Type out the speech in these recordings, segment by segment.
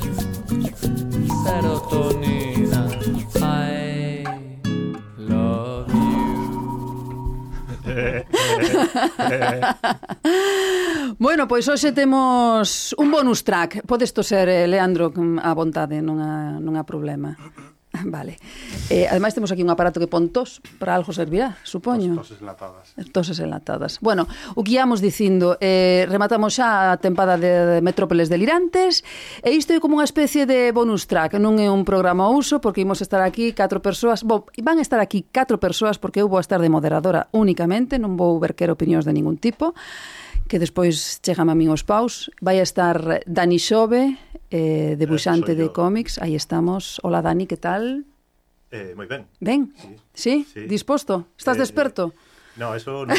se- serotonina. I love you. Bueno, pois hoxe temos un bonus track. Podes toser, eh, Leandro, con- á vontade, non há, non há problema. Vale. Eh, ademais temos aquí un aparato que pon tos, para algo servirá, supoño. Toses enlatadas. Toses enlatadas. Bueno, o que íamos dicindo, eh, rematamos xa a tempada de Metrópoles Delirantes, e isto é como unha especie de bonus track, non é un programa ao uso, porque imos estar aquí catro persoas, bo, van estar aquí catro persoas, porque eu vou a estar de moderadora únicamente, non vou verquer opinións de ningún tipo, que despois chegan a min os paus. Vai a estar Dani Xove, eh, debuxante soy de yo. cómics, aí estamos. Hola Dani, que tal? Eh, moi ben. Ben? Sí. Sí. Disposto? Estás Eh, desperto? No, eso no.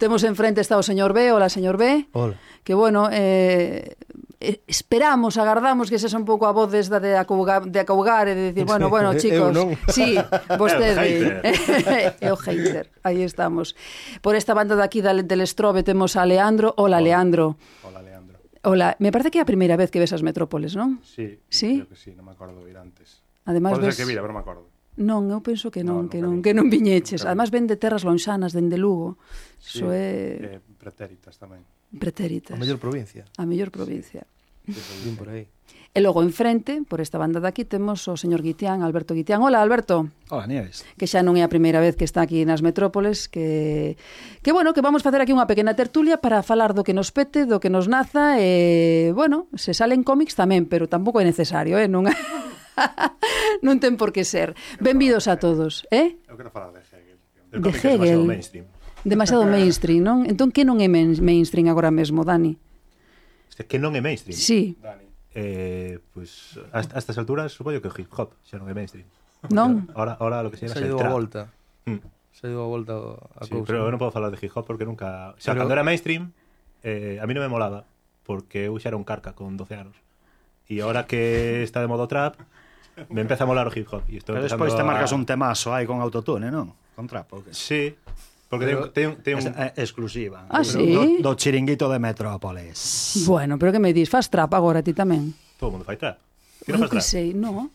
Temos enfrente está o señor B, hola señor B. Hola. Que bueno, eh, eh, esperamos, agardamos que sexa un pouco a voz desda de acougar, de acougar e de dicir, bueno, bueno, Eu chicos, non. sí, vostede. É É o o hater. Aí estamos. Por esta banda de aquí da, del Estrobe temos a Leandro. Hola, Leandro. Hola, Leandro. Hola, me parece que é a primeira vez que ves as metrópoles, non? Sí, Sí? creo que sí, non me acordo de ir antes. Ademais Pode ves... ser que vira, pero non me acordo. Non, eu penso que non, No, que nunca non, vi. que non viñeches. Nunca vi. Ademais ven de terras lonxanas, dende Lugo. Iso é Eh, pretéritas tamén. pretéritas. A mellor provincia. a mellor provincia. Din por aí. E logo enfrente, por esta banda de aquí, temos o señor Guitián, Alberto Guitián. Hola, Alberto, Hola, Nieves. que xa non é a primeira vez que está aquí nas metrópoles, que, que bueno, que vamos facer aquí unha pequena tertulia para falar do que nos pete, do que nos naza, e, bueno, se salen cómics tamén, pero tampouco é necesario, eh? non, non ten por que ser. Benvidos a todos, eh? Eu quero falar de Hegel. De Del cómic que é demasiado Hegel. mainstream. Demasiado mainstream, non? Entón, que non é main- mainstream agora mesmo, Dani? Este que non é mainstream. Sí, Dani. Eh, pues, a, est- a estas alturas supoño que o hip hop xa non é mainstream. non? Ahora, ahora lo que se Se llama é deu el a trap. volta. Mm. Se deu a volta a Sí, cousa. pero eu non podo falar de hip hop porque nunca... O sea, Pero- cando era mainstream, eh, a mí non me molaba, porque eu xa era un carca con 12 anos. E ahora que está de modo trap, me empeza a molar o hip hop. E estou Pero empezando despois te a- marcas un temazo aí con autotune, non? Con trap, o que? Sí, porque ten, ten, ten un... eh, É exclusiva. Ah, Pero sí? Do, do chiringuito de Metrópoles. Bueno, pero que me dis? Fas trap agora ti tamén? Todo o mundo fai trap. Ti non Eu faz que trap? sei, non?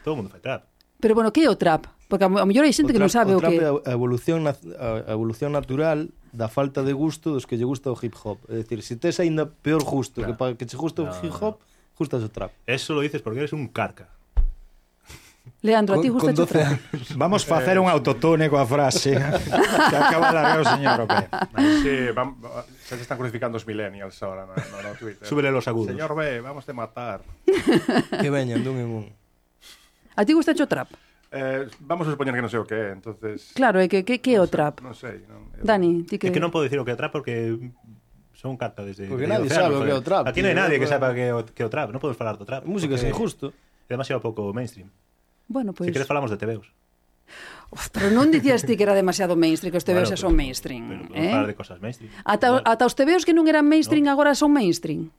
Todo o mundo fai trap. Pero bueno, que é o trap? Porque ao mellor hai xente que non trap- sabe o, trap que... é a evolución naz- a a evolución natural da falta de gusto dos que lle gusta o hip hop. É dicir, se tes aínda peor gusto que para que che guste o hip hop, gustas o trap. Eso lo dices porque eres un carca. Leandro, a ti gusta o trap? Vamos facer un autotune coa frase que acaba de largar o señor Ope. Sí, vam- va- se están crucificando los millennials ahora no, no, no, Twitter. Súbele los agudos. Señor B, vamos a matar. que veñan dun en un. A ti gusta o trap? Eh, vamos a suponer que no sé o qué, entonces... Claro, ¿eh? é que que, que é o trap? No sé. no- Dani, ti que... Que... Es que non podo dicir o que é trap porque son carta desde... Porque desde nadie 12 sabe anos, o que é o joder. trap, Aquí non hai tío. nadie que saiba que é o, que é o trap. Non podemos falar do trap. A música é porque injusto. É demasiado pouco mainstream. Bueno, pois... Pues... Si queres falamos de TVOs. Uf, pero non dicías ti que era demasiado mainstream, que os tebeos Claro, xa son pero- mainstream, Pero podemos falar eh? de cosas mainstream. Ata, Igual. ata os tebeos que non eran mainstream agora son mainstream.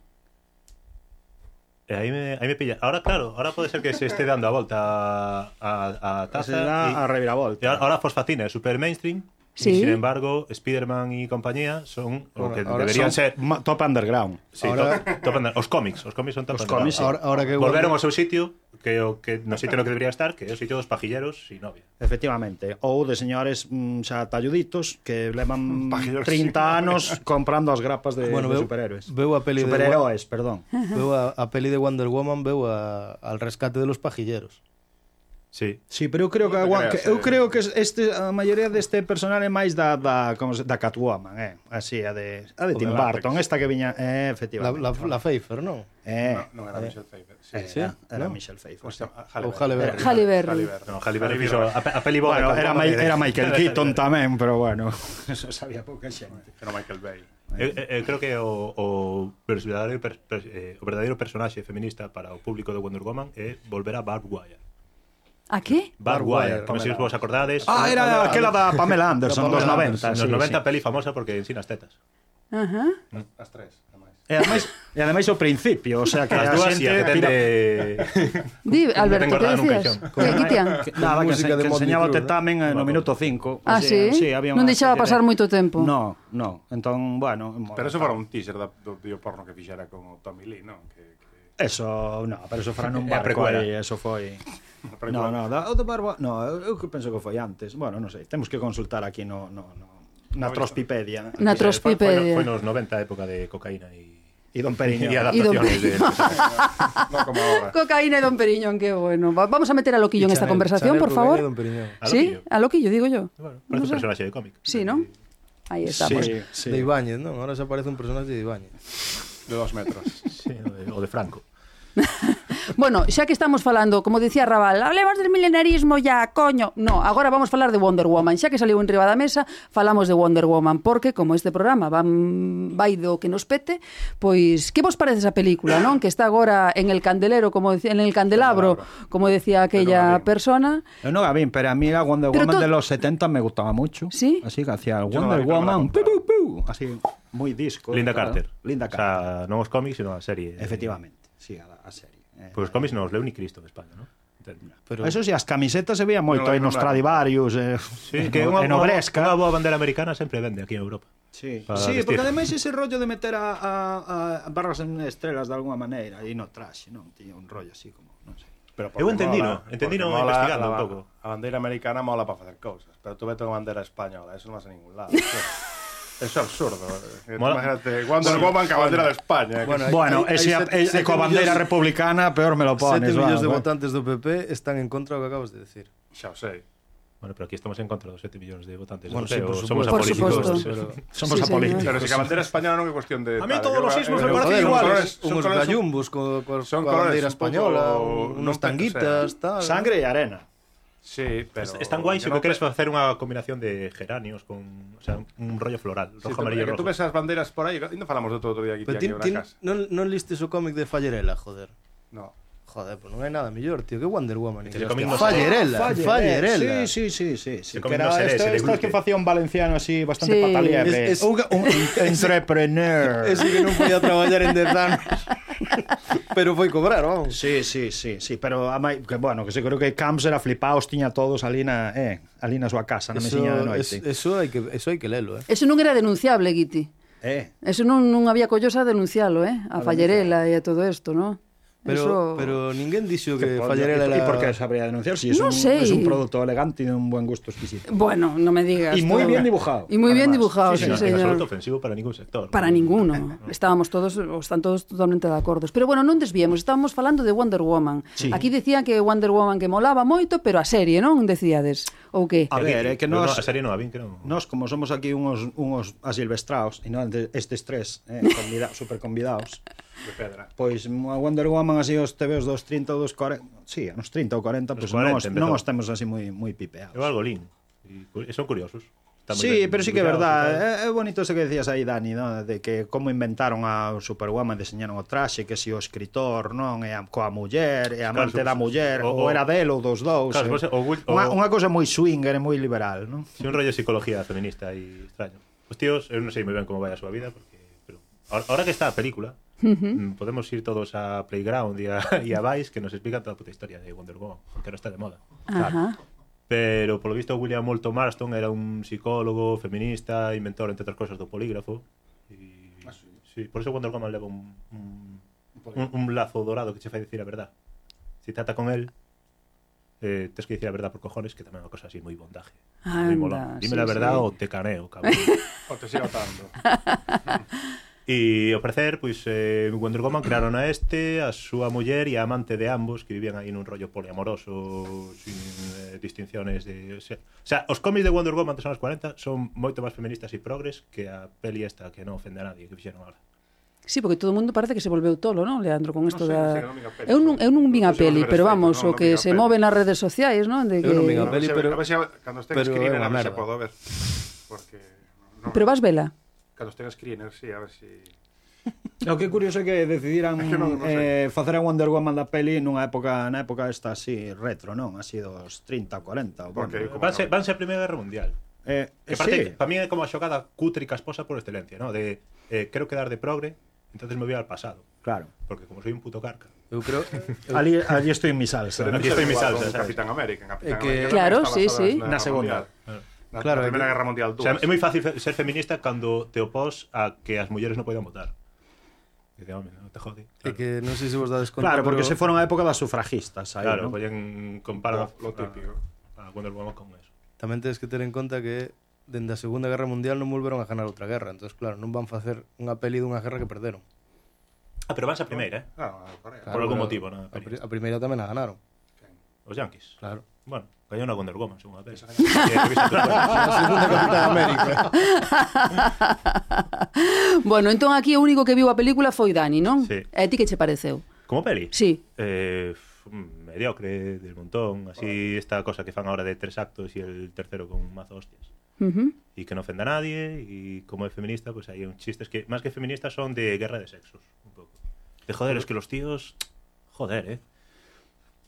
Eh, aí, me, aí me pilla. Ahora, claro, ahora pode ser que se esté dando a volta a, a, a Se taza. y- dá a y reviravolta. ahora- ahora fosfatina es super mainstream. y, Sí. sin embargo, Spider-Man y compañía son lo Ahora- que ahora deberían ser. Ma- Top underground. Sí, ahora- top- top andar. Os cómics, os cómics son top Os andar. cómics, sí. Ahora- ahora que volveron guardo- ao seu sitio, que o que no sitio no que debería estar, que é o sitio dos pajilleros e novia. Efectivamente, ou de señores mm, xa talluditos que levan Pajilleros 30 anos comprando as grapas de, Bueno, de veu- superhéroes. veu a peli de- Superheroes, perdón. Veu a, a peli de Wonder Woman, veu a, al rescate de los pajilleros. Sí. Sí, pero eu creo que, Non te agua, que creas, eu eh. creo que este a maioría deste personal é máis da da como se, da Catwoman, eh, así a de a de O Tim de Matrix. Burton, esta que viña, La, eh, efectivamente. la, la Pfeiffer, non? No, eh, no era Michelle Pfeiffer. Sí. eh, era, ¿no? era Michelle Pfeiffer. O sea, O Halle Halle Berry. Halle Berry. Berry. No, Halle Berry Halle fixo Berry. a, pe- a peli boa. Bueno, de era, Catwoman Mi- de- era Michael de- Keaton tamén, pero bueno, eso sabía pouca xente. Pero Michael Bay. Eu, eu- eu Eh, creo que o, o verdadeiro, per, per, eh, o verdadeiro personaxe feminista para o público de Wonder Woman é volver a Barb Wire. A que? Badwire, Pamela non sei se vos acordades. Ah, era aquela da Pamela Anderson Da dos Pamela 90. Nos sí, 90 sí. peli famosa porque ensina as tetas. Ajá. As tres, ademais. E ademais, e ademais o principio, o sea que As a dúas e xente a que ten pira- de... Di, Alberto, que tengo que guardada nun decías? caixón. Que aquí tian? Que- Nada, que, Música se, de que Motley enseñaba Crue, te tamén eh, no minuto 5. Ah, sí? Non deixaba pasar moito tempo. No, no. Entón, bueno... Pero eso fora un teaser da, do, do porno que fixera con o Tommy Lee, non? Que, que... Eso, no, pero eso fora nun É a barco precuela. aí, eso foi... a No, precuela- no, da, o do barba... No, eu, eu que penso que foi antes. Bueno, non sei, temos que consultar aquí no... no, no na Trospipedia. Na Foi, trospipedia. foi nos 90 época de cocaína e... E Don E Periño. de Y don adaptaciones de... non como agora. Cocaína y Don Periñón, qué bueno. Va- Vamos a meter a Loquillo en esta Chanel, conversación, Chanel, por Rubén favor. y Don Periñón. A ¿Sí? Loquillo. A Loquillo, digo yo. Bueno, No parece sé. un personaje de cómic. Sí, ¿no? Ahí está. Sí, pues. sí. De Ibáñez, ¿no? Ahora se aparece un personaje de Ibáñez. De dos metros. Sí, o de- o de Franco. Bueno, xa que estamos falando, como decía Raval, hablemos del milenarismo ya, coño. No, agora vamos falar de Wonder Woman. Xa que saliu en riba da mesa, falamos de Wonder Woman, porque como este programa van, vai do que nos pete, pois que vos parece esa película, non? Que está agora en el candelero, como decía, en el candelabro, como decía aquella Pero non a vi. persona. Eu non Eh, a vi, pero a mí la Wonder Pero Woman to- de los 70 me gustaba mucho. ¿Sí? Así que hacía Yo no la vi, pero Wonder me la Woman, pu, compraron. pu, pu, así, muy disco. Linda claro. Carter. O Linda Carter. sea, eh, non os cómics, sino a serie. Efectivamente, sí, a, a serie. Eh, Pois os cómics non os leu ni Cristo de España, non? Pero Eso sí, as camisetas se veía moito Pero aí la nos compra- Stradivarius, eh, Sí, que en Obresca. Unha boa bandera americana sempre vende aquí en Europa. Sí, Para sí vestir. porque ademais ese rollo de meter a, a, a barras en estrelas de alguna maneira aí no traxe, non? Tiña un rollo así como, non sei. Pero Eu entendino, entendino porque mola investigando la- un pouco. A bandeira americana mola para facer cousas, pero tú vete a bandeira española, eso non vas a ningún lado. Eso, eso é absurdo. eh. Mola. Imagínate, Wonder Woman ca bandera de España. eh, Bueno, que- Bueno, hai- hai ese, sete- e- e sete coa bandeira millóns- republicana peor me lo 7 pones. millóns va, de va. votantes do PP están en contra do que acabas de decir. xa o sei. Bueno, pero aquí estamos en contra dos 7 millóns de votantes. Bueno, O sí, sea, por o somos supuesto. Por apolíticos. supuesto. Somos Sí, señor. apolíticos. Pero se que a bandera española non é cuestión de... A mí tal, todos eu- los ismos eu- me parecen eu- iguales. ¿eh? son Unos colores- gallumbos co, co, son co colores bandeira un pouco- española, non unos tan- tanguitas, tal. Sangre e arena. Sí, pero... Es tan guai yo se non me queres pe- facer unha combinación de geranios con, o sea, un rollo floral, Sí, rojo, tú- amarillo, é que tú rojo. ves as bandeiras por aí, ainda falamos do todo outro día aquí, tía, Pero ti, que ti, na casa. non, non listes o cómic de Fallerela, joder. No. Joder, pues non hai nada mellor, tío, que Wonder Woman. te recomiendo- Fallerela, Fallerela. eh, Sí, sí, sí, sí, sí. Se Que comen era los cereales, esto, el esto es gluten. que facía un valenciano así Sí. bastante pataleable. Es- es- un, un entrepreneur. Ese que non podía traballar en The Damned. Pero foi cobrar, vamos. Sí, sí, sí, sí, pero amai, que bueno, que seguro que Camps era flipaos, tiña todos ali na, eh, ali na súa casa, na mesiña de es, noite. eso hai que eso hai que lelo, eh. Eso non era denunciable, Guiti. Eh, Eso non, non había collosa denuncialo, eh? A Fallerela e a todo isto, non? Pero Eso... pero ninguén dixo que, que por- Fallerela era ¿Y por qué sabría denunciar? Si es, No un, sé. es un producto elegante y de un buen gusto exquisito. Bueno, no me digas. Y muy todo. bien dibujado, Y muy bien además. dibujado, Sí, sí, no, en señor. absoluto ofensivo para ningún sector. Para No. ninguno. Estábamos todos, ou están todos totalmente de acordo. Pero bueno, non desviemos, estábamos falando de Wonder Woman. Sí. Aquí decían que Wonder Woman que molaba moito, pero a serie, non? Decíades. Ou que? A ver, é que Pero nos, a serie non a vin, que non. nos como somos aquí unos, unos asilvestraos, e non de- estes tres, eh, convida, super convidados, De pedra. pois a Wonder Woman así os TVs dos 30 ou dos 40, sí, a uns 30 ou 40, Dos pois non, os, 40 empezou. non os temos así moi moi pipeados. Eu algo lin. Y cu- son curiosos. Están moi Sí, ben pero sí que ¿eh? é dibujados e tal. verdade. É, é bonito eso que decías aí, Dani, ¿no? de que como inventaron a Superwoman, diseñaron o traxe, que si o escritor, non, é a, coa muller, é a Claro, amante o- da muller, o- ou era delo dos dous. Claro, eh. o- o- unha, o- unha cousa moi swinger e moi liberal, non? Sí, un rollo de psicología feminista aí extraño. Os tíos, eh, eu non sei moi ben como vai a súa vida, porque pero ahora, ahora que está a película, mm, podemos ir todos a Playground e a, e a Vice que nos explica toda a puta historia de Wonder Woman, porque ahora está de moda. Ajá. Pero, polo visto, William Moulton Marston era un psicólogo, feminista, inventor, entre outras cosas, do polígrafo. E... Ah, sí. sí. Por eso Wonder Woman leva un, un, un, un lazo dorado que che fai dicir a verdad. Se trata con él, eh, tens que dicir a verdad por cojones, que tamén é unha cosa así moi bondaje. moi Anda, molón. Dime sí, a verdad sí. ou te caneo, cabrón. O te sigo tanto. E ao parecer, pois, eh, Wonder Woman crearon a este, a súa muller e a amante de ambos que vivían aí nun rollo poliamoroso sin eh, distinciones de... O sea, o sea, os cómics de Wonder Woman dos anos 40 son moito máis feministas e progres que a peli esta que non ofende a nadie que fixeron ahora. Sí, porque todo o mundo parece que se volveu tolo, non, Leandro, con isto sei, da... non sei, non vin a peli. eu non, eu non vin a Non sei, peli, non pero vin a vamos, o peli, non que vin a se peli. move nas redes sociais, non? De que... Eu non vin a A ver peli, se- pero- a ver se cando estea en pero é screener unha a ver se merda. podo ver. Porque... no, Pero vas vela. Cando estea en screener, sí, a ver si... O que é curioso é que decidiran que non- non eh, facer a Wonder Woman da peli nunha época na época esta así retro, non? Así dos 30, 40 ou Eh, bueno. Porque- Vanse, vanse a Primeira Guerra Mundial. Eh, Que eh, parte, sí. para mí é como a xogada cutre e casposa por excelencia, ¿no? De eh, quero quedar de progre, entonces me voy al pasado. Claro. Porque como soy un puto carca. Eu creo Ali, ali estou en mi Eh, salsa. Pero ¿no? Aquí estoy en mi salsa, ¿sabes? Capitán América. en Capitán É que- América Claro, está sí, basada sí. na Na Guerra segunda. Mundial. Na, Eh, Claro, na Primeira aquí- Guerra Mundial 2. O sea, é moi fácil fe- ser feminista cando te opós a que as mulleres non poidan votar. Dice, home, non te jode. É Claro, que non sei se vos dades conta, Claro, porque pero- se foron a época das sufragistas aí, claro claro, ¿no? poñen comparan Lo- lo típico. A, a Wonder Woman con eso. Tamén tedes que ter en conta que dende a Segunda Guerra Mundial non volveron a ganar outra guerra, entonces claro, non van facer unha peli dunha guerra que perderon. Ah, pero vanse a primeira, eh? Ah, correcto. Claro, algún pero motivo, a, na peli. pri- a primeira tamén a ganaron, Os Yankees. claro. Bueno, cayó una Wonder Woman, según la peli. Que revisa tus cuentas. A Segunda Capitán América. Bueno, entón aquí o único que viu a película foi Dani, non? Sí. E ti que che pareceu? Como peli? Sí. Eh, f- mm, mediocre, del montón, así esta cosa que fan ahora de tres actos y el tercero con un mazo hostias. Uh -huh. Y que no ofenda a nadie, y como es feminista, pues hay un chistes que, más que feministas, son de guerra de sexos, un poco. De joder, es que los tíos, joder, eh.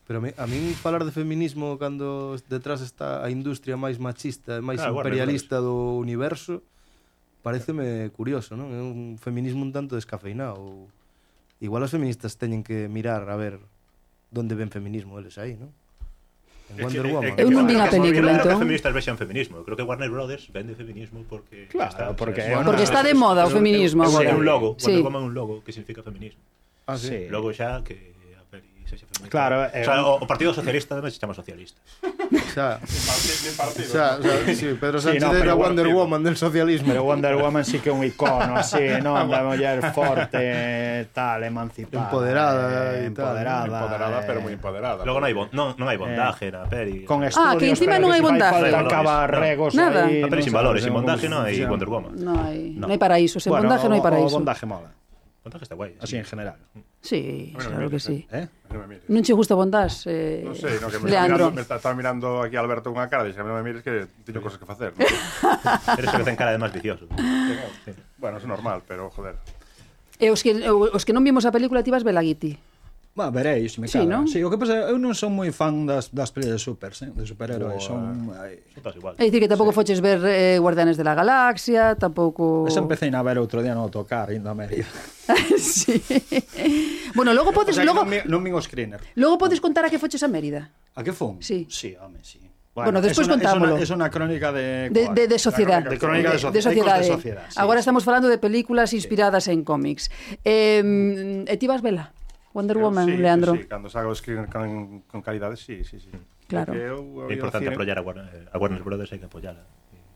Pero a mí, a min falar de feminismo cando detrás está a industria máis machista e máis claro, Claro, bueno, imperialista do universo pareceme curioso, non? É un feminismo un tanto descafeinado. Igual os feministas teñen que mirar a ver onde ven feminismo eles aí, non? En Wonder Woman. Eu non vi a Yo película, no creo que entón. feministas vexan feminismo. Creo que Warner Brothers vende feminismo porque... Claro, porque- es una- Porque está de moda o feminismo es agora. un logo. Sí. Wonder Woman é un logo que significa feminismo. Ah, sí. Sí. Logo xa que a peli sexa feminista. Claro, eh, o, sea, o, o Partido Socialista tamén se chama socialista. Xa, Ni partido. xa, xa, sí, Pedro Sí, Sánchez no, pero era Wonder bueno, Woman del socialismo. Pero Wonder Woman sí que é un icono así, non? Ah, Da muller forte, tal, emancipada. Empoderada eh, y tal, empoderada. Empoderada, eh, pero moi empoderada. Logo non hai, bon, non, non hai bondaje na peli. Con a estudios, Ah, que encima pero non hai si fai bondaje. falta Valores, cabarregos nada. peli aí, non sin sabemos valores, sin cómo bondaje non hai funciona. Wonder Woman. Non hai, No. no. non hai paraíso, sen Bueno, bondaje non hai o- o paraíso. bondaje mola, Bondaje está guai. así en general. Sí, Bueno, claro mira, que sí. sí. Eh? Non me mires. Non che gusta bondás, eh, Non sei, no, que me está, mirando, Leandro. me está, está mirando aquí Alberto cunha cara, dixe, non me mires que teño cosas que facer. ¿no? Eres o que ten cara de máis vicioso. bueno, é normal, pero joder. E Eh, os que, os que non vimos a película ti vas Belaguiti. Ba, veréis, me Sí, cago. non? Sí, o que pasa é eu non son moi fan das, das pelis de super, eh? de superhéroes. Son, ai, Son todas igual. É dicir que tampouco sí. foches ver eh, Guardianes de la Galaxia, tampouco... Esa empecé a ver outro día no autocar, indo a Mérida. sí. bueno, logo podes, que logo, non, mi- non min os screener. logo podes contar a que foches a Mérida. A que fun? Sí. Sí, home, sí. Bueno, despois es una- contámolo. Es una, es una crónica de... De, de, de sociedade. De crónica de, de sociedade. De sociedade sí. Agora estamos falando de películas inspiradas en cómics. Eh, e ti vas vela? Wonder Woman, sí, Leandro. Sí, sí, cando saco screen con, con calidade, sí, sí, sí. Claro. Porque eu, eu, É importante cine- apoiar a Warner, eh, a Warner Brothers, hai que apoiala.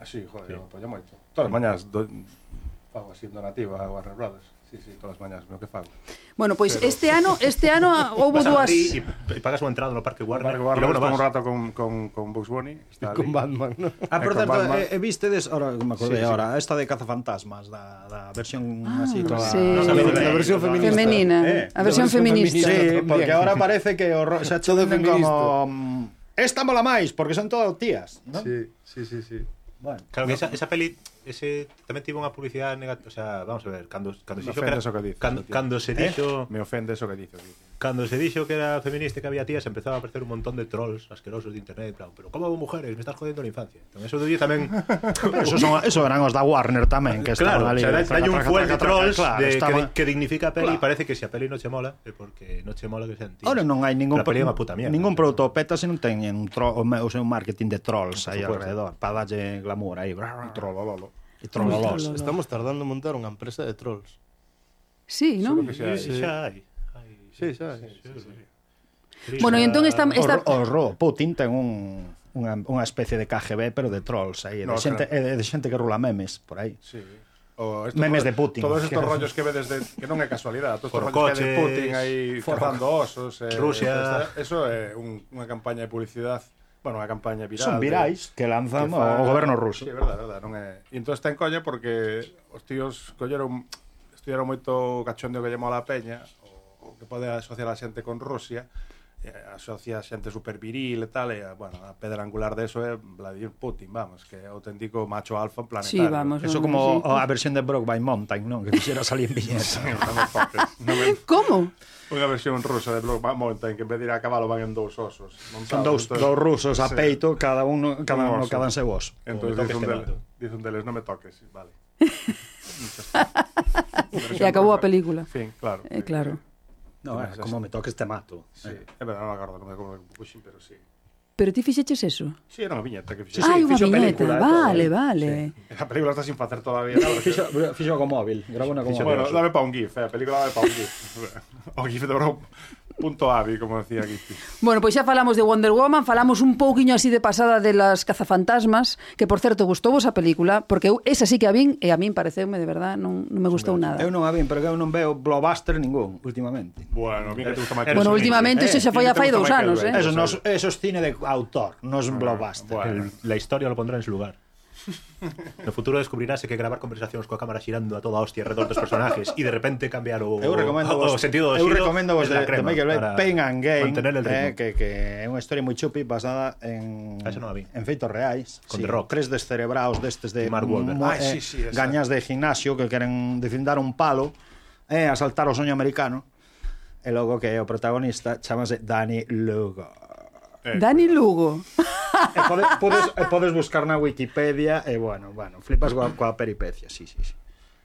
Así, Ah, joder, eu apoio moito. Todas as mañas do... fago así un donativo a Warner Brothers. Sí, sí, todas as mañas, meu que fago. Bueno, pois este ano, este ano houve Vas a dúas Madrid e pagas unha entrada no Parque Warner Warner. e Warner logo estou non un vas. rato con, con, con Bugs Bunny. que Está ali. Con Batman, non? Ah, por Con certo, Batman. eh, eh, vistedes, ahora me acordei Sí, sí. sí, ahora, esta de Cazafantasmas, da, da versión ah, así toda... sí. No sabemos La de- versión toda- feminista. femenina, Eh, a versión versión feminista. feminista. Sí, también. porque ahora parece que o ro- se ha hecho Todo feminista. como... mm, Esta mola máis, porque son todas tías, ¿no? Sí, sí, sí, sí. Bueno. Claro que esa, esa peli ese tamén tivo unha publicidade negativa, o sea, vamos a ver, cando cando se Me ofendes dixo que era, o que dices, cando, tío. cando se Eh? dixo Me ofende eso que dices. tío. Cando se dixo que era feminista e que había tías, empezaba a aparecer un montón de trolls asquerosos de internet, en plan, pero como mujeres, me estás jodendo la infancia. Entón, eso dolle tamén... Eso, son, eso eran os da Warner tamén, que claro, estaban ali. o sea, traca, hai un traca, fuel de traca, trolls traca, de, claro, estaban- que, que dignifica a peli e Claro. parece que se a peli non che mola, é porque non che mola que sean tías. Ahora non hai Pero a ningún peli é unha puta mierda. Ningún produto peta se non teñen un tro, o, me- o seu marketing de trolls aí supuesto. alrededor, para dalle glamour aí. Bra, bra, bra, Trolololo. e trololos. Estamos tardando en montar unha empresa de trolls. Sí, non? Que sea, Sí, sí. xa hai. hai, Sí, xa. Trisa- Bueno, e entón esta, O, esta... o Ro Putin ten un unha, unha especie de KGB, pero de trolls aí, de, No, xente, claro. e de, de xente que rula memes por aí. Sí. O esto- Memes de Putin. Todos estos rollos que ve desde... Que non é casualidade. Todos estos rollos que Forcoches, ve de Putin aí for- cazando osos. Eh, Rusia. etcétera. Eso é un, unha campaña de publicidade Bueno, unha campaña viral. Son de- virais que lanzan o, o goberno ruso. Sí, é verdade, é verdade, non é. E entón está en coña porque os tíos colleron estudiaron moito o cachondeo que lle mola a peña, o o que pode asociar a xente con Rusia, eh, asocia xente super viril e tal, e, bueno, a pedra angular de eso é Vladimir Putin, vamos, que é auténtico macho alfa planetario. Sí, vamos. Eso como a versión de Brokeback Mountain, non? Que quixera salir en billetes. Non me- Como? Unha versión rusa de Brokeback Mountain que en vez de ir a cabalo van en dous osos. Son montados. dous, Entón- dous rusos a Sí. peito, cada uno, cada Un uno, oso. cada un seu oso. Entón Como me dice un, toques, te del, mato. dice un deles, non me toques, vale. E acabou a película. Fin, claro. Eh, claro. No, eh, Gracias. como me toques te mato. Sí, é verdade, non me acordo, non me acordo como puxin, pero sí. Pero ti fixeches eso? Sí, era unha viñeta que Sí, fixen. sí, Ai, unha fixo viñeta. película, eh, Vale, todo, eh. vale. A película está sin facer todavía. Claro, Fixo, fixo co móvil, grabo na co móvil. bueno, dame pa un gif, eh, a película dame pa un gif. o gif de Bro punto avi, como decía Gisti. Bueno, pois xa falamos de Wonder Woman, falamos un pouquiño así de pasada de las cazafantasmas, que por certo gustou vos a película, porque eu esa sí que a vin e a min pareceume de verdad, non, non me gustou nada. Eu non a vin, pero que eu non veo blockbuster ningún últimamente. Bueno, mira que te gusta Michael Bueno, Bay. últimamente Eh, iso xa foi a mira que te fai gusta dous Michael anos, Bay, eh. Eso, tú nos, sabes. eso es cine de autor, non es blockbuster. Ah, Bueno, La historia lo pondrá en su lugar. No futuro descubrirás que gravar conversacións coa cámara xirando a toda hostia alrededor dos personajes e de repente cambiar o, Eu recomendo o, o vos, sentido do eu xiro recomendo vos es la de, de crema Michael Bay para Pain and Gain, Mantener el ritmo. eh, que, que é unha historia moi chupi basada en Ah, esa non a vi. en feitos reais, Con The Rock. tres descerebrados destes de Mark Wahlberg. mo- eh, Ai, sí, sí, esa. gañas de gimnasio que queren defindar un palo e eh, asaltar o soño americano. E logo que é o protagonista chamase Dani Lugo. Dani Lugo. e podes, podes, e podes buscar na Wikipedia e bueno, bueno, flipas coa, coa peripecia, sí, sí, sí.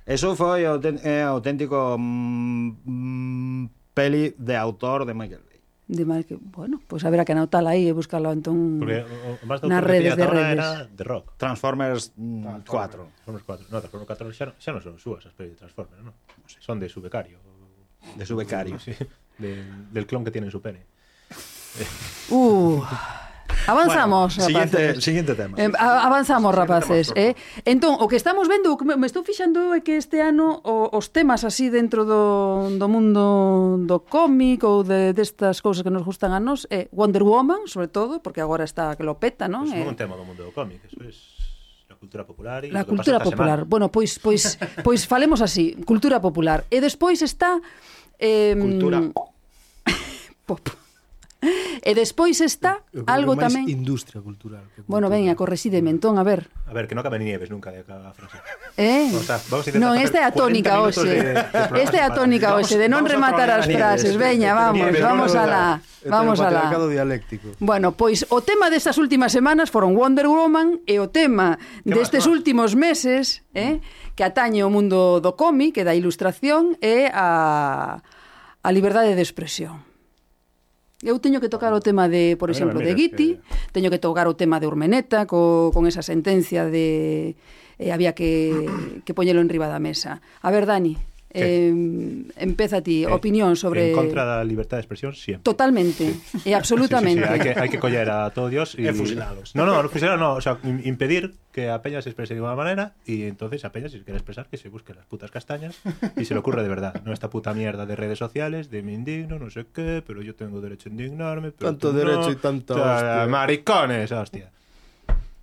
Eso foi o auten- é auténtico mm, mm, peli de autor de Michael Bay. De mal que, bueno, pois pues haberá que anotala aí e buscalo entón Porque o- o máis do nas que redes recibía de ata ahora redes. era The Rock. Transformers mm, 4. Son os cuatro. No, Transformers 4 xa, non- xa non son súas as pelis de Transformers, non? Son de su becario. De su becario. Sí, del, del clon que tiene en su pene. Uh, avanzamos, Bueno, rapaces. siguiente, siguiente tema. Eh, a- avanzamos, rapaces. Eh? Entón, o que estamos vendo, o que me me estou fixando é que este ano o, os temas así dentro do, do mundo do cómic ou de, destas cousas que nos gustan a nós é Wonder Woman, sobre todo, porque agora está que lo peta, non? Eso non Eh, é un tema do mundo do cómic, eso es la cultura popular y La lo que cultura pasa esta popular. Semana. Bueno, pois pois pois falemos así, cultura popular. E despois está eh, Cultura. pop. E despois está algo tamén industria cultural. que Bueno, cultura. veña, corresídeme, entón, a ver. A ver, que no acabe ni nieves nunca de cada frase. Eh? O sea, vamos a intentar non, facer esta é a 40 tónica minutos hoxe. de- de programa Esta é a semanal. tónica Vamos- hoxe, de non vamos a rematar traballar as a Nieves. frases. Veña, vamos, Nieves, vamos no, no, alá. Vamos Heteropatriarcado alá. dialéctico. Bueno, pois o tema destas últimas semanas foron Wonder Woman e o tema destes últimos meses, Mm. eh, que atañe o mundo do cómic e da ilustración é a a liberdade de expresión. Eu teño que tocar o tema de, por A mí exemplo, non de me mires, Guiti, teño que tocar o tema de Urmeneta co, con esa sentencia de eh, había que, que poñelo enriba da mesa. A ver, Dani, Que? eh, empeza ti, Eh, opinión sobre... En contra da libertad de expresión, siempre. Totalmente, e absolutamente. Sí, sí, sí, Hay, que, hay que coller a todo Dios y E fusilalos. No, no, no fusilalos no, o sea, im- impedir que a Peña se exprese de una manera y entonces a Peña si quiere expresar que se busque las putas castañas y se le ocurre de verdad, no esta puta mierda de redes sociales, de me indigno, no sé qué, pero yo tengo derecho a indignarme, pero Tanto tú derecho no. y tanta O sea, hostia. maricones, ah, hostia.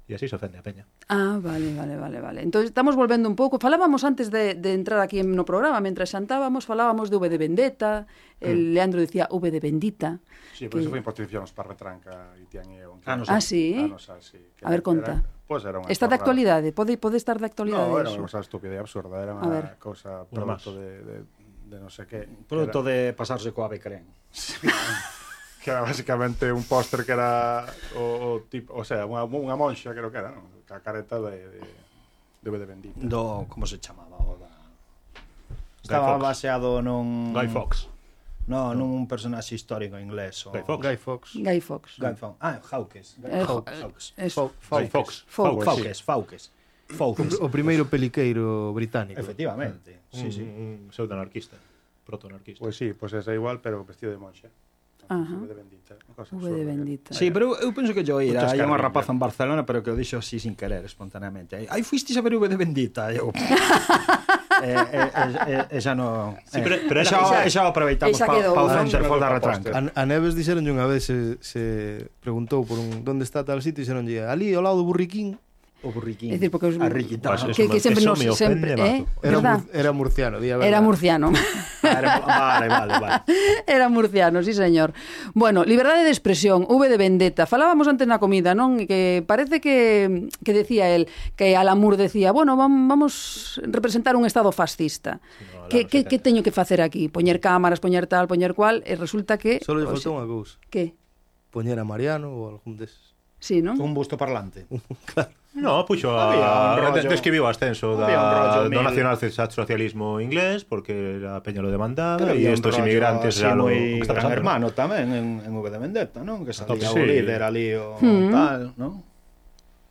Y así se ofende a Peña. Ah, vale, vale, vale, vale. Entón estamos volvendo un pouco. Falábamos antes de, de entrar aquí no programa, mentras xantábamos, falábamos de V de Vendetta, el Leandro decía V de Bendita. Sí, que- por eso foi imposición os parretranca e tian e onque. Ah, non sei. Ah, sí? Ah, non sei, sí. Que A ver, era- conta. Pois era unha Está de chorrada. actualidade, pode pode estar de actualidade No, era iso? unha cosa estúpida e absurda, era A ver. unha cosa máis. producto de, de, de non sei que. Produto que de pasarse coa Becren. era, que era basicamente un póster que era o, o tipo, o sea, unha, unha monxa creo que era, non? A careta de, de, de B de Bendita. Do, como se chamaba o da... Guy Estaba Fawkes. baseado nun... Guy Fox. No, nun personaxe histórico inglés. O... Guy Fawkes. Guy Fox. Guy Fox. Guy Fawkes. Ah, Hawkes. Guy Eh, Fawkes. Es- Guy Fox. Fawkes. Fawkes, Fawkes. Fawkes. O primeiro peliqueiro británico. Mm. Efectivamente. Sí, sí. Un, un pseudo-anarquista, proto-anarquista. Pois sí, pois esa igual, pero vestido de monxa. Ajá. V de Bendita. unha Cosa V de absurda. ¿eh? Bendita. Sí, pero eu, eu penso que yo Muchas ira, hai unha carrillas. rapaza en Barcelona, pero que o dixo así sin querer, espontaneamente. Aí fuisteis a ver V de Bendita, e eu. eh, eh, eh, eh, xa no, eh, Sí, pero- pero era- xa, esa- xa o aproveitamos esa pa, quedou, pa o non? centerfold da retranca. A, a Neves dixeronlle unha vez se, se preguntou por un donde está tal sitio e dixeronlle ali ao lado do Burriquín O burriquín. É dicir, porque os... A riquitá. Pues que, eso me- que sempre eso nos me ofende, sempre, mazo. eh? Era, verdad? mur- era murciano, di a verdade. Era murciano. Ah, era- vale, vale, vale. Era murciano, sí señor. Bueno, liberdade de expresión, V de vendetta. Falábamos antes na comida, non? Que parece que, que decía el que Alamur decía, bueno, vam- vamos representar un estado fascista. No, que, Alamur que, sí que- que teño que facer aquí? Poñer cámaras, poñer tal, poñer cual, e resulta que... Solo lle o faltou sea, unha cousa. Que? Poñer a Mariano ou algún deses. Sí, non? Un busto parlante. No, puxo Había a... un rollo- de- describiu o ascenso da, había un rollo do mil. nacionalsocialismo inglés porque a peña lo demandaba Pero e había un estos rollo inmigrantes así xa lo... moi o que está Gran pasando, ¿no? hermano tamén en, en V de Vendetta, non? Que salía Ah, o sí. líder ali o tal, non? Pan,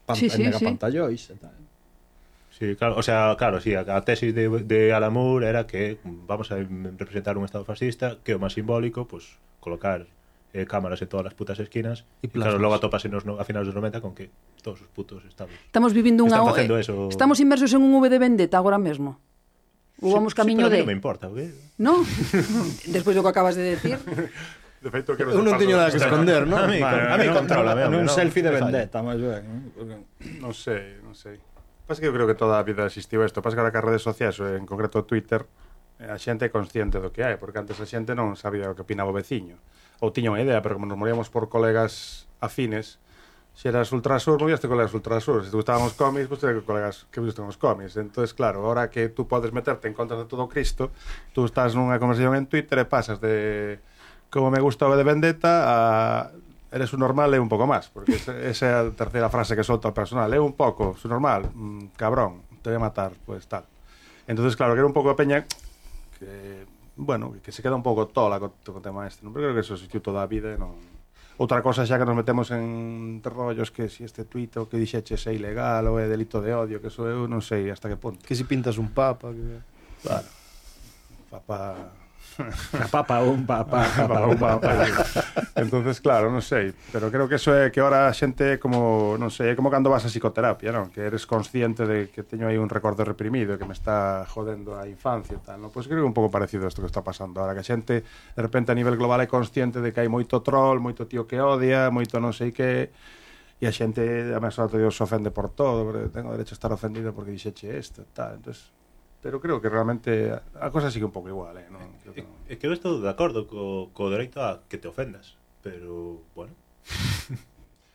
Mm. Sí, sí, mega sí. pantallois e tal. Sí, claro, o sea, claro, sí, a, a tesis de, de Alan Moore era que mm, vamos a mm, representar un Estado fascista, que o máis simbólico, pues, colocar eh, cámaras en todas as putas esquinas, Y e plasmas. claro, logo atopase nos, no, a finales dos 90 con que todos os putos estados. Estamos vivindo unha... Están o- facendo eso. Estamos inmersos en un V de vendetta agora mesmo. Ou vamos camiño sí, de... pero a mí Non me importa, ¿qué? No? Despois do que acabas de decir. De feito, que Eu non teño nada que esconder, Ah, non? A mí, a mí controla, Un selfie de vendetta, máis ben. non? Porque Non sei, non sei. Pasa que eu creo que toda a vida existiu isto. Pasa que ahora que as redes sociais, en concreto Twitter, eh, a xente é consciente do que hai, porque antes a xente non sabía o que opinaba o veciño. Ou tiña unha idea, pero como nos moríamos por colegas afines, se eras ultrasur, movíaste colegas ultrasur. Se te gustaban os cómics, pois pues, colegas que gustan os cómics. Entonces, claro, ahora que tú podes meterte en contra de todo o Cristo, tú estás nunha conversación en Twitter e pasas de como me gusta o de vendetta a eres un normal e un pouco máis, porque esa esa é a terceira frase que solta o personal, é un pouco, su normal, mm, cabrón, te voy a matar, pues tal. Entonces, claro, que era un pouco a peña que, bueno, que se queda un pouco tola co, co tema este, non? Pero creo que eso existiu toda a vida e non... Outra cosa xa que nos metemos en rollos que si este tuit o que dixeches é ilegal ou é delito de odio, que eso eu non sei hasta que punto. Que si pintas un papa, que... Claro. Papá... A papa, un papa, papa, un papa. Entonces, claro, non sei, pero creo que eso é que ahora a xente é como, non sei, é como cando vas a psicoterapia, non? Que eres consciente de que teño aí un recordo reprimido que me está jodendo a infancia e tal, non? Pois creo que é un pouco parecido a isto que está pasando ahora, que a xente de repente a nivel global é consciente de que hai moito troll, moito tío que odia, moito non sei que e a xente a mesa todo se ofende por todo, porque tengo derecho a estar ofendido porque dixeche isto e tal. Entonces, pero creo que realmente a- a cosa sigue un pouco igual, eh, non? Creo que non. É que eu estou de acordo co, co dereito a que te ofendas, pero, bueno,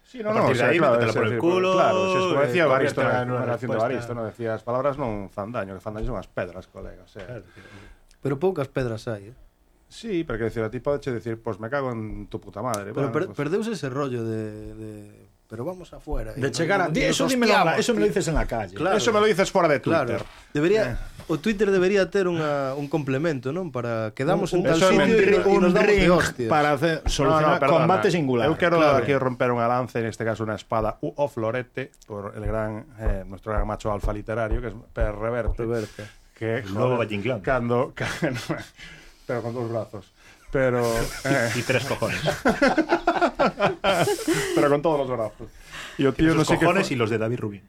Sí, no, A no, o partir de sea, ahí, claro, métetela es por el decir, culo, Claro, si es como eh, decía Baristo, conviértela en en una una relación de respuesta. Baristo, no decía, las palabras no fan daño, que fan daño son las pedras, colega. O sea, claro, Pero poucas pedras hai, eh? Sí, pero que decir, a ti podes decir, pues me cago en tu puta madre. Pero bueno, per pues, perdeuse ese rollo de, de... Pero vamos afuera. De chegar a... Di, Eso, dímelo, en la- eso me lo dices en la calle. Claro. Eso me lo dices fuera de Twitter. Claro. Debería, o Twitter debería ter unha, un complemento, non? Para quedamos en tal Eso é sitio un ri- e nos- e un nos damos de ring hostias. para hacer, solucionar perdona. combate singular. Eu quero eh. Claro. aquí romper unha lanza, en este caso una espada u o florete, por el gran, eh, nuestro gran macho alfa literario, que es Per Reverte. Reverte. Que, Lobo Vallinclán. Cando, cando, pero con dos brazos. Pero... eh, e tres cojones. pero con todos los brazos. Y o tío Tío, no los sé cojones qué y los de David Rubin.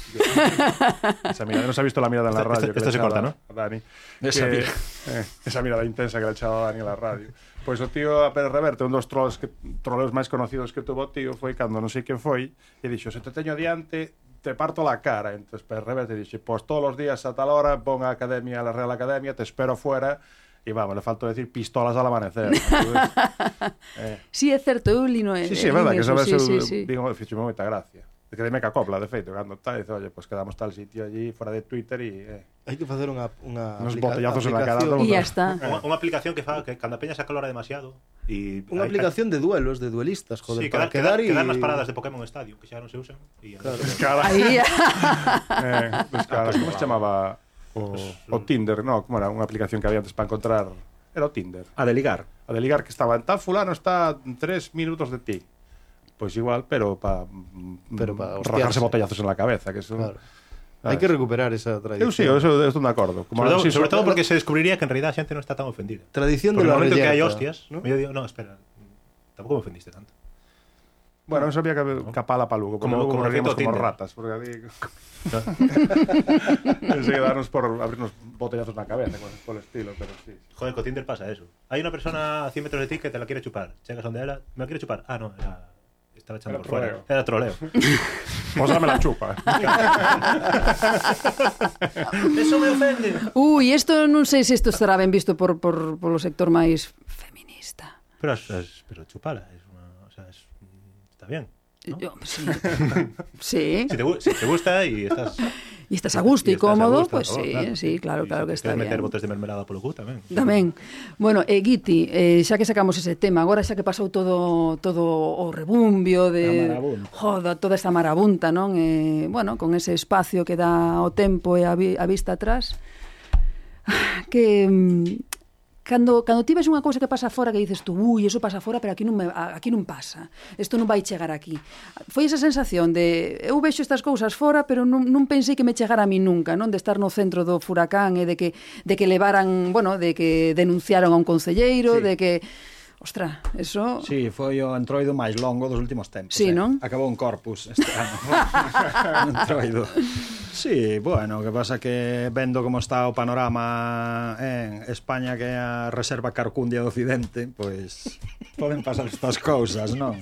fue- Esa mirada, no se ha visto la mirada en la Esto- radio. esto- que esto le se echaba corta, ¿no? a Dani. Esa Que- mirada. eh, esa mirada intensa que le ha echado a Dani en la radio. Pues o tío, a Pérez Reverte, un dos trolls que, troleos máis conocidos que tuvo o tío, foi cando non sei quen foi, e dixo, se te teño diante, te parto la cara. Entonces Pérez Reverte dixe, pois todos os días a tal hora, pon a academia, a la Real Academia, te espero fuera, e vamos, le faltó decir pistolas al amanecer. Entonces, Sí, é certo, eu lino Sí, sí, é verdade, que sabes, Eh, sí, sí, eu sí. digo, fixeme moita gracia. De que dime que acopla, de feito, cando tal, dice, oye, pues quedamos tal sitio allí, fora de Twitter e... Eh, Hai que facer unha, unha Unos aplica- botellazos en la cara, aplicación- todo E ya está. Unha, unha aplicación que fa que cando a peña se acalora demasiado e Unha hai- aplicación de duelos, de duelistas, joder, sí, para quedar, quedar, quedar, y... quedar nas paradas de Pokémon Stadium que xa non se usan e Claro. cara, Aí, eh, pues, cara, como se chamaba o, pues, o eh, Tinder? No, como era unha aplicación que había antes para encontrar... Era o Tinder. A deligar. A de ligar que estaba en tal fulano está a tres minutos de ti. Pois igual, pero para Pero pa hostiarse. rajarse botellazos en la cabeza, que eso... Claro. Ah, Hai que sí. recuperar esa Eu tradición. sí, eu eso, eu estou de acordo. Como, sobre, todo, sí, sobre todo porque se descubriría que en realidad a xente non está tan ofendida Tradición porque de no la momento que rellanta, hai hostias ¿no? ¿no? yo digo, no, espera tampouco me ofendiste tanto Bueno, non sabía que capala para Lugo, Como- como, como, como, como efecto como Tinder. ratas, porque ali... Pensei que darnos por abrirnos botellazos na cabeza, con, por el estilo, pero sí. joder, co Tinder pasa eso hai unha persona a 100 metros de ti que te la quiere chupar chegas onde ela, me la quiere chupar ah, no, era, está estaba echando Era por fuera. troleo. Era troleo. Vos dame la chupa. Eso me ofende. Ui, isto non sei se isto estará ben visto por, por, polo sector máis feminista. Pero, es- es- pero chupala, es una, o sea, es- está bien. ¿No? Yo, sí. sí. Si te, gu- si te gusta y estás... E estás a gusto y e estás a cómodo, gusto, pois pues ¿no? sí, claro, sí, claro, Y claro que si te está quieres meter bien. botes de mermelada polo cu tamén. Tamén. Bueno, eh, Guiti, eh, xa que sacamos ese tema, agora xa que pasou todo todo o rebumbio de A marabunta. joda, toda esta marabunta, non? Eh, bueno, con ese espacio que dá o tempo e a, vi, a vista atrás, ah, que mm, cando cando ti ves unha cousa que pasa fora que dices tú, ui, eso pasa fora, pero aquí non me, a- aquí non pasa. Isto non vai chegar aquí. Foi esa sensación de eu vexo estas cousas fora, pero non, non pensei que me chegara a mí nunca, non de estar no centro do furacán e de que de que levaran, bueno, de que denunciaron a un concelleiro, sí. Sí. de que Ostra, eso Sí, foi o entroido máis longo dos últimos tempos. Sí, eh. non? Acabou en corpus este ano. Un entroido. Sí, bueno, o que pasa que vendo como está o panorama en España que é a reserva carcundia do occidente, pois poden pasar estas cousas, non?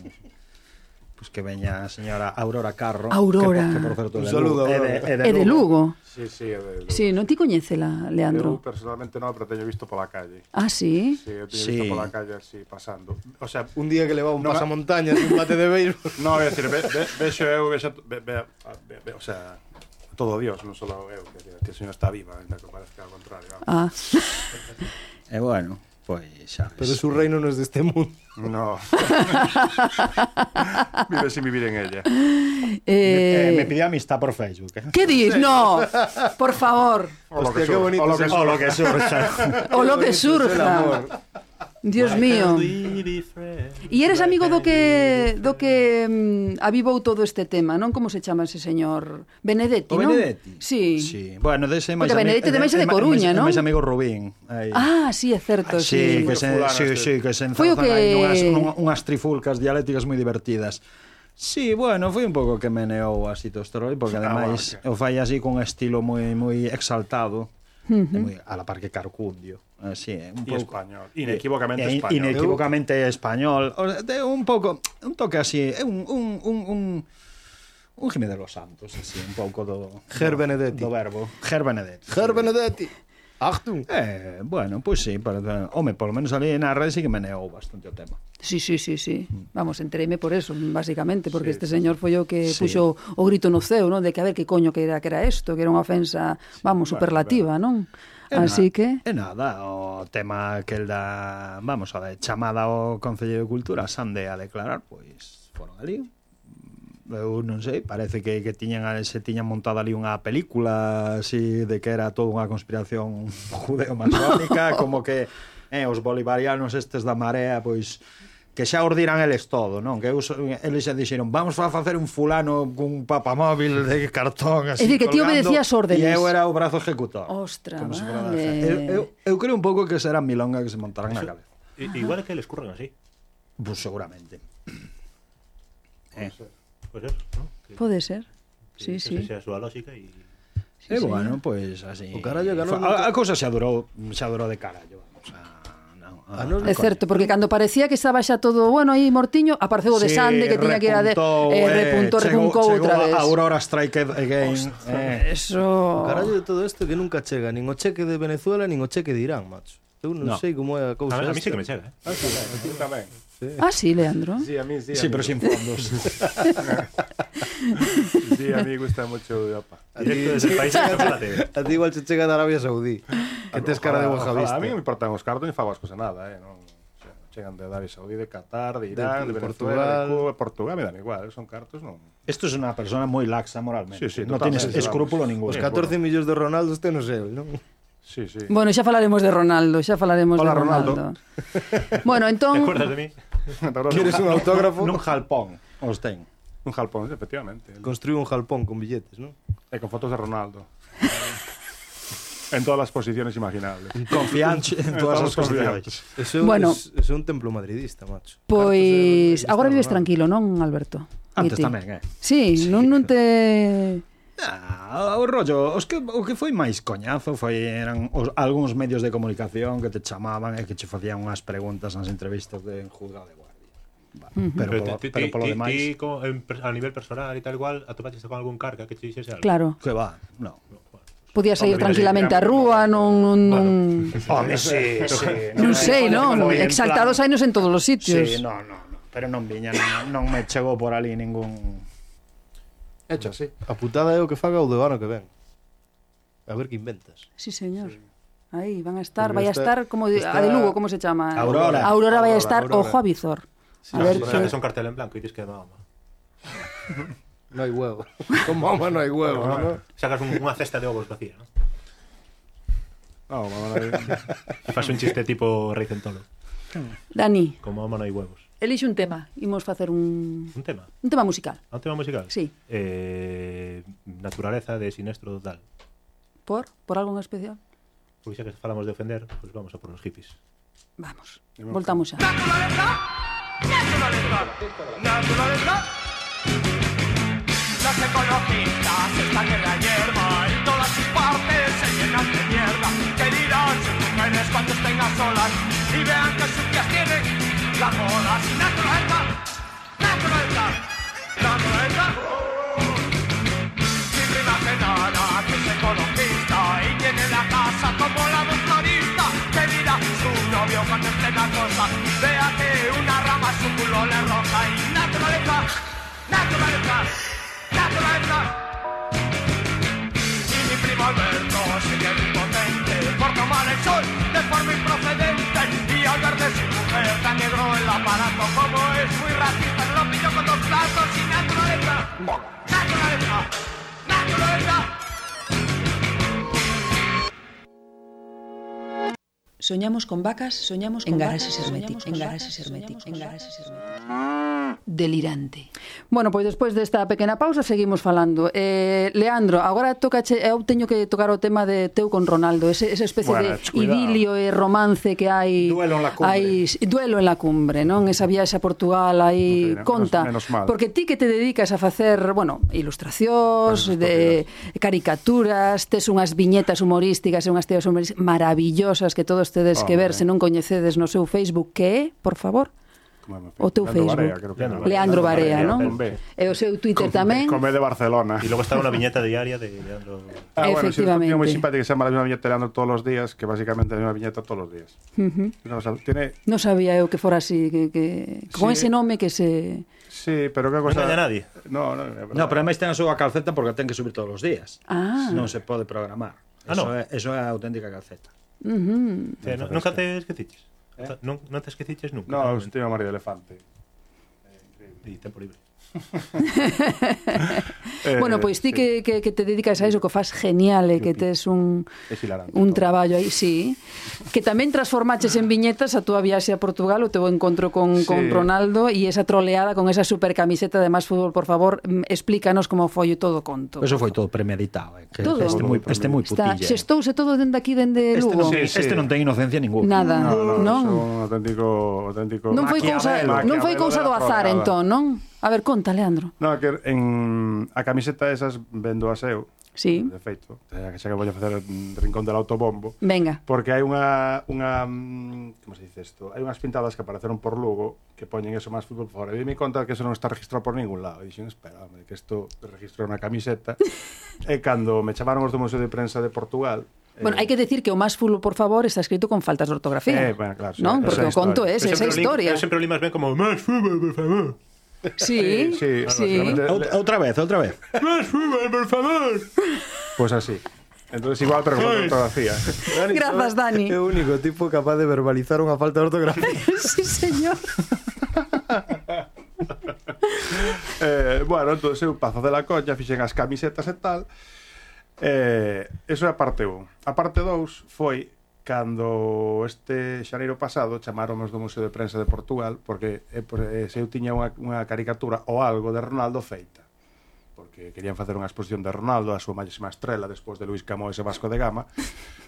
Pois que veña a señora Aurora Carro Aurora. que, por- que Un por certo é de saludo, Lugo, é de, Aurora. é de é de Lugo. Sí, sí, é de Lugo. Oh. Sí, non ti coñécela, Eu Leandro. personalmente non, pero teño visto pola calle. Ah, sí. Sí, eu teño Sí. visto pola calle así, pasando. O sea, Un día que levaba un No, pasamontañas e un bate de béisbol. no, é dicir, ve, ve, vexo eu, vexo, ve, ve, ve, ve, o sea, todo Dios, non só eu, que a señora está viva, ainda que parezca ao contrario. vamos. Ah. E bueno, pois xa ves. Pero su reino no es de este mundo. No. Vive sin vivir en ella. Eh, Eh, me pidió amistad por Facebook. eh. ¿Qué dices? No, por favor. O lo Hostia, que qué sur- bonito o lo es que el- sur- O lo que surja. O lo que Qué bonito es el surja. amor. Dios mío. E eres amigo do que do que mm, avivou todo este tema, non? Como se chama ese señor? Benedetti, O non? Benedetti. Sí. sí. Bueno, dese máis Porque Benedetti tamén é de Coruña, non? Máis amigo Rubín. Aí. Ah, sí, é certo, Sí, sí. que se, Fulano sí, este. sí, que se Foi o enzozan aí que- nunhas, nun- unhas trifulcas dialécticas moi divertidas. Sí, bueno, foi un pouco que meneou así tosteroi, porque Ah, ademais bueno, o fai así con un estilo moi moi exaltado, uh -huh. moi, a la par que carcundio. Así, é, un Y pouco. español. Inequívocamente Eh, español. Inequívocamente español. O sea, de un pouco, un toque así, é un un un un un Jiménez de los Santos, así, un pouco do Ger do- Benedetti. Do verbo. Ger Benedetti. Ger Benedetti. Achtung. Eh, bueno, pois sí, para, home, polo menos ali na rede sí que meneou bastante o tema. Sí, sí, sí, sí. Vamos, entreime por eso, basicamente, porque este señor foi o que sí. puxo o grito no ceo, non? De que a ver que coño que era que era isto, que era unha ofensa, vamos, superlativa, non? Así que E nada, o tema que el da, vamos, a de chamada ao Concello de Cultura, Sande a declarar, pois foron ali. Eu non sei, parece que, que tiñan, a- se tiñan montada ali unha película así de que era toda unha conspiración judeo-masónica, como que eh, os bolivarianos estes da marea, pois que xa ordiran eles todo, non? Que eu, eles xa dixeron, vamos a facer un fulano cun papamóvil de cartón así É dicir, que ti colgando", obedecías órdenes. E eu era o brazo ejecutor. Ostra, Como se fora vale. da fe. Eu, eu, eu creo un pouco que será milonga que se montarán na cabeza. I- Igual que le escurren así. Pues seguramente. Eh. Pues eso, ¿no? Que- pode ser. que Sí, esa sí. sea su lógica y... Sí, e bueno, pois pues, así. O carallo que Fa- non- a, a cousa xa durou, xa durou de carallo, vamos. A, non, A a, non- É certo, porque cando parecía que estaba xa todo bueno aí mortiño, apareceu o de Sande que tiña que ir a de repuntou, eh, repuntou, repuncou chegou, outra vez. chegou A Aurora Strike Again. Eh. Eso. O carallo de todo isto que nunca chega nin o cheque de Venezuela nin o cheque de Irán, macho. Eu non No. sei como é a A, cousa. a mí sí esta. que me chega, ¿eh? Tamén. Ah, sí, Leandro. Sí, a mí sí. Sí, amigo. pero sin fondos. Sí, a mí gusta mucho Europa. A ti- Directo desde el país de chocolate. A ti igual che chega de Arabia Saudí. Que tes cara de Ojalá, ojalá. bojavista. A mí non me importan os cartos ni favascos e nada, eh, non. O sea, Chegan de Arabia Saudí, de Qatar, de Irán, De- de, de Venezuela, Portugal. de Cuba, Portugal, me dan igual, son cartos, non. Esto es una persona moi laxa moralmente. Sí, sí, no totalmente, tienes vamos. escrúpulo Os ninguno. 14 millóns de Ronaldo este non sei, non? Sí, sí. Bueno, xa falaremos de Ronaldo, xa falaremos Hola, de Ronaldo. bueno, ¿Te entón, acuerdas de mí? Quieres un autógrafo? Nun jalpón, os ten. Un jalpón, efectivamente. Construiu un jalpón con billetes, non? E con fotos de Ronaldo. en todas las posiciones imaginables. Confianche en todas as posibilidades. Eso Bueno. es, eso é un templo madridista, macho. pois Cartos de- agora vives Ronaldo. tranquilo, non, Alberto? eh, Guiti? Antes tamén, eh. Sí, non non te Ah, o rollo, os que, o que foi máis coñazo foi eran os, algúns medios de comunicación que te chamaban e que che facían unhas preguntas nas entrevistas de en juzgado de guardia. Pero, Pero polo- ti- ti- pero ti- polo ti- demais, ti co- en per- a nivel personal e tal igual, atopaches con algún carca que te dixese algo. Claro. que va, no. Podía sair Hombre, tranquilamente á mira, rúa, non... non, non... Home, sí, sí. Non sei, Bueno, non? en plan- Exaltados hainos en todos os sitios. Sí, no, no, no. Pero non viña, non, non me chegou por ali ningún... Hecho así. A putada é o que faga o do ano que ven. A ver que inventas. Sí, señor. Aí van a estar, Porque vai a esta- estar como de, a esta- de Lugo, como se chama? Aurora. Aurora vai a Aurora, estar Aurora. ojo a Bizor. A No, ver o sea, Ah, que que son cartel en blanco e dices que é Mahoma. No hai huevo. Con mama non hai huevo, ¿no? Sacas un- unha cesta de ovos vacía, ¿no? No, mamá, E fas un chiste tipo rei centolo, Dani, como Mahoma non hai huevos. elixe un tema, imos facer un Un tema, un tema musical. un tema musical. Sí. Eh, naturaleza de sinestro total. Por por algo en especial? Pois xa que falamos de ofender, pois vamos a por os hippies. Vamos. Voltamos xa. naturaleza. Los ecologistas están en la hierba y todas sus partes se llenan de mierda. Que dirán sus mujeres cuando estén a solas y vean que sus pies tienen la moda. Sin naturaleza, naturaleza, naturaleza. Mi prima Genara, que es ecologista y tiene la casa como la de un turista. Que dirá su novio cuando esté la cosa. Vea que una rama su culo le roja y naturaleza, naturaleza, naturaleza. Y mi primo Alberto sigue impotente por tomar el sol de forma improcedente y al ver de su mujer tan negro el aparato como es muy racista lo pillo con dos platos y naturaleza, naturaleza, naturaleza. Soñamos con vacas, soñamos con En garaxes garaxes herméticas, en herméticas, garaxes herméticas, en garaxes herméticas. Delirante. Bueno, pois despois desta pequena pausa seguimos falando. Eh, Leandro, agora tocache, eu teño que tocar o tema de teu con Ronaldo, ese, esa especie Bueno, de ch, cuidado. idilio e romance que hai Duelo en la cumbre. hai- duelo en la cumbre, non? Esa viaxe a Portugal aí Ok, menos- conta. menos mal. Porque ti que te dedicas a facer, bueno, ilustracións, Varias de caricaturas, tes unhas viñetas humorísticas e unhas teorías humorísticas maravillosas que todos tedes que ver se Hombre. non coñecedes no seu Facebook, que é, por favor, O teu Facebook. Leandro Leandro Barea, non? Leandro Barea. E Eh, o seu Twitter tamén. Come de Barcelona. E logo está unha viñeta diaria de Leandro... Ah, bueno, sí, Efectivamente. tiene muy simpático que se llama la misma viñeta de Leandro todos los días, que básicamente es la misma viñeta todos los días. No, o sea, tiene, Non sabía eu que fora así, que, que... con Sí. ese nome que se... sí, pero qué Non cosa... engaña a nadie. No, no, é verdade. No, pero ademais ten a súa calceta porque a ten que subir todos os días. Ah. Non se pode programar. Ah, eso, non. é, eso é a auténtica calceta. Ujú. Eh, non- nunca te esqueciches. Non, non te esqueciches nunca. No, realmente. es tiene María Elefante. E tempo libre. Eh, bueno, pois ti sí, que, que, que te dedicas a iso, que fas genial e que tes un, Es hilarante. un todo. traballo aí, sí, que tamén transformaches en viñetas a túa viaxe a Portugal, o teu encontro con, Sí. con Ronaldo e esa troleada con esa super camiseta de Más Fútbol, por favor, mm, explícanos como foi o todo o conto. Eso foi todo premeditado, eh, que Todo. este Todo moi premeditado. este moi Está, putilla. eh. xestouse todo dende aquí, dende este non, Lugo. sei, sí, Sí, este sí. non ten inocencia ninguna. Nada. No, no, non. non. un auténtico... auténtico... Non foi cousa, Maquiavelo. non foi Maquiavelo cousa da do azar trolleada. entón, non? A ver, conta, Leandro. No, que en a camiseta esas vendo a seu, Sí. de feito, xa que vou a facer mm, rincón del autobombo, Venga. Porque hai unha, unha mm, como se dice isto? Hai unhas pintadas que apareceron por Lugo que poñen eso máis fútbol por fora. E me conta que eso non está registrado por ningún lado. E dixen, espera, hombre, que isto registro na camiseta. e cando me chamaron os do Museo de Prensa de Portugal, Bueno, hai que decir que o más fulo, por favor, está escrito con faltas de ortografía. Eh, bueno, claro, sí, non, esa porque o é a conto é historia. ese, esa Sempre o li- historia. Eu sempre o limas ben como máis fútbol, por favor. Sí, eh, sí, sí. básicamente- Out- Outra vez, outra vez. Máis fútbol, por favor. Pois pues así. Entonces igual, pero con ortografía. Grazas, Dani. É o único tipo capaz de verbalizar unha falta de ortografía. sí, señor. eh, bueno, entonces eu pazo de la coña, fixen as camisetas e tal. Eh, eso é a parte 1. A parte 2 foi cando este xaneiro pasado chamaronos do Museo de Prensa de Portugal porque eh, por, eh, se eu tiña unha, unha caricatura ou algo de Ronaldo feita porque querían facer unha exposición de Ronaldo, a súa máxima estrela despois de Luis Camões e Vasco de Gama,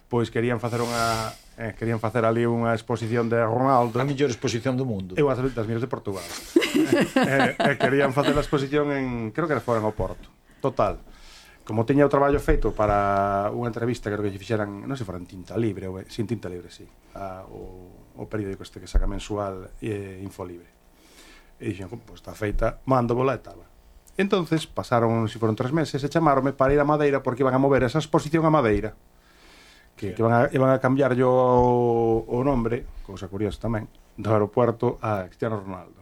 pois querían facer unha eh, querían facer ali unha exposición de Ronaldo. A mellor exposición do mundo. Eu as das miras de Portugal. eh, eh, querían facer a exposición en, creo que era fora no Porto. Total. Como teña o traballo feito para unha entrevista, creo que lle fixeran, non sei, fora en tinta libre, ou, sin tinta libre, sí, a, o, o periódico este que saca mensual eh, Infolibre. E dixen, "Jo, pois está feita, mando bola e tala. Entonces pasaron, se foron tres meses, e chamáronme para ir a Madeira porque iban a mover esa exposición a Madeira. Que, que van a, iban a cambiar yo o, o nombre, cousa curiosa tamén, do aeropuerto a Cristiano Ronaldo.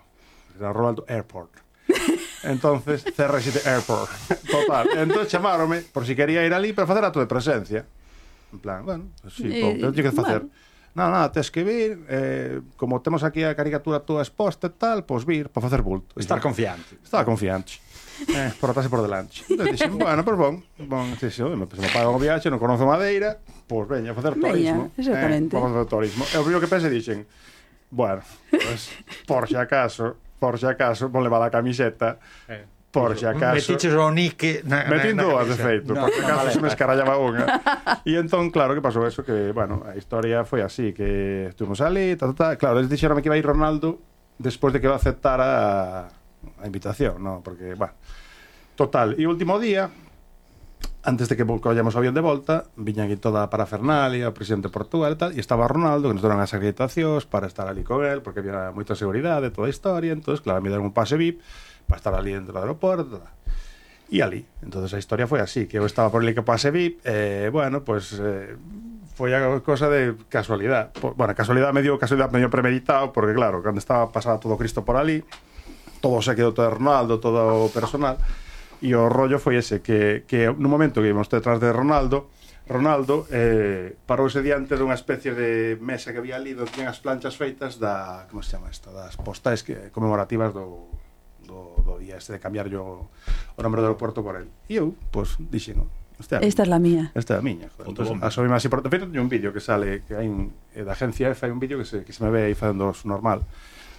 Cristiano Ronaldo Airport. Entonces, CR7 Airport. Total. Entón chamáronme por si quería ir ali para facer acto de presencia. En plan, bueno, pues sí, Eh, eh, que que facer. Nada, nada, tes que vir, eh, como temos aquí a caricatura túa exposta e tal, pois vir para facer bulto. Estar Estar confiante. Estaba confiante. Eh, por atrás e por delante. Entón dixen, bueno, pois bon, bon, sí, sí, me, pues, me pagan o viaxe, non conozo Madeira, pois veña, a facer Veña, turismo. exactamente. Eh, vamos a facer turismo. E o primeiro que pensei dixen, bueno, pues, por si acaso, por si acaso, vou levar a camiseta, Eh. Por por si acaso... Metiches o nique na, na, Metín na dúas, de camisa. feito, no, porque acaso vale. se me escarallaba unha. E entón, claro, que pasou eso, que, bueno, a historia foi así, que estuvimos ali, ta, ta, ta. Claro, eles dixeronme que iba a ir Ronaldo despois de que iba a aceptar a, a invitación, no, porque, bueno, total. E o último día, antes de que collamos o avión de volta, viña aquí toda a parafernalia, o presidente de Portugal e tal, e estaba Ronaldo, que nos deron as acreditacións para estar ali con él, porque había moita seguridade, toda a historia, entonces claro, me deron un pase VIP para estar ali dentro do aeroporto, tal. E ali, entonces a historia foi así, que eu estaba por ali que pase VIP, eh, bueno, pues eh, foi a cosa de casualidade. Po- Bueno, casualidade medio, casualidade medio premeditado, porque claro, cando estaba pasada todo Cristo por ali, todo se quedou todo Ronaldo, todo o personal. E o rollo foi ese, que, que no momento que íbamos detrás de Ronaldo, Ronaldo eh, parouse diante dunha especie de mesa que había ali onde tiñan as planchas feitas da, como se chama isto, das postais que, conmemorativas do, do, do día este de cambiar yo o nombre do aeroporto por el. E eu, pois, dixen, hostia, Esta es la mía. Esta é a Este miña. joder. Punto Entón, bomba. Asomime así por... De feito, teño un vídeo que sale, que hai un, eh, da agencia F, hai un vídeo que se, que se me ve aí facendo os normal.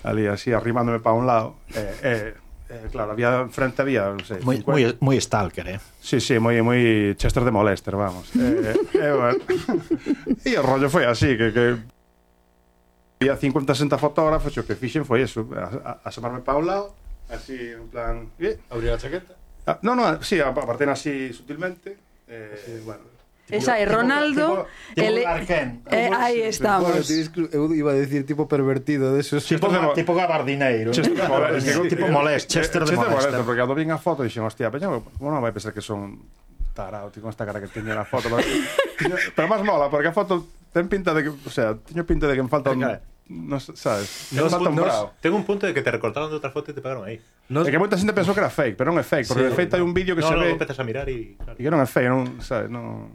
Ali, así, arrimándome para un lado. Eh, eh, eh, claro, había, enfrente había, non sei, Moi, moi, moi stalker, eh? Sí, sí, moi, moi Chester de Molester, vamos. Eh, eh, bueno. e o rollo foi así, que... que había 50 60 fotógrafos e o que fixen foi eso, a- a- asomarme para un lado, así, en plan... Eh, Abrir a chaqueta. ah, no, no, sí, aparten así sutilmente. Eh, bueno. Esa é Tipo- Ronaldo, tipo- tipo ele- Arquén. Eh, ahí Bueno, estamos. tienes que- eu iba a decir tipo pervertido de esos. Chester de Mo- Tipo eh. gabardineiro. Chester de Molester. tipo molest, Chester de Molester, molester. Porque cando vin a foto dixen, hostia, peña, como non vai pensar que son tarado, tío, con esta cara que teño na foto. Pero, pero máis mola, porque a foto ten pinta de que, o sea, teño pinta de que me falta un... Cara. No, sé, sabes? me Tengo un falta un punto- brao. Tengo un punto de que te recortaron de otra foto y te pegaron ahí. Nos, É que moita xente pensou que era fake, pero non é fake, porque de feito hai un vídeo que no, se no, ve empezas a mirar y... claro. e que non é fake, non, sabes, non...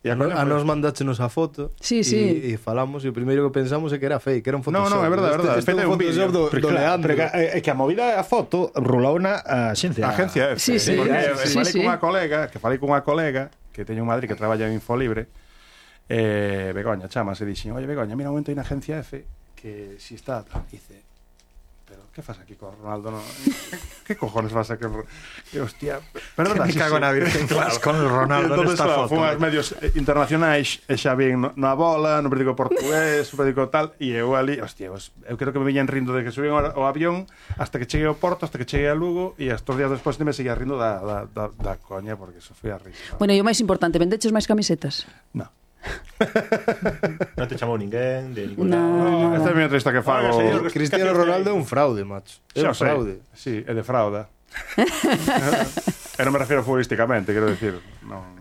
E a, no, coña a foi- nos mandáchenos a foto Sí, e- sí. e falamos e o primeiro que pensamos é que era fake, que era un No, Photoshop. no, é verdade, é verdade. Este, este é Feito un un vídeo. Photoshop do, Pero do claro, Eh, Leandro. Pero que, é que a movida a foto rulou na a xencia. A agencia F. Sí, sí. Porque Sí, eu sí, falei sí. cunha colega, que falei cunha colega que teño en Madrid que traballa en Infolibre, eh, Begoña, chama, se dixen, oye, Begoña, mira un momento aí na agencia F que si está, tal". dice, pero que fas aquí con Ronaldo? No? que cojones vas aquí? con Ro-?" Que hostia, pero é verdad, Me sí, cago sí. na virgen, claro. con el Ronaldo Entón, nesta claro, foto. Fun aos medios eh, internacionais e xa vin no- na bola, no periódico portugués, no periódico tal, e eu ali, hostia, os- eu creo que me viñan rindo de que subín o o avión hasta que cheguei ao Porto, hasta que cheguei a Lugo, e estos días despois me seguía rindo da, da, da, da coña, porque eso foi a risa. Bueno, e o máis importante, vendeches máis camisetas? No. No te chamou ninguén de ningún lado. No, no, Esta no. é a miña entrevista que fago. Ahora, señor, que- Cristiano que- Ronaldo é un fraude, macho. É Xa un sei. fraude. Sí, é de frauda. e non me refiero futbolísticamente, quero decir, non...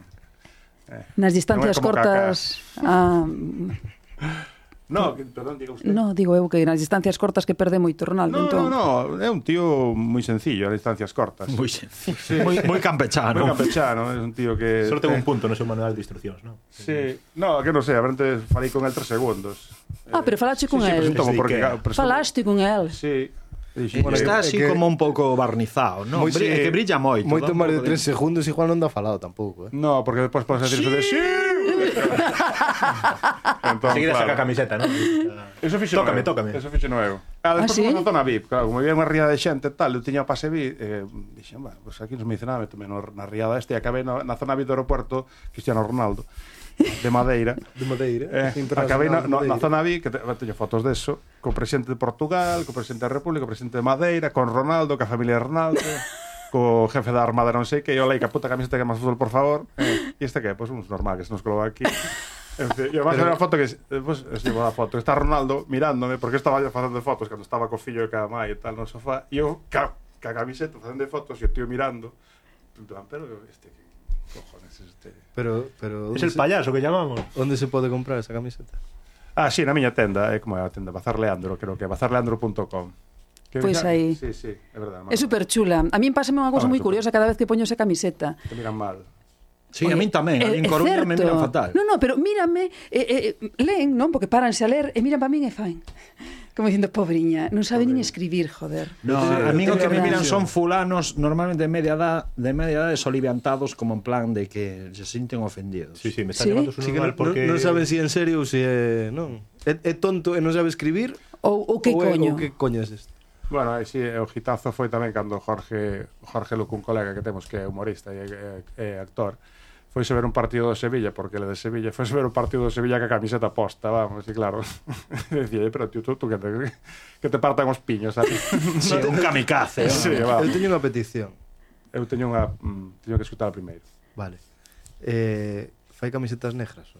Nas distancias Non é como cortas... Ah, mm, No, que- perdón, diga usted. no, digo eu que nas distancias cortas que perde moito Ronaldo, No, entón. no, no, é un tío moi sencillo, a distancias cortas. Moi sencillo. Moi, moi Moi campechano. campechano, é un tío que... Solo tengo eh, un punto, no sé un manual de instruccións, ¿no? Sí, no, que non sei, abrente falei con el tres segundos. Ah, pero falaste con sí, el. presumo, Desde porque, Ikea. claro, presumo- Falaste con el. Sí. Dixen, Bueno, está eh, así que- como un pouco barnizado, non? Moi- Brilla, sí. que brilla moito. Moito dá un máis de pouco 3 segundos igual non da falado tampouco, eh. No, porque despois podes decir eso de sí. Entón, Enseguida saca a claro. camiseta, ¿no? Eso fixo nuevo. Tócame, tócame. Eso fixo nuevo. Ah, Ah, despois sí? fomos a zona VIP, claro, como había unha riada de xente e tal, eu tiña o pase VIP, eh, dixen, bueno, pues aquí non se me dice nada, metome no- na riada este e acabei na, na zona VIP do aeroporto Cristiano Ronaldo de Madeira. De Madeira. Eh, acabei na, no, na zona vi que te, teño fotos de eso co presidente de Portugal, co presidente da República, co presidente de Madeira, con Ronaldo, ca familia de Ronaldo, co jefe da Armada non sei que, e olei, ca puta camiseta que é máis fútbol, por favor. Eh, e este que? Pois pues, uns normal que se nos colou aquí. En fin, e además era unha foto que pues, estivo a foto, está Ronaldo mirándome porque estaba yo facendo fotos cando estaba co fillo e ca mai e tal no sofá e eu ca, ca camiseta facendo fotos e o tío mirando en plan, pero este que cojones es este Pero, pero Es ¿dónde el se- payaso que llamamos. ¿Dónde se puede comprar esa camiseta? Ah, sí, na miña tenda, é eh, como é a tenda Bazar Leandro, creo que é bazarleandro.com. Que Pois mira- aí. Sí, sí, é verdade. É super chula. A min pásame unha cousa Ah, moi super. curiosa cada vez que poño esa camiseta. Te miran mal. Sí, a min tamén, Eh, ali en é Coruña me certo. miran fatal. Eh, No, no, pero mírame, eh, eh, leen, non? Porque páranse a ler e miran para min e fan. Como dicindo, pobriña, non sabe nin escribir, joder. No, a mí o que me Verdad. miran son fulanos normalmente de media edad, de media edad soliviantados como en plan de que se sienten ofendidos. Sí, sí, me están Sí. llamando su Sí que normal non, porque... non, non saben si é en serio ou si eh, é... Non. É, é tonto e non sabe escribir Ou, ou que ou é- coño. Ou que coño é isto? Bueno, aí sí, o hitazo foi tamén cando Jorge Jorge Luque, un colega que temos que é humorista e, e, e actor, foise ver un partido do Sevilla, porque ele é de Sevilla, foise ver un partido do Sevilla ca camiseta posta, vamos, e claro, decía, "Eh, pero tío, tú, tú que, te, que te partan os piños, sabes? Sí, un kamikaze. sí, ¿no? va. Eu teño unha petición. Eu teño unha... mm, teño que escutar primeiro. Vale. Eh, fai camisetas negras. ó.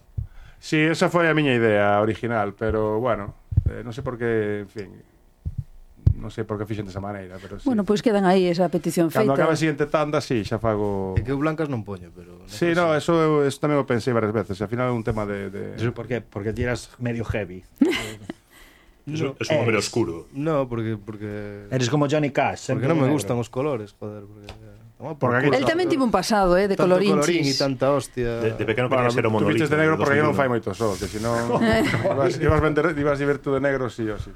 Sí, esa foi a miña idea original, pero bueno, eh, non sei por que, en fin, non sei por que fixen desa maneira, pero sí. Bueno, pois quedan aí esa petición feita. Cando acabe a siguiente tanda, sí, xa fago... É que eu blancas non poño, pero... Sí, no, eso, eu- eso tamén o pensei varias veces, ao final é un tema de... de... Eso porque porque tiras medio heavy. Es un, es un hombre oscuro. No, porque... porque... Eres como Johnny Cash, Porque sempre non me negro. gustan os colores, joder. Porque, eh, Toma por Porque aquí- culo. El tamén tivo un pasado, eh, de Tanto colorín e colorinchis. tanta hostia. De, de pequeno quería ser tú homodorito. vistes de negro porque aí non fai moito sol, que se non... ibas, ibas, vender, ibas a ver tú de negro, sí, o sí.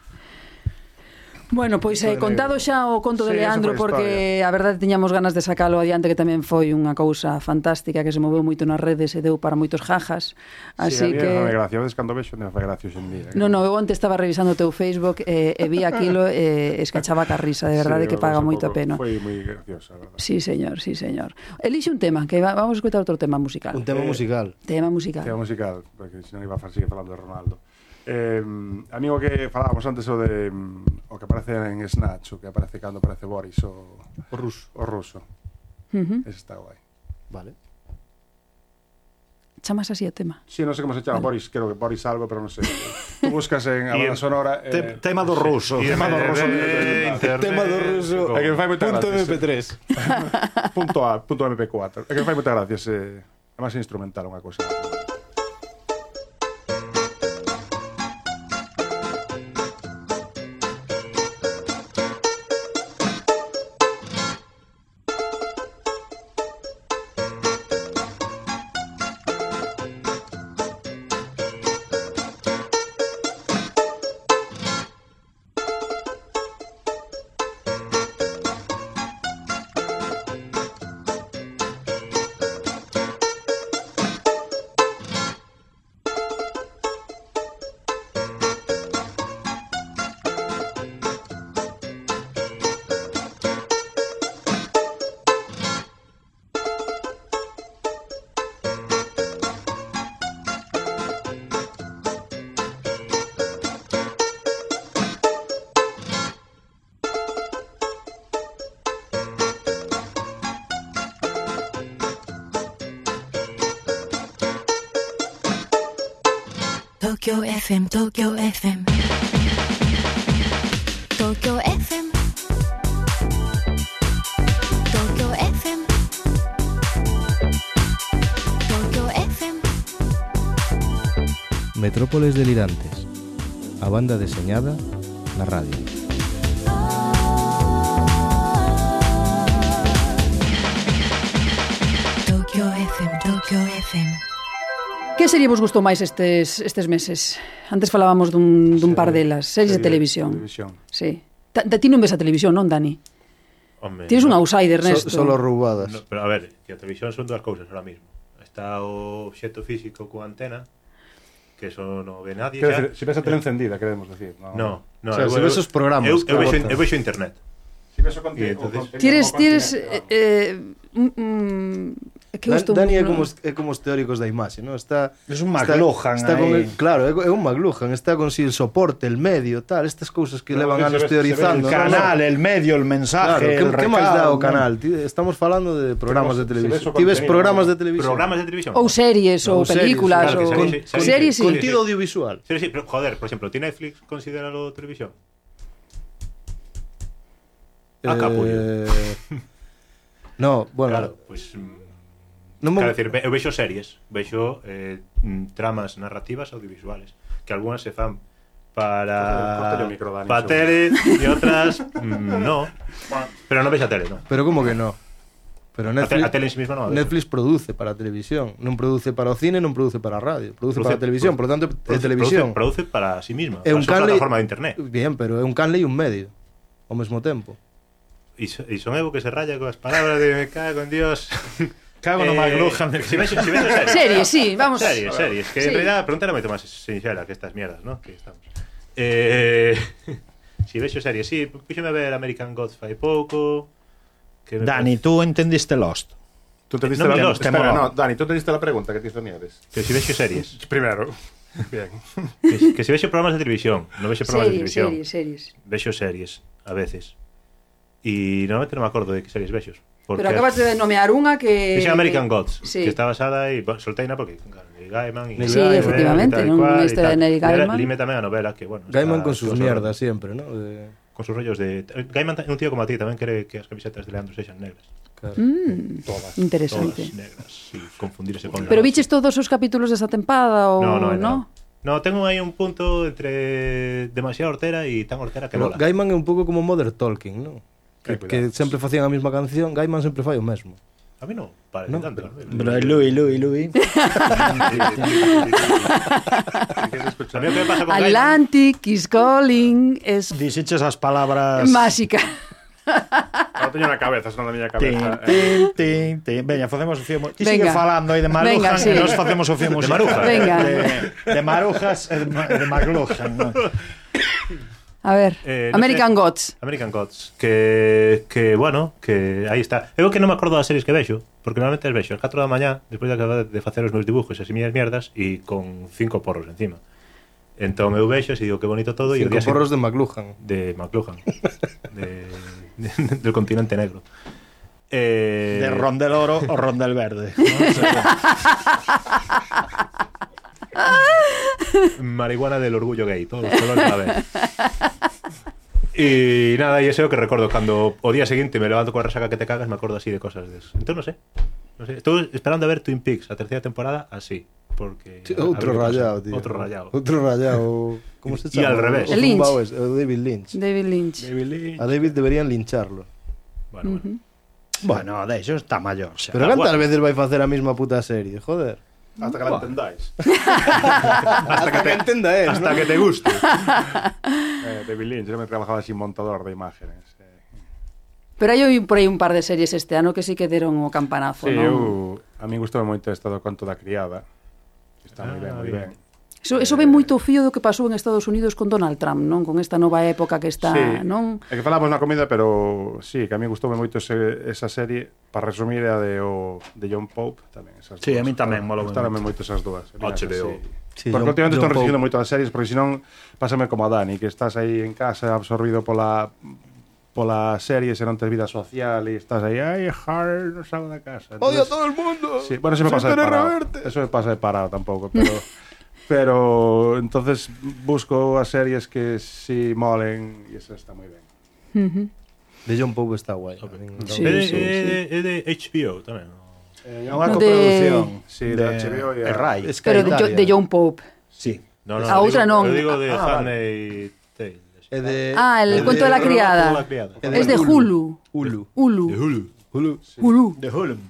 Bueno, pois eh, contado xa o conto de Sí, esa Leandro foi a porque a verdade tiñamos ganas de sacalo adiante que tamén foi unha cousa fantástica que se moveu moito nas redes e deu para moitos jajas. Así sí, que A mí me gracia, a veces cando vexo non me fai gracia hoxendía. No, no, eu onte estaba revisando o teu Facebook eh, e, e vi aquilo e escachaba ca risa, de verdade que paga moito a pena. Foi moi graciosa, a verdade. Sí, señor, sí, señor. Elixe un tema, que va, vamos a escutar outro tema musical. Un tema musical. Tema Tema musical. musical, porque senón iba a seguir falando de Ronaldo. Eh, amigo que falábamos antes o de mm, o que aparece en Snatch, o que aparece cando aparece Boris o O ruso. o ruso. Ujú. Ese está guai. Vale. Chamas así o tema. Sí, non sei como se chama Boris, creo que Boris algo, pero non sei. Tú buscas en a Y banda en- sonora eh, Te- tema do ruso, tema do ruso. Tema do ruso. É que me fai moita Punto gracia, sí. MP3. punto A, punto MP4. É que me fai moita gracia ese además é instrumental unha cousa. Tokyo FM, Tokyo FM. Tokyo FM. Tokyo FM. Tokyo FM. Metrópoles delirantes. A banda deseñada na radio. Tokyo FM, Tokyo FM. Que serie vos gustou máis estes, estes meses? Antes falábamos dun, dun par delas, series de televisión. televisión. Sí. Ta, ta, ti non ves a televisión, non, Dani? Hombre, Tienes un outsider, So, Ernesto. solo roubadas. No, pero a ver, que a televisión son dúas cousas ahora mismo. Está o obxecto físico coa antena, que eso non ve nadie. Quero xa. Eh, decir, se ves a tele encendida, queremos decir, no. No, no, O sea, se ves os programas, Eu, eu, claro, vexo, botas. eu vexo internet. Si ves o conte- o Y entonces- contenido, Tienes, eh, mm, o tienes continente, eh, eh, un- un- Que eu estou Dani é non- como, os, é como os teóricos da imaxe, non? Está Es un McLuhan Está, está con aí. el, claro, é, é un McLuhan, está con si el soporte, el medio, tal, estas cousas que Claro, levan que se anos ve- se ve teorizando. El non? canal, el medio, el mensaje, Claro, que, el que máis recado, dá ¿no? o canal? Ti- Estamos falando de programas de Pero se- se ve televisión. su Ti ves contenido, programas de ¿no? televisión. Programas de televisión. ou series No, ou series, películas claro que ou series, con- sí, sí, series sí. sí. Contido audiovisual. Sí, sí, pero joder, por ejemplo, ¿ti Netflix consideralo televisión? Ah, capullo. Eh, no, bueno, Claro, pues mm, non vou- Quero dicir, ve- eu vexo series, vexo eh, mm, tramas narrativas audiovisuales, que algunhas se fan para Córtale o micro, Dani, pa seguro. tele e outras mm, no. Pero non vexo a tele, non. Pero como que no? Pero A, te, Netflix, a tele en sí mesma non. a ver. Netflix produce para a televisión, non produce para o cine, non produce para a radio, produce, para a televisión, por lo tanto, é produce, televisión. Produce, produce para sí misma, é para un a súa canle plataforma de internet. Bien, pero é un canle e un medio ao mesmo tempo. E so- e son eu que se raya coas palabras de me cago en Dios. Eh, Cago no McLuhan. Si vexo, si vexo series. Series, sí, vamos. Series, series. Que en Sí. realidad a pregunta era moito máis sinxela que estas mierdas, ¿no? Que estamos. Eh, si vexo series, sí, píxome a ver American Gods fai pouco. Que me Dani, parece- tú entendiste Lost. Tú te diste No, la no, espera, temor. Eh, no, Dani, tú te diste la pregunta que te hizo Nieves. Que si vexo series, Primero. Bien. que, si- que si vexo programas de televisión, non vexo programas de Series, televisión. series, series. Vexo series a veces. E normalmente non me acordo de que series vexos. Pero acabas de nomear unha que Dixen American Gods, sí. que está basada e bo, solteina porque claro, Neil Gaiman e Sí, efectivamente, non unha historia de Neil Gaiman. Lime tamén a novela que bueno. Gaiman está- con sus con mierdas siempre, ¿no? De, Con sus rollos de Gaiman é un tío como a ti tamén cree que as camisetas de Leandro sexan negras. claro. Todas. Interesante. Todas negras, y confundirse con Pero la- viches todos os capítulos desa tempada ou No, no, no. no? no. No, tengo aí un punto entre demasiado hortera e tan hortera que Pero mola. Gaiman é un pouco como Mother Tolkien, ¿no? Que, Eh, que cuidado. sempre facían a mesma canción, Gaiman sempre fai o mesmo. A mí non, parece No, tanto. Pero é Louis, Louis, Louis. A mí o que me pasa con Gaiman... Atlantic is calling es Dixeches as palabras... máxica. Ahora teño na cabeza, son da miña Tin, cabeza. eh. tin, tin, tin. Veña, facemos o fío... mo- Ti sigue Venga. falando aí de Marujan Venga, sí. e nos facemos o fío musical. Marujan. Venga. De, de Marujas e de, Ma- de Maglojan. No? A ver, Eh, no American sé. Gods. American Gods, que, que bueno, que aí está. Eu que non me acordo das series que vexo, porque normalmente as vexo ás 4 da mañá, despois de acabar de facer os meus dibujos e as miñas mierdas e con cinco porros encima. Entón eu vexo e digo que bonito todo e o Cinco día porros de sen- McLuhan. de McLuhan, de, de- del continente negro. Eh, De Rondel Oro o Rondel Verde. Marihuana del orgullo gay, todos los colores a la vez. Y nada, y eso que recuerdo cuando o día siguiente me levanto con la resaca que te cagas, me acuerdo así de cosas de eso. Entonces no sé. No sé. Estoy esperando a ver Twin Peaks, la tercera temporada, así. Porque. Sí, a- a outro ver qué pasa. rallado, tío. Outro rayado. Outro rallado. Como se Y chama? al revés. O Lynch. zumbao ese, o David Lynch. David Lynch. A David deberían lincharlo. Bueno, bueno. bueno, de iso está maior xa. Pero Ah, cantas guau. veces vai facer a mesma puta serie, joder. Hasta que la entendáis. Hasta que te entenda él, Hasta que te guste. Eh, David Lynch, yo me trabajaba así montador de imágenes. eh. Pero hai un- por aí un par de series este ano que sí que deron o campanazo, Sí, non? eu, a min gustoume moito este do conto da criada. Está moi ben, Ah, moi ben. bien. Eso, eso eh, ven moito o fío do que pasou en Estados Unidos con Donald Trump, non? Con esta nova época que está, non? É que falamos na comida, pero sí, que a mí gustoume moito ese, esa serie, para resumir a de, o, de John Pope tamén. Esas Ah, Sí, a dúas. mí tamén, mola Gustáronme moito esas dúas. A mí esas, HBO. Sí. Sí, porque John- últimamente John estou resistindo Pope. moito as series, porque senón pásame como a Dani, que estás aí en casa absorbido pola pola serie, se non tes vida social e estás aí, ai, hard, non salgo da casa. Entonces- Odio a todo el mundo. Sí, bueno, se me Soy pasa de Tere parado. Reverte. Eso me pasa de parado tampoco, pero pero entonces busco as series que si molen e esa está moi ben. De John Pope está guai. a mí me Sí, es, de, sí, é de- é de HBO tamén. ¿no? É Eh, unha No, coprodución. de- Sí, de HBO e e a- Rai. Es que Pero a de, Jo- Italia. de John Pope. Sí. No, no, A eu outra digo- non. Eu digo de Ah, Eh, Handmaid's Tale. É de- Ah, el é de- cuento de la criada. criada. é Es de Hulu. Hulu. Hulu. Hulu. Hulu. Hulu. De Hulum.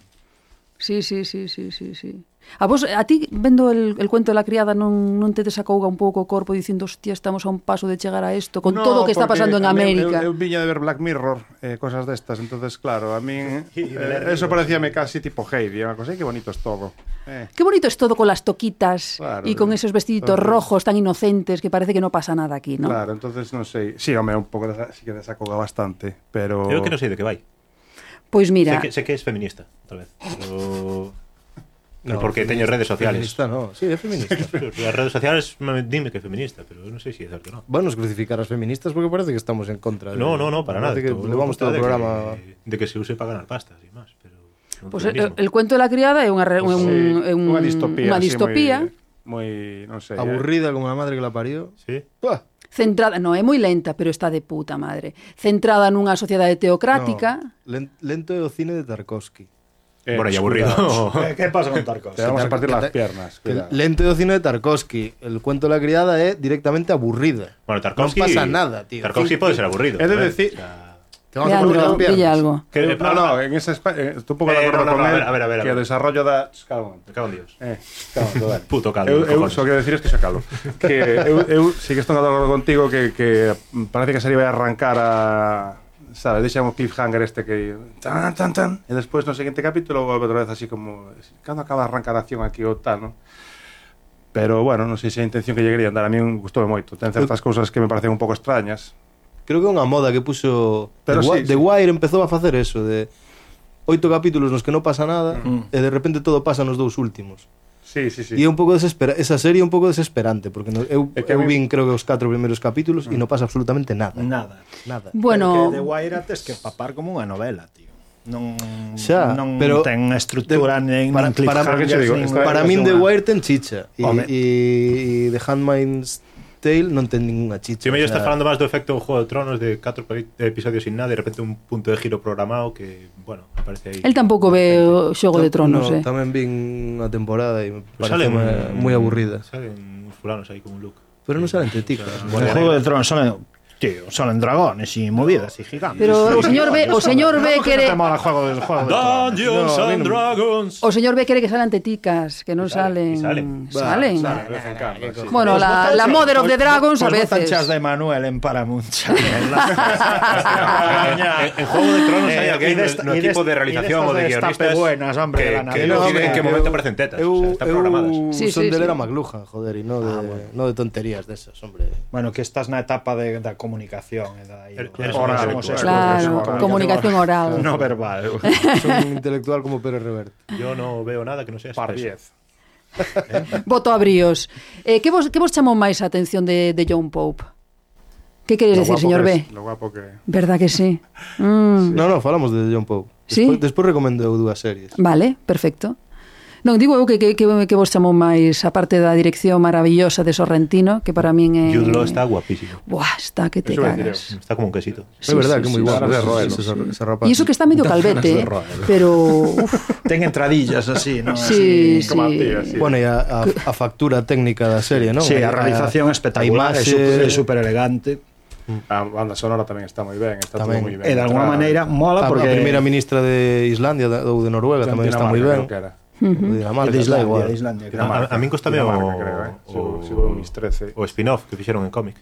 Sí, sí, sí, sí, sí, sí. A vos, a ti, vendo el, el cuento de la criada, non, non te desacouga un pouco o corpo dicindo, hostia, estamos a un paso de chegar a isto, con No, todo o que está porque pasando en a min- América. Eu, eu viña de ver Black Mirror, eh, cosas destas, entonces claro, a min eh, eso parecíame casi tipo Heidi, unha cosa, "Ai, que bonito es todo. Eh, Qué bonito es todo con las toquitas Claro, y con eh, esos vestiditos claro. rojos tan inocentes que parece que no pasa nada aquí, ¿no? Claro, oh. entonces non sei. Sí, home, un pouco desa, sí que desacoga bastante, pero Eu que non sei de que vai. Pois mira, Sé que, sé que es feminista, tal vez. Pero... No, porque teño feminista- redes sociales. Feminista, no. Sí, é feminista. Las redes sociales me- dime que es feminista, pero no sé si es cierto o no. Vanos crucificar as feministas porque parece que estamos en contra. de- No, no, no, para nada. Parece que Todo levamos todo o de que- programa... de que se use para ganar pastas y más. Pero no pois Pues feminismo. el, el cuento da criada é unha re- un, Sí, é un, unha distopía. unha así, distopía Moi, moi, non sei. eh. Aburrida como a madre que la parió. Sí. Buah, centrada, non é moi lenta, pero está de puta madre. Centrada nunha sociedade teocrática. No, len- lento é o cine de Tarkovsky. Eh, Bueno, y escuta, aburrido. ¿Qué, qué pasa con Tarkov? Te vamos a partir Que las te- piernas. que cuidado. lento é o cine de Tarkovsky. El cuento de la criada é directamente aburrida. Bueno, Tarkovsky. Non pasa nada, tío. Tarkovsky puede ser aburrido. He de joder. decir- O sea, Te vamos a cortar Leandro, las piernas. pilla algo. que- Eh, no, no, en esa espa- eh, estou un pouco Eh, de acordo no, no, con no, a él ver, a ver, a ver, a que o ver. desarrollo da... Calma, Me cago en Dios. eh, calma, vale. Puto caldo, Eu, eu cojones. só quero decir es que xa calo. Que eu, eu sí que estou de acordo contigo que, que parece que a serie vai arrancar a... Sabes, deixa un cliffhanger este que... Tan, tan, tan. E despois no seguinte capítulo volve outra vez así como... Cando acaba de arrancar a acción aquí ou tal, non? Pero, bueno, non sei se é a intención que lle querían dar. A mí gustoume moito. Ten certas cousas que me parecen un pouco extrañas. Creo que é unha moda que puxo Pero The, sí, Wi- sí. The Wire empezou a facer eso de oito capítulos nos que non pasa nada e de repente todo pasa nos dous últimos. Sí, sí, sí. E é un pouco desespera esa serie é un pouco desesperante porque no, eu, É que a eu mí- vin creo que os catro primeiros capítulos e non pasa absolutamente nada, Mm. Nada. nada. Bueno, Porque The Wire tes que papar como unha novela, tío. Non, Xa, non pero- ten estrutura nin, para- nin para- cliffhangers, que che digo, nin- esta- Para min The Wire ten chicha e, Home. e, e The Handmaid's Tale non ten ninguna chicha. Si o medio sea, estás hablando más do efecto Juego de Tronos de cuatro peri- episodios sin nada, de repente un punto de giro programado que, bueno, aparece ahí. el tampouco ve o Xogo de Tronos, no, eh. Tamén vin unha temporada e me Pues parece salen- moi aburrida. Salen unos fulanos ahí con un look. Pero non salen teticos. Ah, O Juego de Tronos salen, tío, salen dragones e movidas e gigantes. Pero o señor B, o señor B ¿Cómo que quere no te mola el juego del juego de Tronos? Dungeons and Dragons. o señor B quere que salan teticas, que non salen, salen. y Salen. salen. De vez en cando, sí. Bueno, la, la Mother of the Dragons Pues a botan chas veces. de Manuel en Paramount. chas, en la- En- en Juego de Tronos hay Eh, alguien y de no- esta- no y de equipo esta- de y de realización estas o de de guionistas estape buenas, hombre, que- de la que nariz. no No, tienen en hombre, qué eu- momento aparecen tetas, o sea, están programadas. Ah, Sí, son sí, de sí. ler a McLuhan, joder, e non de, no de tonterías desas, hombre. Bueno, que estás na etapa de, da comunicación eh, e da El- da- el- oral, el- homosexual, Claro, oral. comunicación oral. No verbal. Son un intelectual como Pérez Reverte. Yo no veo nada que no sea Par espeso. 10. Voto a bríos. Eh, que vos que vos chamou máis a atención de de John Pope? Que queres Lo decir, guapo señor que B? es, Lo guapo que... Verdad que sí. No, no, falamos de John Pope. Sí? Despois, despois recomendo dúas series. Vale, perfecto. Non, digo eu que, que, que, que vos chamou máis a parte da dirección maravillosa de Sorrentino, que para min é... Eh, Jude Law está guapísimo. Buah, está que te Eso iba a cagas. decir Está como un quesito. é verdad que é sí, moi sí, guapo ese- sí, ese- sí, ese- ese rapaz. E iso que está medio calvete, eh, pero... Uf, Ten entradillas así, ¿no? sí, Así, sí. como a tía, sí. Bueno, e a, a, a factura técnica da serie, non? Sí, a realización espectacular, é eh, super, é super elegante. A banda sonora tamén está moi ben, está Tamén. todo moi ben. E de alguna maneira mola A, porque porque... a primeira ministra de Islandia da- ou de Noruega tamén está moi ben. De Dinamarca, de está Islandia, igual. de Islandia. A, a, a mí costame o, creo, eh. o, O, si vou mis 13. o spin-off que fixeron en cómic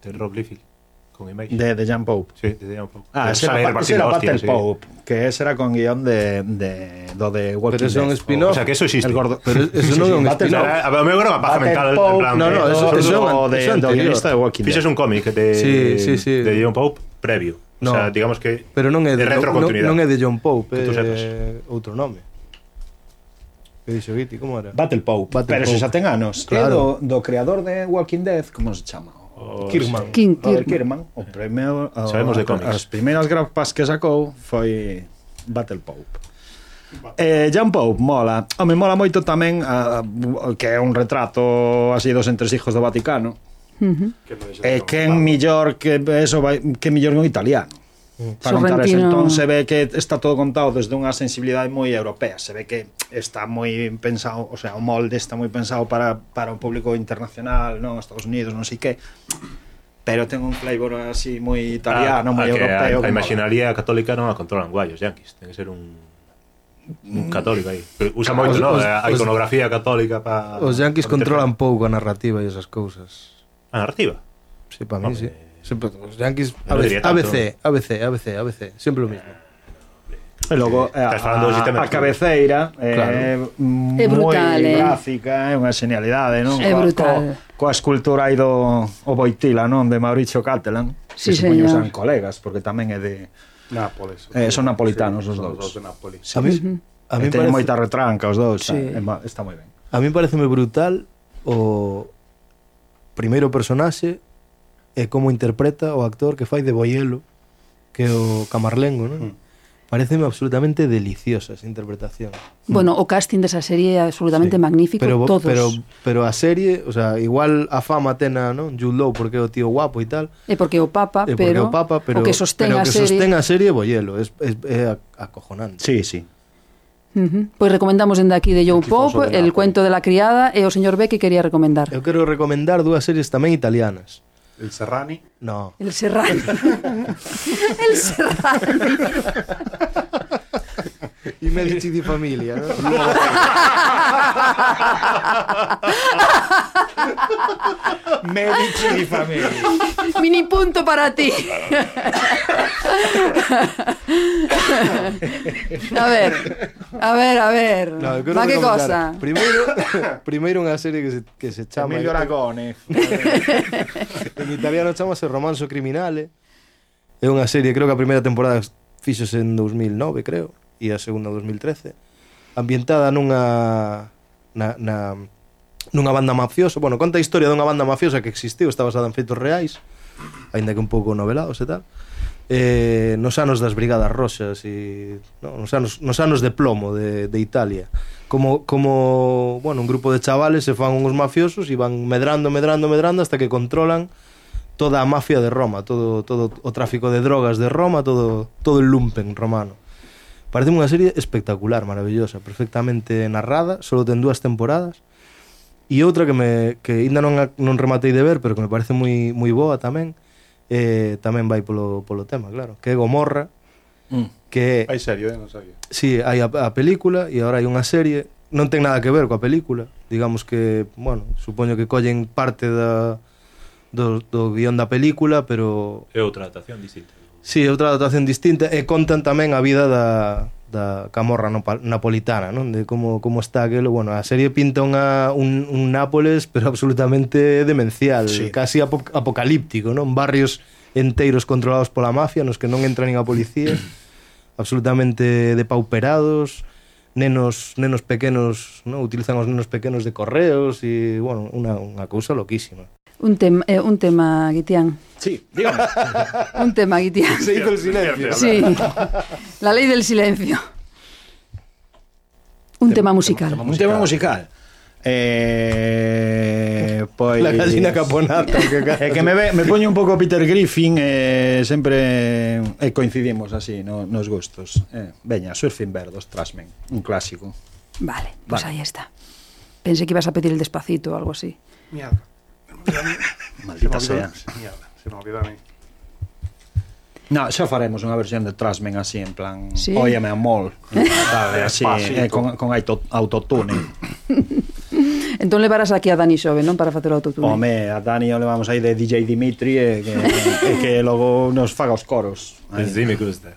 de Rob Liefeld con Image. De, de Jan Pope. Sí, de Dejan Poe. Pero Ah, ese sabe era, pa- repartir ese era hostias, Battle sí. Pope, que ese era con guión de, de, do de Walking Pero son Dead. spin-off. O sea, que eso existe. El gordo. Pero eso non é un Battle- spin-off. Era- A ver, me era unha paja Battle mental. Pope, En plan, no, no, eh, eso- eso é do, un- de, eso é do anterior. guionista de Walking fixes Dead. un cómic de, Sí, sí, sí. de John Pope previo. No. O sea, digamos que Pero non é de, de non, retrocontinuidade. non é de John Pope, Que tú é outro nome. Que dixo Viti, como era? Battle Pope. Battle pero se Pope. xa ten anos. Claro. Claro. É do, do creador de Walking Dead, como se chama? O, Kirkman. King Robert Kirkman. Kirkman. O primeiro, o, Sabemos de cómics. As primeiras grapas que sacou foi Battle Pope. Eh, John Pope mola. Home, mola moito tamén a, a, que é un retrato así dos entresijos do Vaticano. E quen millor que eh, eso vai, que millor que un italiano. Para contar ese Sorrentino. entón se ve que está todo contado desde unha sensibilidade moi europea, se ve que está moi pensado, o sea, o molde está moi pensado para, para un público internacional, non, Estados Unidos, non sei que, pero ten un flavor así moi a- italiano, moi a Ah, que europeo. A, a que imaginaría católica non a controlan guayos yanquis, ten que ser un un católico aí. Pero Usa moito, Mm. Os- os- non? A a os- iconografía católica para Os yanquis controlan pouco a narrativa e esas cousas. a narrativa. Sí, para mí, Home. sí. Sempre, os yanquis Non ABC, diría tanto. ABC, ABC, ABC, ABC, sempre o mismo. E logo eh, a, Estás falando do sistema a, a de- cabeceira Claro. é É moi brutal, eh. gráfica, é unha genialidade, non? É Coa- brutal. Co, coa escultura aí do o Boitila, non, de Mauricio Catalan, Sí, que supoño señor. serán colegas, porque tamén é de Nápoles. Eh, son napolitanos os dous. Os dous de Nápoles. A mí, a e mí teñen parece- moita retranca os dous. Sí. eh, ma- Está moi ben. A mí pareceme brutal o primeiro personaxe e como interpreta o actor que fai de Boielo, que é o Camarlengo, non? Pareceme absolutamente deliciosa esa interpretación. Bueno, o casting desa serie é absolutamente Sí. magnífico, pero, todos. Pero, pero a serie, o sea, igual a fama tena, non? Jude Law porque é o tío guapo e tal, É Eh, porque o Papa, e porque Ah, pero, o Papa, pero o que sostén pero a que serie. sostén a serie é Boielo, é, é, é acojonante. Sí, sí. Ujú. Pois recomendamos dende aquí de Joe Tifoso Pope, de El Nápoles. cuento de la criada e o señor B que quería recomendar. Eu quero recomendar dúas series tamén italianas. El Serrani. No. El Serrano. El Serrano. E Medici di Familia, non? Medici di familia. Mini punto para ti. a ver, a ver, a ver. No, eu quero Va, que recomendar cosa? Primeiro, primeiro unha serie que se, que se chama Emilio Aragone. En italiano chamase Romanzo Criminale É unha serie, creo que a primeira temporada fixose en 2009, creo E a segunda 2013 Ambientada nunha na, na, nunha banda mafiosa Bueno, conta a historia dunha banda mafiosa que existiu Está basada en feitos reais Ainda que un pouco novelados e tal eh, nos anos das Brigadas Roxas e no, nos, anos, nos anos de plomo de, de Italia como, como bueno, un grupo de chavales se fan uns mafiosos e van medrando, medrando, medrando hasta que controlan toda a mafia de Roma todo, todo o tráfico de drogas de Roma todo, todo el lumpen romano parece unha serie espectacular, maravillosa perfectamente narrada, solo ten dúas temporadas E outra que me que ainda non a- non rematei de ver, pero que me parece moi moi boa tamén, eh, tamén vai polo polo tema, claro, que é Gomorra, que é Hai serio, eh? non sabía. Sí, hai a, a película e agora hai unha serie Non ten nada que ver coa película Digamos que, bueno, supoño que collen parte da, do, do guión da película Pero É outra adaptación distinta. sí, é outra adaptación distinta E contan tamén a vida da, da camorra nopa- napolitana non De como, como está aquelo Bueno, a serie pinta unha, un, un Nápoles Pero absolutamente demencial sí. Casi apo apocalíptico, non? Barrios enteiros controlados pola mafia Nos que non entra nin a policía absolutamente depauperados, nenos nenos pequenos, ¿no? utilizan os nenos pequenos de correos e, bueno, unha unha cousa loquísima. Un tema, eh, un tema, Guitián. Sí, dígame. Un tema, Guitián. Se hizo el silencio. Sí. La ley del silencio. Un tema musical. tema Un tema musical. Eh, pois La gallina caponata que cae. É que me, ve, me poño un pouco Peter Griffin e eh, sempre eh, coincidimos así no, nos gustos. Eh, veña, Surfing Bird dos Trasmen, un clásico. Vale, pues Vale. ahí está. Pensé que ibas a pedir el despacito o algo así. Mierda. Maldita Se me sea. olvidou- Mierda, se me olvidou a mí. No, xa faremos unha versión de Trasmen así en plan Sí. Óyeme amor. Dale, así Despacito. eh, con con auto, autotune. Entón levarás aquí a Dani Xove, non? Para facer o autotune. Home, a Dani o levamos aí de DJ Dimitri e que, e que logo nos faga os coros. Aí. Sí, me gusta.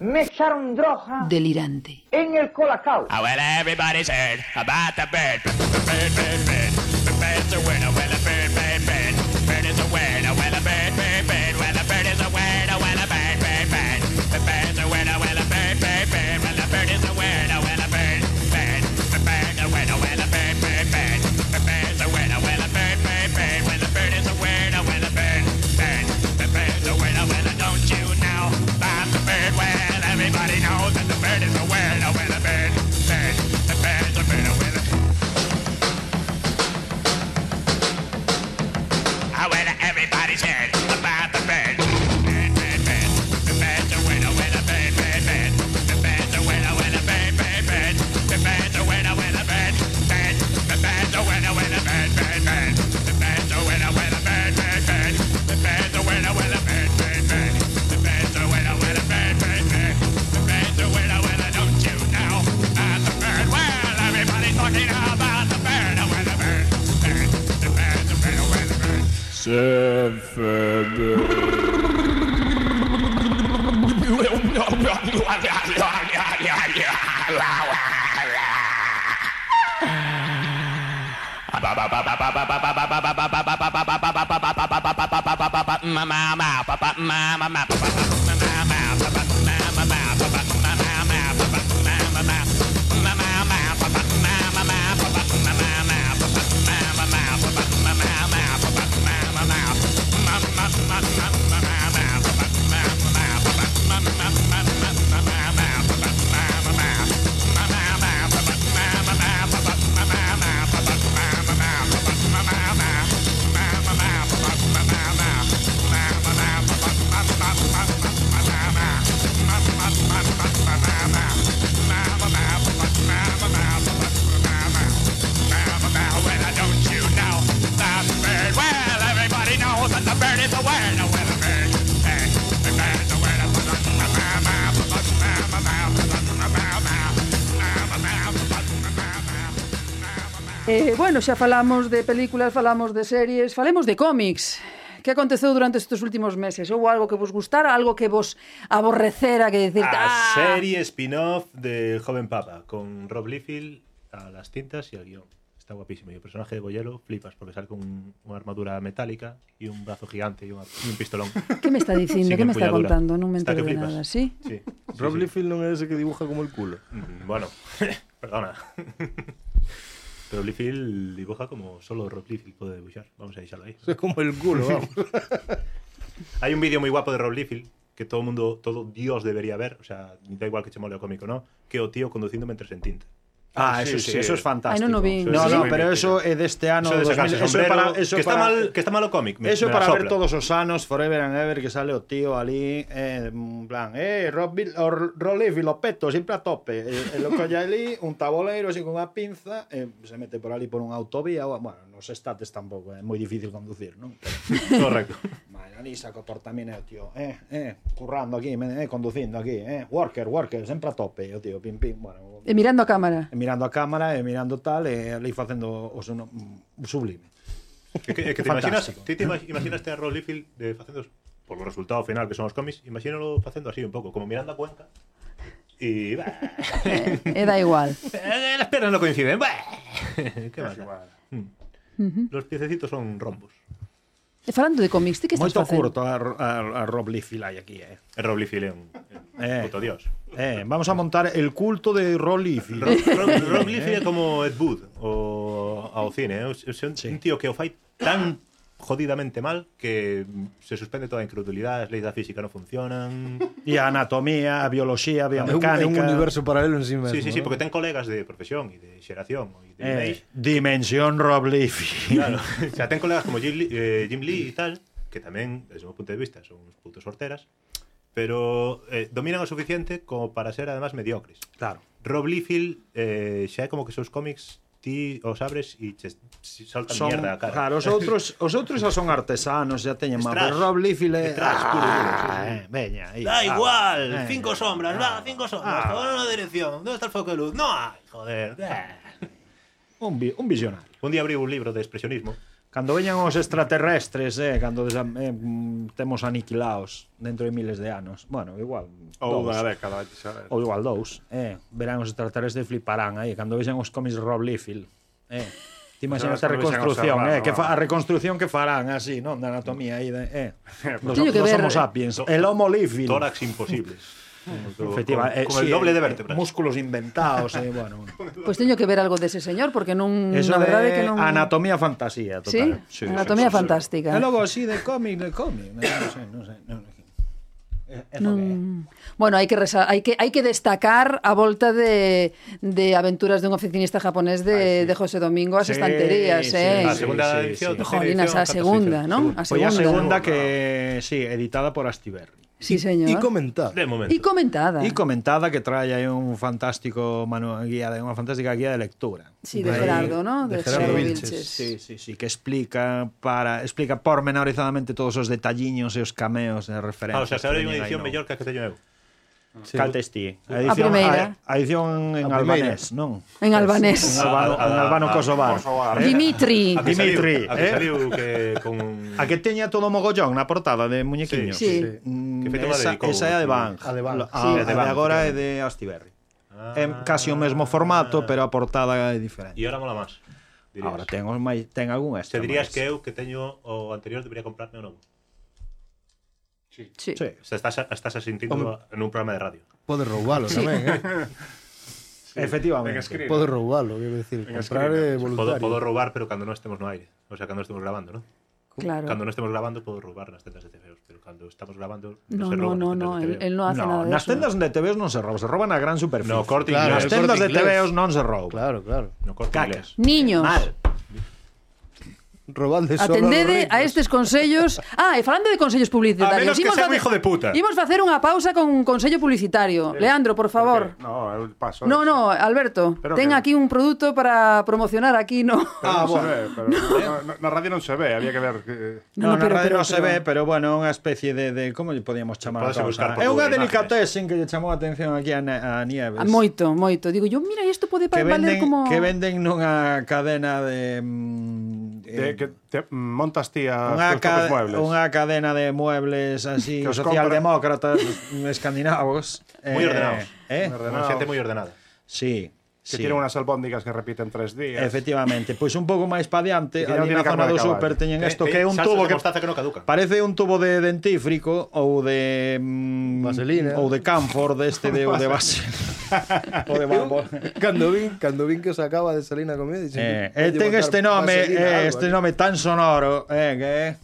Delirante. Oh, well, everybody's heard about the bird. The bird, bird, bird. The bird's a word. Oh, well, a bird, bird, bird. Bird is a word. Oh, well, a bird, bird, bird. Well, a bird is a word. Oh, well, a bird, bird, bird. The bird's a word. Oh, well, a bird, bird, bird. Well, a bird is a word. Oh, well, a bird, bird. The bird's a word. Oh, well, a bird, bird, bird. The bird's a word. Oh, well, a bird, bird, bird. Well, a bird is a word. Oh, well, a bird, bird. The bird's a word. Oh, well, don't you know about the bird? Well, everybody knows that the bird is a word. Oh, well, a bird, bird. The bird's a bird. Oh, well, a I went to everybody's head about the bed. Bed, bed, bed. The bed's a window with a bed, bed, bed. The bed's a window with a bed, bed, bed. The bed's a window with a bed, bed. The bed's a window with a bed, bed, bed. The bed's a window with a bed, bed, bed. The bed's a window with a bed, bed, bed. The bed's a window with a bed, bed, bed. The bed's a window with a don't you know about the bird? Well, everybody's talking about the bird. Oh, well, the bird, bird. The bird's a window with a bird. Eh, bueno, xa falamos de películas, falamos de series, falemos de cómics. Que aconteceu durante estes últimos meses? Houve algo que vos gustara, algo que vos aborrecera, que decir... "Ah, A serie spin-off del joven papa con Rob Liefeld a las tintas y al guión. Está guapísimo. Y el personaje de Boyero flipas porque sale con un- una armadura metálica y un brazo gigante y, una- y un pistolón. Que me está dicindo? Sin Que me está empuñadura. contando? Non me Está entero que de flipas. nada, sí? Sí. Rob Liefeld non é ese que dibuja como el culo. Mm, Bueno, perdona. Pero Liefeld dibuja como solo Rob Liefeld puede dibujar. Vamos a dejarlo ahí. É como el culo, vamos. Hay un vídeo muy guapo de Rob Liefeld que todo mundo, todo Dios debería ver. O sea, da igual que che mole o cómico, ¿no? Que o tío conduciendo mientras en tinta. Ah, eso sí, eso es fantástico. Ai, non o vi. No, Sí, sí. no, pero eso é deste ano Eso de sacarse el 2000, eso é sombrero, para, eso que, está para- mal, que está malo cómic. me- Eso me la para sopla. ver todos os anos, Forever and Ever, que sale o tío ali, eh, en plan, eh, Robi, o Rolivi, lo peto, sempre a tope. Eh, E, e lo colle ali, un taboleiro, así, con unha pinza, e se mete por ali por unha autovía, ou, bueno, nos estates tampouco, é moi difícil conducir, non? Correcto. Bueno, ali saco portamine o tío, eh, eh, currando aquí, me- eh, conducindo aquí, eh, worker, worker, sempre a tope, o tío, pim, pim, bueno, E mirando a cámara. e eh, mirando a cámara, e mirando tal, eh, e ali facendo o, seu no- o sublime. É que, é que te imaginas, Fantástico. ti te ima- imaginaste a Rob Liefeld de facendo por o resultado final que son os cómics, imagínalo facendo así un pouco, como mirando a Cuenca. E bah, E da igual. eh, las piernas no coinciden. Bah. que mal. Los piececitos son rombos. E falando de cómics, ti que estás Moito facendo? curto a, a, a Rob Liefeld hai aquí, eh. E Rob Liefeld é un Eh. eh. puto dios. Eh, vamos a montar el culto de Rolly Rob, Rob, Rob Liefeld é como Ed Wood o, ao cine. É un, é un un tío que o fai tan jodidamente mal que se suspende toda a incredulidade, as leis da física non funcionan. E a anatomía, a bioloxía, a É un, é biomecánica. un universo paralelo en sí mesmo. Sí, sí, sí, ¿no? porque ten colegas de profesión e de xeración e de Eh, imaxe. dimensión Rob Liefeld. Claro, o sea, ten colegas como Jim Lee, eh, Jim Lee e tal, que tamén, desde o meu punto de vista, son uns putos sorteras, pero eh, dominan o suficiente como para ser, además, mediocres. Claro. Rob Liefeld eh, xa é como que seus cómics ti os abres e che si saltan Son, mierda a cara. claro, os outros, os outros xa son artesanos, xa teñen máis. Estras. Pero Rob Liefeld é... Estras, puro, puro, sí, sí. eh, veña, aí, Da ah, igual, eh. cinco sombras, va, cinco sombras, Ah. todo en una dirección. ¿Dónde está el foco de luz? No hay, joder. Eh. Un, vi, un visionario. Ah. Un día abrí un libro de expresionismo Cando veñan os extraterrestres, eh, cando desa, eh, mm, temos aniquilados dentro de miles de anos. Bueno, igual. Ou dous. da década, hai que saber. Ou igual dous, eh, verán os extraterrestres fliparán aí cando vexan os cómics Rob Liefeld. Eh. Ti imagínate Cando vexan a os reconstrución, Serrano, eh, que fa, a vamos. reconstrucción que farán así, non, da anatomía aí de, eh. Dos, Teño que dos ver, homo eh. sapiens, el homo Liefeld. Tórax imposibles. Con, Efectiva, eh, con el sí, doble de eh, vértebras. músculos inventados, eh, bueno. bueno. Pois Pues teño que ver algo dese señor, porque non... Eso na de verdade que non... anatomía fantasía, Sí? total. sí anatomía sí, fantástica. E logo así de cómic, de cómic, non sei, non sei, non sei. É- é lo que é. Bueno, hai que resa hai que hai que destacar a volta de de aventuras dun oficinista japonés de, Ay, sí. de José Domingo as Sí, estanterías, sí, eh. A sí, segunda sí, edición, sí. tercera Jolinas, a edición, cuarta segunda, edición. non? A Foi Pois a segunda. segunda que, sí, editada por Astiberri. Sí, señor. E comentar. De momento. E comentada. Y comentada que trae ahí un fantástico manu- guía de una fantástica guía de lectura. Sí, de Ahí, Gerardo, ¿no? De, de Gerardo Gerardo Vilches. Vilches. Sí, sí, sí, que explica para explica pormenorizadamente todos os detalliños e os cameos de referencia. Ah, o sea, se abre unha edición mellor que a que teño eu. Sí. Cal testí. A A edición, primeira. a, a edición en A primeira. albanés, non? En En albanés. A- albano, a- en albano a- kosovar. Kosovar. Eh, Dimitri. A que Dimitri, saliu, a que eh? saliu que con A que teña todo mogollón na portada de muñequiños. Sí. Sí. Mm, Que feito la esa, dedicou, esa é a de Bang. A de Bang. Lo- A, Sí. a de agora é de Astiberri. Ah. É casi o mesmo formato, pero a portada é diferente. E ahora mola máis. Ah. dirías. Ahora ten, os máis, ten algún Se extra. dirías máis. que eu que teño o anterior debería comprarme o novo. Sí. Sí. O sea, estás, estás asintindo en un programa de radio. Pode roubalo tamén, eh? Efectivamente. Ten escribe. Pode roubalo, quero decir, Venga, comprar escribe. eh, é Podo, voluntario. podo roubar, pero cando non estemos no aire. O sea, cando non estemos grabando, ¿no? Claro. Cando non estemos grabando, podo roubar nas tendas de TVOs. Pero cando estamos grabando, No, non se no, rouban no, nas no, él, tendas de E él TVOs. no hace nada de nas eso. tendas de TVOs non se rouba, se rouban a gran superficie. No, corte Claro, el inglés. Nas corte tendas de inglés. TVOs non se rouba. Claro, claro. No corte Cacas. inglés. Niños. Mal. Robadle solo Atendede aos a estes consellos. Ah, e falando de consellos publicitarios, A menos que imos sea un hijo de puta. Imos facer unha pausa con un consello publicitario. Leandro, por favor. No, eu paso. No, no, Alberto, Pero ten que- aquí un produto para promocionar aquí, no. Ah, bueno. pero, no, no, na radio non se ve, había que ver que... No, No, no, pero- na pero- radio non se pero- ve, pero bueno, é unha especie de, de como lle podíamos chamar Podese a buscar por cousa. É unha Google delicatessen que lle chamou a atención aquí a, Ne- a Nieves. Ah, Moito, moito. Digo yo, mira, isto pode pa- que valer venden, como que venden nunha cadena de... mm, Te, eh, que te montas ti a Unha, tus propios ca muebles. unha cadena de muebles así Que os socialdemócratas escandinavos Moi ordenados. eh? Moi Unha xente moi ordenada. Sí, Que sí. tienen unas albóndigas que repiten tres días. Efectivamente, pois un pouco máis pa diante, E que non ali tiene na zona carne de caballo. do Eh, super teñen Ten- isto ten que é un salsas tubo de que eh, mostaza que non caducan. Parece un tubo de dentífrico ou de mm, Vaselina. ou de camphor deste de ou de base. ou de bambú. Cando vin, cando vin que o sacaba de Salina Comedia, dixen, Eh, "Oye, e ten botar este nome, vaselina, eh, algo este aquí". nome tan sonoro, eh, que é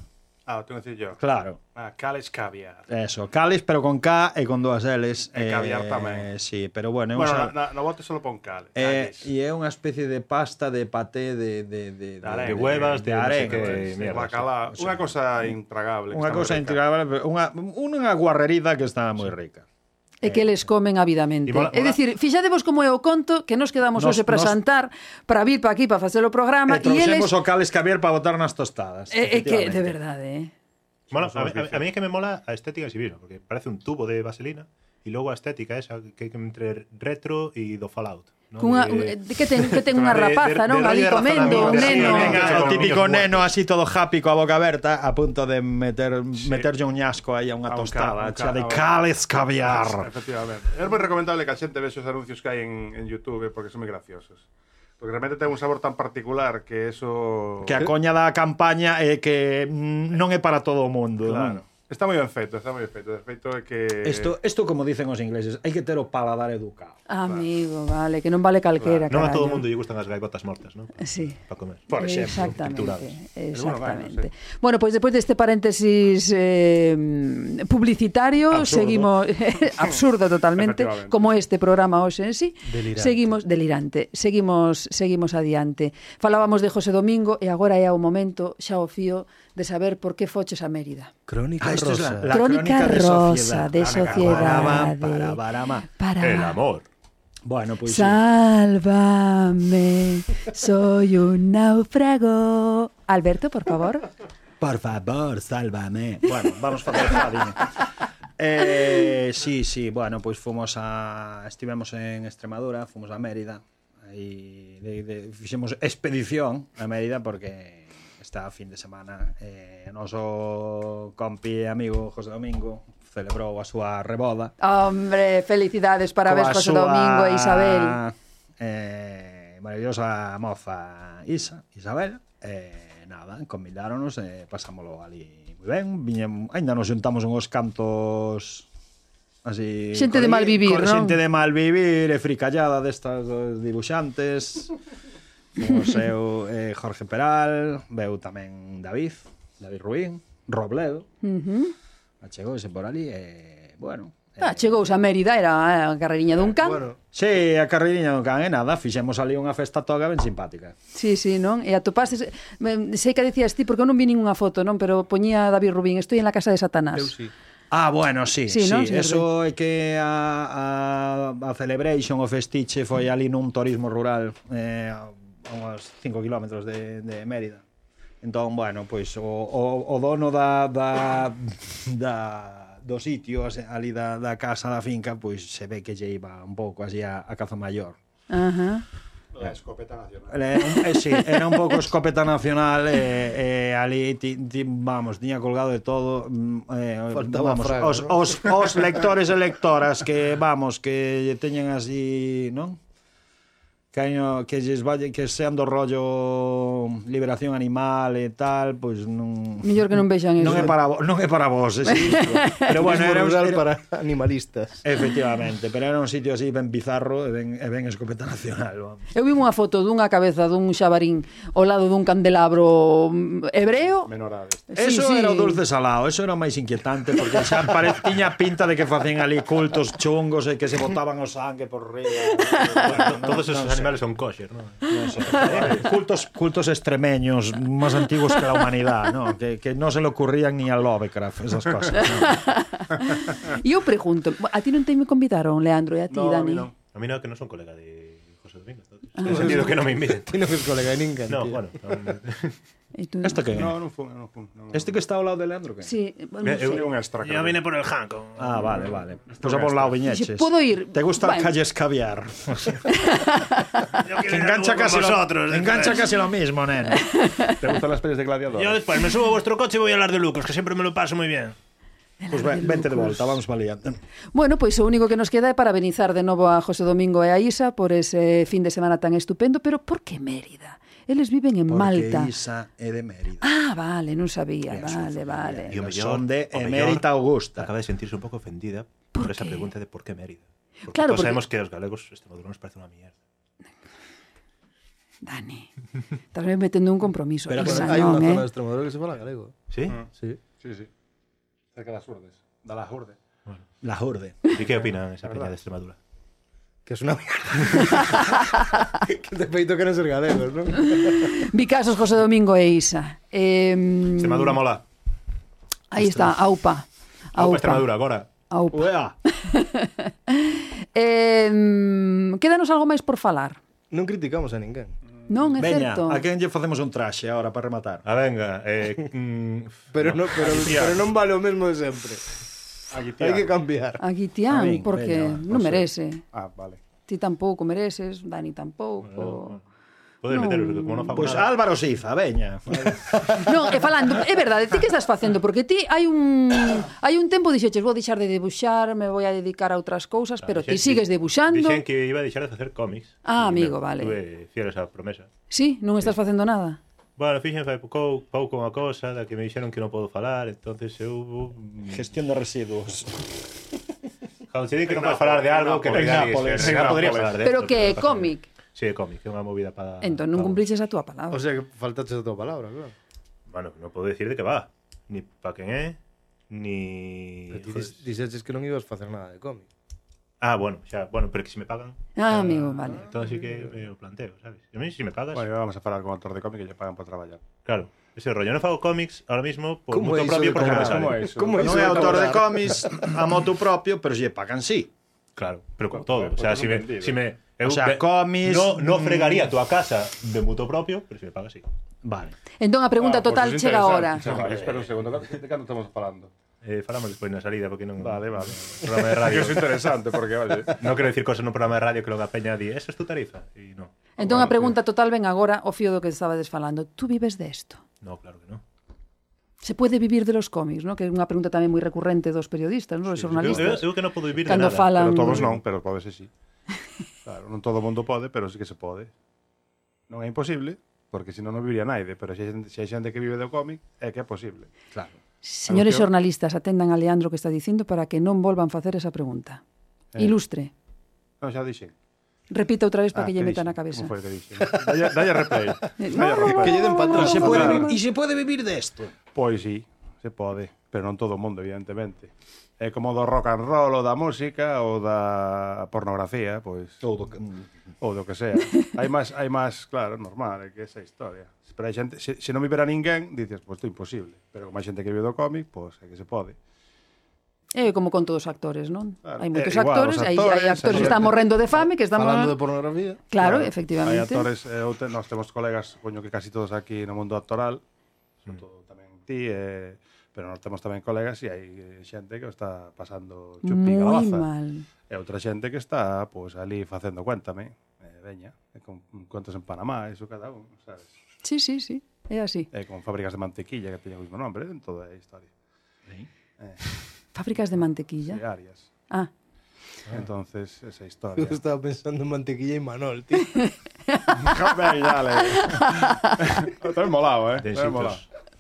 Ah, tengo que decir yo. claro. Eh, Ah, Cales Caviar. Eso, cáliz pero con K e con dúas Ls. E caviar tamén. Sí, pero bueno, é un Bueno, sal- na, na, no bote solo pon Cales. Eh, Cales. e é unha especie de pasta de paté de de de De arena. De huevas, de, de no sé arenga, qué De pues, mierda. bacalao. Una cosa intragable. que Unha está cousa moi rica. intrigable, pero unha unha guarrerida que está moi rica. e que les comen avidamente. E mola- É mola- dicir, fixadevos como é o conto que nos quedamos Nos- hoxe para nos- santar, para vir para aquí para facer o programa E e eles Eh, trouxemos o Cales Caviar para botar nas tostadas. é, é Eh, que de efectivamente. verdade, eh. Mola, a, somos mí- a- vicios. a mí es que me mola la estética en sí mismo, porque parece un tubo de vaselina y luego a estética esa que que entre retro y do Fallout. ¿no? Cunha, De- un- eh, que ten, que ten unha de- de- rapaza, de non? rollo Ali de comendo, un razonamiento, neno. sí, venga, O con típico niños neno así todo happy coa boca aberta a punto de meter meterlle un ñasco aí a unha A un tostada ca- a un chea ca- de a un- Cales Caviar. Efectivamente. Es muy recomendable que la gente vea esos anuncios que hay en, en YouTube eh, porque son muy graciosos. Porque realmente tiene un sabor tan particular que eso... Que a coña da campaña é que mm, non é para todo o mundo, Claro. non? Está muy bien feito, está muy bien feito. El feito é que... Isto, isto Eh. como dicen os ingleses, hai que ter o paladar educado. Amigo, vale, que non vale calquera, No a todo caraño. el mundo le gustan las gaibotas mortas, ¿no? Sí. Para comer. Por exemplo, triturados. exactamente, Es bueno, bueno, exactamente. Bueno, pois depois deste paréntesis eh, publicitario, Absurdo. seguimos absurdo totalmente, Efectivamente. como este programa hoxe en sí. Delirante. Seguimos delirante, seguimos seguimos adiante. Falábamos de José Domingo e agora é o momento, xa o fío, de saber por que foches a Mérida. Crónica Ah, esto es rosa. la- la- Crónica, crónica de rosa sociedad. de sociedad. Parama, para, parama. El amor. Bueno, pois sí. Sálvame, soy un náufrago. Alberto, por favor. Por favor, sálvame. Bueno, vamos facer fadiña. Eh, sí, sí, bueno, pois fomos a estivemos en Extremadura, fomos a Mérida e de, de, fixemos expedición a Mérida porque está a fin de semana eh, o noso compi e amigo José Domingo celebrou a súa reboda Hombre, felicidades, parabéns, coa José súa, Domingo e Isabel. Eh, maravillosa moza Isa, Isabel. Eh, nada, convidáronos e eh, pasámoslo ali moi ben. Viñem, ainda nos juntamos unhos cantos así... Xente de coli- mal vivir, col- non? Xente de mal vivir e fricallada destas dos dibuxantes. O seu eh, Jorge Peral, veu tamén David, David Ruín, Robledo. Uh -huh. Achegouse por ali e, bueno... Ah, chegouse a Mérida, era eh, a carreirinha dun can. Bueno, Sí, a carreiriña do can é nada, fixemos ali unha festa toga ben simpática. Sí, sí, non? E atopastes... me- Sei que decías ti, porque eu non vi ninguna foto, non? Pero poñía David Rubín, estoy en la casa de Satanás. eu sí. Ah, bueno, sí, Sí, sí, sí non, señor eso é que a, a, a Celebration, o festiche, foi ali nun turismo rural eh, a uns 5 kilómetros de, de Mérida. Entón, bueno, pois o, o, o dono da, da, da do sitio as- ali da, da casa da finca, pois se ve que lle iba un pouco así a, a caza maior. Ajá. La escopeta nacional. Era un- eh, sí, era un pouco escopeta nacional eh, eh, ali ti, ti, vamos, tiña colgado de todo mm, eh, Faltaba vamos, fraga, os, ¿no? os, os lectores e lectoras que vamos, que lle teñen así non? Que, año, que, lles valle, que sean do rollo liberación animal e tal, pois non... Mellor que non vexan iso. Non é para, vo- non é para vos, ese disco. Pero bueno, Turismo era, un- rural era, para animalistas. Efectivamente, pero era un sitio así ben bizarro e ben, e ben escopeta nacional, vamos. Eu vi unha foto dunha cabeza dun xabarín ao lado dun candelabro mm, hebreo. Menorades. Eso era o dulce salado, eso era o máis inquietante porque xa pare, tiña pinta de que facían ali cultos chungos e que se botaban o sangue por riba. Todos esos animales son kosher, ¿no? Eh, cultos, cultos extremeños más antiguos que la humanidad, ¿no? Que, que no se le ocurrían ni a Lovecraft esas cosas. Eu pregunto, a ti non te me convidaron, Leandro, e a ti, Dani? A mí no, que no son colega de José Domingo. entonces. Ah. En el sentido que no me inviten. Ti no es colega de ninguén, No, tío. bueno. no, E tú? ¿Este qué? No, non fun, non fun. Non. ¿Este que está ao lado de Leandro? Que? Sí, bueno, Mira, non sei. Eh, un extra. Yo vine por el Hanco. Ah, vale, vale. Pues a por lado Viñeches. Dixe, "Podo ir?" ¿Te gusta Bueno. el calles caviar? Yo quiero Que ir a engancha algo con casi, vosotros. lo, engancha después. casi lo mismo, nene. ¿Te gustan las pelis de gladiador? Yo después me subo a vuestro coche y voy a hablar de Lucas, que siempre me lo paso muy bien. Pues ve- vente de volta, vamos valía. Bueno, pois o único que nos queda é parabenizar de novo a José Domingo e a Isa por ese fin de semana tan estupendo, pero por que Mérida? Eles viven en Malta. Porque Isa é de Mérida. Ah, vale, non sabía. Vale, vale. Yo me son de emérita Augusta. Acaba de sentirse un poco ofendida ¿Por por, esa qué? pregunta de por qué Mérida. Porque Claro, porque- todos sabemos que a los galegos Extremadura nos parece una mierda. Dani, estás me metendo un compromiso. Pero Isa, hai unha non, eh? zona de Extremadura que se fala galego. ¿Sí? Sí. Sí, sí. Cerca das Urdes. Da las Urdes. La Jorde. ¿Y qué opinan esa peña de Extremadura? Que es una mierda. que te peito que non ser galegos, non? Vicasos, José Domingo e Isa. Eh, Extremadura mola. Mm, Aí está, aupa. Aupa Aupa. Extremadura, agora. aupa. Uea! Eh, quédanos algo máis por falar. Non criticamos a ninguén. Non, é Veña, certo. a quen lle facemos un traxe agora para rematar? Ah, venga. Eh, mm, Pero, no, pero, Hostia. pero non vale o mesmo de sempre. Aquí, Hai que Ah. cambiar. A A Guitián, min, porque veña, eh, va, non por merece. Ah, vale. Ti tampouco mereces, Dani tampouco. Podes No. meterlo, porque como non fago Pois pues nada... Álvaro Siza, veña. Non, e falando, é verdade, ti que estás facendo? Porque ti hai un hai un tempo dixeches, vou deixar de debuxar, me vou a dedicar a outras cousas, ah, pero ti Dixen sigues que- debuxando. Dixen que iba a deixar de facer cómics. Ah, Y, amigo, mira, vale. Tuve fiel a esa promesa. Sí, non estás facendo nada. Bueno, fixen fai pouco, pouco unha cosa da que me dixeron que non podo falar, entonces eu... Gestión de residuos. Cando se di que non podes falar de algo que en realidad Nápoles, en en realidad podría Nápoles. falar de Pero esto, que é pasa cómic. Sí, é cómic, é unha movida para... Entón non para- cumpliches a túa O palabra. sea que faltaches a tua palabra, claro. Bueno, non podo dicir de que va. Ni pa quen é, ni... Pero ti Joder. dis- dixeches que non ibas facer nada de cómic. Ah, bueno, xa, bueno, pero que se me pagan... Ah, amigo, vale. Entón sí que me o planteo, sabes? A mí, se me pagas, Bueno, vamos a falar con autor de cómic que lle pagan por traballar. claro. Ese rollo, non fago cómics ahora mismo por Como é moto iso propio de porque non me cobrar? sale. Como é iso? Como non iso é de autor de cobrar? cómics, a moto propio, pero lle pagan sí. Claro, pero como todo. O sea, si me, vendido. si me, O sea, ve- comis- No, no mm. fregaría tu a casa de mutuo propio, pero si me pagas, sí. Vale. Entón a ah, pregunta total chega agora. Espera un segundo, de que non estamos falando? Eh, falamos despois na salida, porque non... Vale, vale. Que Programa de radio. é interesante, porque, vale, non quero dicir cosas nun programa de radio que logo a peña di, eso es tu tarifa. E non. Entón a pregunta total ven agora o fío do que estabades falando. Tú vives desto? No, claro que non. Se pode vivir de los cómics, ¿no? Que é unha pregunta tamén moi recurrente dos periodistas, ¿no? dos Eu, jornalistas. eu que non podo vivir Cando de nada. falan Pero todos non, pero podes sí. Claro, non todo o mundo pode, pero sí que se pode. Non é imposible, porque senón non viviría naide, pero se hai xente, se hai xente que vive do cómic, é que é posible. Claro. Señores Anunciou. xornalistas, atendan a Leandro que está dicindo para que non volvan facer esa pregunta. Eh. Ilustre. Non, xa dixen. Repita outra vez para que Ah, que lle meta na dixen? cabeza. Como foi que dixen? Dalle, dalle replay. Eh, Dalle replay. Que lle den para E atrás. se pode, Claro. e se pode vivir desto. Pois sí, se pode, pero non todo o mundo, evidentemente. É como do rock and roll, ou da música, ou da pornografía, pois, Ou do que... ou do que sea. hai máis, hai máis, claro, normal, é que esa historia. Pero hai xente, se, se non vivera ninguén, dices, pois, isto é imposible. Pero como hai xente que vive do cómic, pois, é que se pode. É Eh, como con todos os actores, non? Claro. Hai moitos Eh, igual, actores, os hai, actores, hai actores que hai están xente- morrendo de fame, que están Falando de pornografía. Claro, Hai efectivamente. actores, eh, ou te, nós temos colegas, coño, que casi todos aquí no mundo actoral, Mm. sobre todo tamén ti, eh, pero nós temos tamén colegas e hai eh, xente que o está pasando chupi Moi galabaza. mal. E outra xente que está, pois, ali facendo cuéntame, eh, veña, e con contas en Panamá, iso cada un, sabes? Sí, sí, sí. É así. E con fábricas de mantequilla que teñen o mesmo nombre en toda a historia. Fábricas de mantequilla. E Arias. Ah, Entonces, esa historia. Eu estaba pensando en mantequilla e Manol, tío. Ben, dale. Tamén molaba, eh? De Tamén molaba.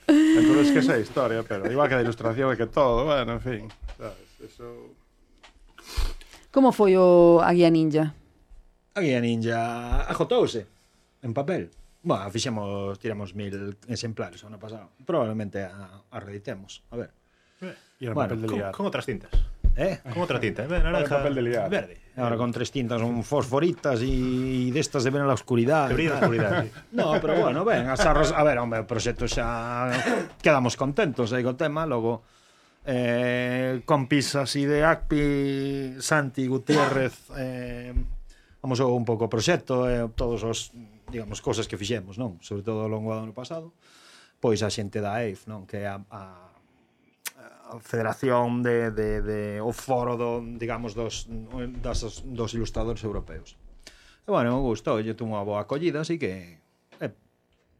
Entonces, Entón, que esa historia, pero igual que da ilustración e que todo, bueno, en fin. Sabes, eso... como foi o a guía ninja? A guía ninja agotouse en papel. Bueno, fixemos, tiramos mil exemplares o ano pasado. Probablemente a, a reeditemos. A ver. E E era Bueno, papel de Con, liar. con outras cintas. Eh? Con otra tinta, eh, naranja, papel de liar. verde. Ahora con tres tintas, un fosforitas y, y de estas de ven a la oscuridad. Que brilla na oscuridade. No, pero bueno, ben, as arras, a ver, home, o proxecto xa quedamos contentos aí co tema, logo eh, compis así de ACPI, Santi Gutiérrez, eh, vamos un pouco o proxecto, eh, todos os, digamos, cosas que fixemos, non? Sobre todo ao longo do ano pasado, pois a xente da EIF, non? Que é a, a a Federación de, de, de o foro do, digamos dos, das, dos ilustradores europeos. E bueno, me gustou, lle tuvo unha boa acollida, así que eh,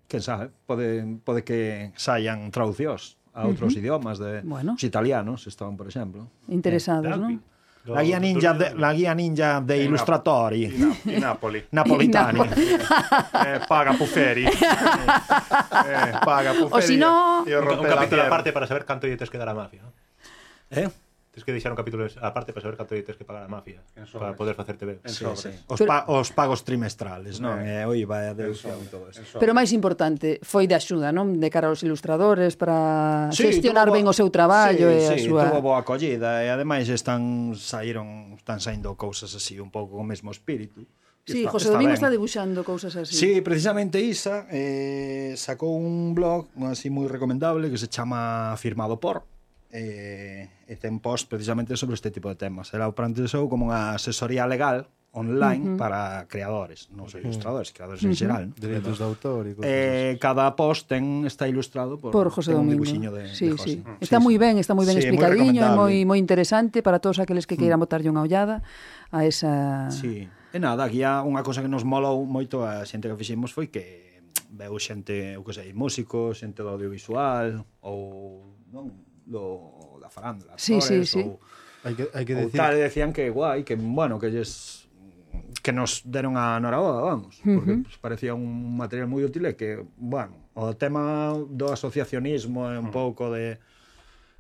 quen sabe, pode, pode que saian traducións a outros Ujú. idiomas de Bueno. os italianos, estaban, por exemplo. Eh, Interesados, non? La guía ninja de, la guía ninja de ilustratori I Napoli. napolitani. Eh, paga Puferi. Eh, paga Puferi. O si no- e o Un, un rompe la capítulo terra. aparte para saber canto lle tes que dar a mafia, ¿no? Eh? Tens que deixar un capítulo aparte para saber canto lle tes que pagar a mafia para poder facerte ver. Sí, sobres. sí. Os, pa, os pagos trimestrales, non? Eh, oi, vai a dedución e todo eso. Pero o máis importante foi de axuda, non? De cara aos ilustradores para sí, gestionar tuvo ben bo- o seu traballo sí, e a sí, súa tuvo boa acollida e ademais están saíron están saindo cousas así un pouco co mesmo espírito. E Sí, está- José Domingo ben. está debuxando cousas así. Sí, precisamente Isa eh, sacou un blog así moi recomendable que se chama Firmado por eh, e ten post precisamente sobre este tipo de temas. Ela o plantexou como unha asesoría legal online uh -huh. para creadores, non só ilustradores, creadores uh -huh. en xeral. ¿no? Dereitos de autor e cosas. Eh, cada post ten está ilustrado por, por José ten un Domingo. dibuxiño de, sí, de José. sí. Está moi ben, está moi ben Sí, é moi explicadiño, é moi recomendable. Mm. moi interesante para todos aqueles que queiran botarlle unha ollada a esa Sí. E nada, aquí há unha cosa que nos molou moito a xente que fixemos foi que veu xente, o que sei, músicos, xente do audiovisual ou non, do da farándula, Sí, sí, sí. ou, Hai que, hai que que ou decir... tal, e decían que guai, que bueno, que lles que nos deron a Noraboda, vamos, porque uh -huh. parecía un material moi útil e que, bueno, o tema do asociacionismo é un pouco de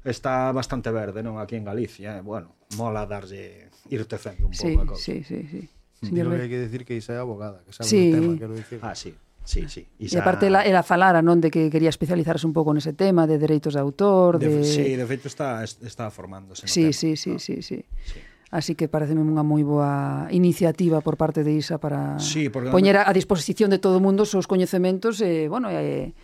está bastante verde, non, aquí en Galicia, eh? bueno, mola darlle irte fendo un pouco Sí, a cousa. sí, sí, sí. Creo Señor que Ben. hai que decir que Isa é abogada, que sabe Sí. sí. tema, quero dicir. Ah, sí. Sí, sí. E aparte ela, ela falara, non, de que quería especializarse un pouco nese tema de dereitos de autor, de, de... Sí, de feito está, está formándose. no Sí, tema. sí, sí, sí, sí. Así que pareceme unha moi boa iniciativa por parte de Isa para Sí, porque poñer a, a disposición de todo o mundo os seus coñecementos e, bueno, e,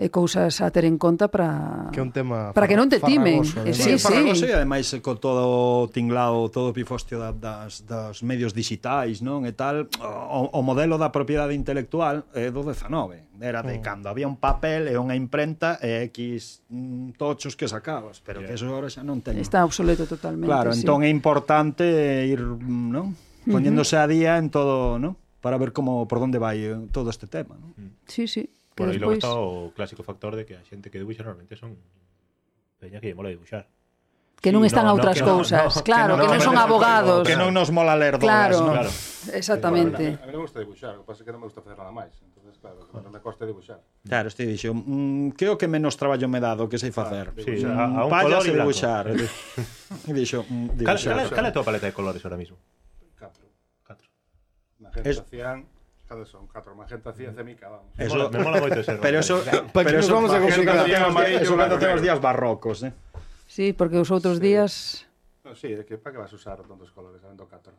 e cousas a ter en conta para Que é un tema para que non te farra- timen. farragoso, Eh, ademais. sí, Sí, sí. farragoso e ademais eh, co todo tinglao, todo o pifostio da, das, das medios digitais, non? E tal, o, o modelo da propiedade intelectual é do 19. Era Mm. de cando había un papel e unha imprenta e X mm, tochos que sacabas, pero que eso agora xa non teño. Está obsoleto totalmente. Claro, sí. entón é importante ir, mm, non? Poñéndose a día en todo, non? Para ver como por onde vai eh, todo este tema, non? Sí, sí. Que Bueno, e logo despois... está o clásico factor de que a xente que debuxa normalmente son peña que lle mola dibuxar. Que non Sí, están no, a no, outras que no, cousas. no, que claro, no, que non, no, son no, abogados. Que non nos mola ler doas, claro, non? Claro. exactamente. A mí me gusta dibuixar, o que pasa é que non me gusta facer nada máis. Entonces, claro, que non me costa dibuixar. Claro, este dixo, mm, creo que menos traballo me dado que sei facer. sí, Mm, a- a un pallas color e e blanco. dibuxar. E dixo, mm, Cal, dibuxar. cal, cal é a tua paleta de colores ahora mismo? Catro. Catro. Magenta Es- es... cian, cando son catro, magenta cian, cemica, vamos. Me Eso- mola, me mola moito ese. Pero eso, Pa que pero nos eso, vamos a magenta complicar. ten amarillo, Eso cando blanco, ten os negro. días barrocos, eh? Sí, porque os outros días No, sí, é que para que vas usar tantos colores, sabendo catro?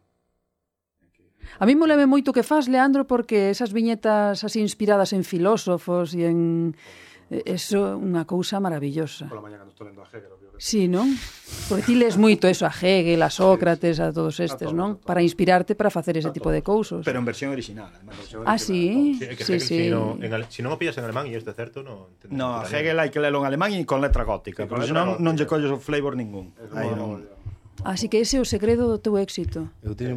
A mí moleme moito que faz, Leandro, porque esas viñetas así inspiradas en filósofos e en... e- Eso é unha cousa maravillosa. Pola mañá cando estou lendo a Hegel, obvio que Sí, non? Porque ti lees moito eso, a Hegel, a Sócrates, a todos estes, todos, non? a todos. Para inspirarte para facer ese tipo de cousas. Pero en versión original, además. Ah, sí? Sí, é que Sí, Hegel, sí. Si, no, en, ale- si non o pillas en alemán e este certo, non entendes. No, a puta Hegel hai que lelo en alemán e con letra gótica, Sí, con porque letra senón non lle gótica. colles o flavor ningún. Aí non. Así que ese é o segredo do teu éxito. Eu teño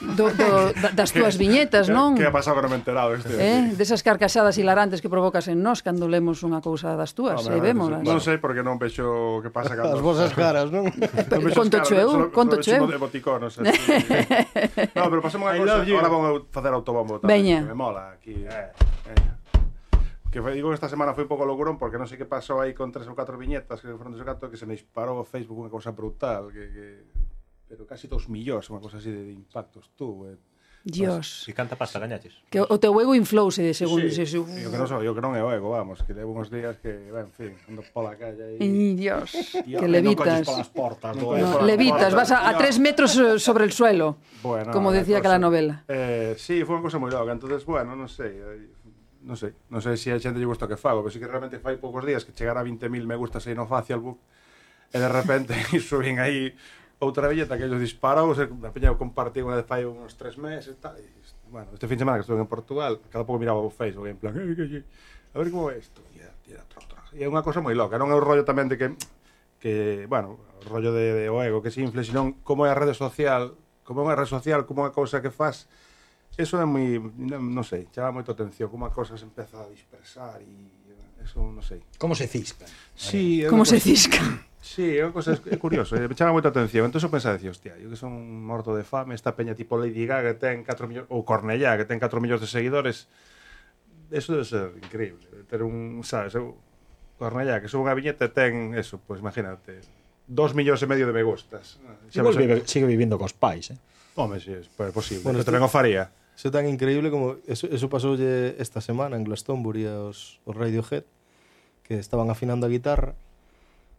Do, do, da- das túas viñetas, non? Que ha pasado que non me he enterado este? Eh? Desas carcaxadas hilarantes que provocas en nós cando lemos unha cousa das Ah, túas, e vémolas. Non sei porque non vexo o que pasa cando... As vosas caras, non? Non vexo as Conto caras, cheu, solo- conto solo cheu. vexo emoticonos, así. No, pero pasemos unha I cosa. love you. Ahora vou eu facer autobombo tamén. Veña. Que me mola aquí. Eh, eh. Que foi- digo que esta semana foi un pouco logurón porque non sei que pasou aí con tres ou catro viñetas que foron dese gato que se me disparou o Facebook unha cousa brutal que, que pero casi dos millóns, unha cousa así de, de impactos tú. Eh. Dios. Si canta pasta, gañaches. Que o teu ego inflouse de segundo. Sí, Sí, sí. Eu que non sou, eu que non é o ego, vamos, que levo uns días que, ben, en fin, ando pola calle Ih, e... Dios, Tío, que non levitas. colles polas portas, No, colles polas levitas, portas, vas a, a tío. tres metros eh, sobre el suelo, Bueno, como la decía que la cosa. novela. Eh, sí, foi unha cosa moi loca, entonces, bueno, non sei, eh, non sei, non sei se a xente lle gusta o que fago, pero sí que realmente fai poucos días que chegar a 20.000 me gustas aí no Facebook e de repente subín aí outra billeta que ellos disparados, e a peña compartí unha de fai uns tres meses e tal, e, bueno, este fin de semana que estuve en Portugal, cada pouco miraba o Facebook en plan, "Eh, que, que, a ver como é isto, e era, e era tro, tro. E é unha cosa moi loca, non é un rollo tamén de que que, bueno, o rollo de, de o ego que se infle, senón como é a rede social, como é unha rede social, como é unha cousa que faz, eso é moi, non, non sei, chama moito atención, como a cousa se empeza a dispersar e eso non sei. Como se cisca? Sí, é Como unha se cousa- cisca. Sí, é unha cousa é curioso, eh, me chama moita atención. Entón eu pensaba, dicía, hostia, eu que son un morto de fame, esta peña tipo Lady Gaga que ten 4 millóns, ou Cornellá que ten 4 millóns de seguidores, eso debe ser increíble, ter un, sabes, eu, Cornellá que sube unha viñeta e ten, eso, pois pues, imagínate, 2 millóns e medio de me gustas. Ah, Xa Igual vos- vive, sigue vivindo cos pais, eh? Home, si, sí, é posible. Bueno, Bueno, este- este... tamén o faría. Eso é tan increíble como eso, eso pasoulle esta semana en Glastonbury aos, aos Radiohead que estaban afinando a guitarra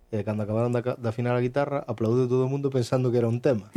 e cando acabaron de, aca- de afinar a guitarra aplaudiu todo o mundo pensando que era un tema.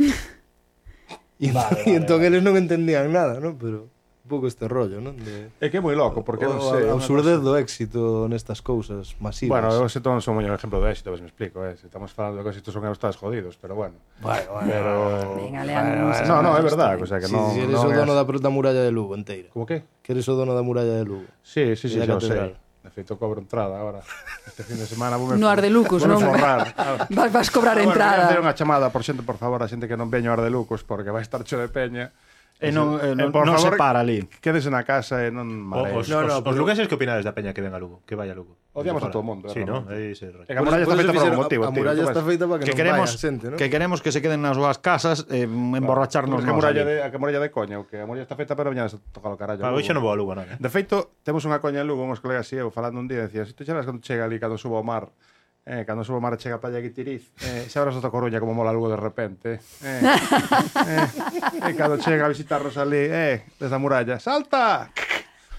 e Vale, e vale, entón eles non entendían nada, non? Pero un pouco este rollo, non? De, É que é moi loco, porque non o sei. é unha absurdez do éxito nestas cousas masivas. Bueno, eu se non son moi un exemplo de éxito, ves me explico, eh? Se estamos falando de que estos son estás jodidos, pero bueno. Vale, vale. Pero Venga, Leandro, non seas No, no, é malo, verdade, está o sea que Si, non si eres non o é dono así. da, da muralla de Lugo inteira. Como que? Que eres o dono da muralla de Lugo. Sí, sí, sí, E xa da o sei. catedral. De feito cobro entrada agora. Este fin de semana vou No Ardelucos, non? forrar. Vas, vas cobrar Bueno, voy a entrada. hacer unha chamada, por xente, por favor, a xente que non veño a Ardelucos porque vai estar cheo de peña. E eh, non- e non- non se para ali. Quédese na casa e non marees. Os, no, no, os, os lugueses que opinades da peña que ven a Lugo, que vaya a Lugo. Odiamos a todo o mundo, Sí, non? realmente. É ese rollo. E que a muralla está Por eso feita por un fixeron- motivo, a- a tío, muralla tú ves. está feita para que, Que non queremos, vaya xente, non? que queremos que se queden nas súas casas eh, emborracharnos Que a nós muralla ali. de, a que a muralla de coña, o que a muralla está feita para mañana se toca o carallo. Pa, Lugo. hoxe non vou a Lugo, non. eh? De feito, temos unha coña en Lugo, uns colegas e eu falando un día, decía, se tú xa verás cando chega ali, cando subo ao mar, eh, cando subo ao mar e chega a playa Guitiriz, eh, xa verás hasta Coruña como mola Lugo de repente. Eh, eh, e cando chega a visitarnos ali, eh, desde a muralla, salta!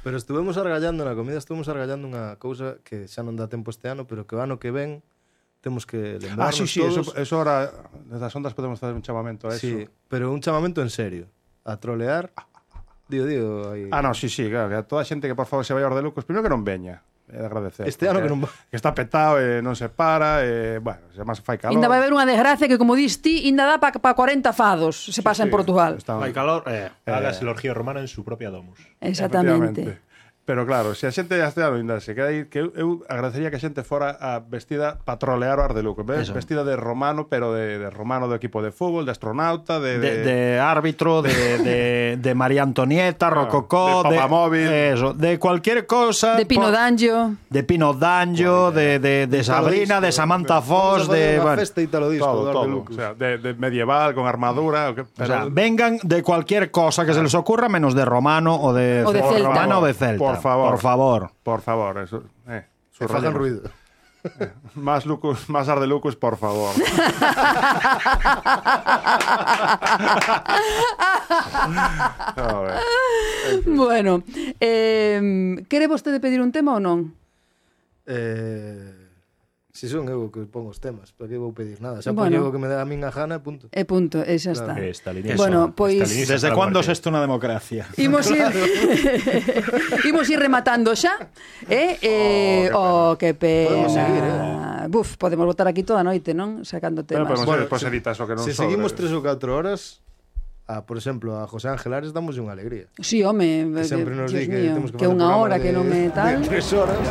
Pero estuvemos argallando na comida, estuvemos argallando unha cousa que xa non dá tempo este ano, pero que o ano que ven temos Ah, que lembrarnos sí, sí, todos. eso, eso ahora, desde as ondas podemos fazer un chamamento a eso. Sí, pero un chamamento en serio, a trolear. Digo, digo, aí. Ah, no, sí, sí, claro, que a toda a xente que por favor se vaya aos de Lucos, primeiro que non veña, é de agradecer. Este ano porque que non va. Que está petado, eh, non se para, eh, bueno, se máis fai calor. Ainda vai haber unha desgracia que, como dis ti, ainda dá para pa 40 fados se pasa en Portugal. Está, Hai calor, eh. Hagas el orgío romano en su propia domus. Exactamente. Efectivamente. Pero claro, se a xente este ano ainda se queda aí, que eu, eu agradecería que a xente fora a vestida para trolear o Ardeluco, ves? Eso. Vestida de romano, pero de, de romano do equipo de fútbol, de astronauta, de... de, de árbitro, de, de, de María Antonieta, Rococó, de Papamóvil. eso, de cualquier cosa. De Pino Ah, por- Danjo. De Pino Danjo, de, de, de Sabrina, de Samantha Foss, de. Una bueno, festa y tal disco, todo, dar de todo. O Lucas. sea, de, de medieval, con armadura... O que, o pero, sea, vengan de cualquier cosa que se les ocurra, menos de romano o de, O de Por celta. romano o de celta. Por favor. Por favor. por favor, eso... Eh, que fagan ruido. Más Lucus, más Ardelucus, por favor. A ver. Bueno, eh, quere vostede pedir un tema ou non? Eh, si son eu que pongo os temas, para que vou pedir nada? Xa Bueno. bueno. poño o que me dá a min a gana e punto. E punto, e xa está. Eh, Estalinista. Bueno, pois- Estalinista ¿Desde para cuándo es muerte. esto una democracia? Imos ir Imos ir rematando xa, eh? eh oh, que pena. Podemos seguir, eh? Buf, podemos votar aquí toda a noite, non? Sacando temas. Bueno, podemos Bueno, bueno, pues se- editas o que non Se sobre. seguimos tres ou catro horas, a, por exemplo, a José Ángel Ares damos unha alegría. Sí, home, eh, Que sempre nos Dios di que mío, temos que que facer un unha programa hora de, que non me tal. De tres horas.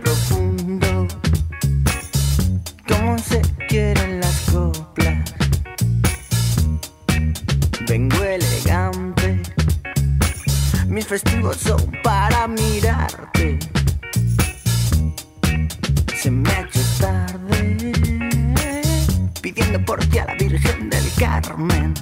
profundo, como se quieren las coplas. Vengo elegante, mis festivos son para mirarte. Se me ha hecho tarde, pidiendo por ti a la Virgen del Carmen.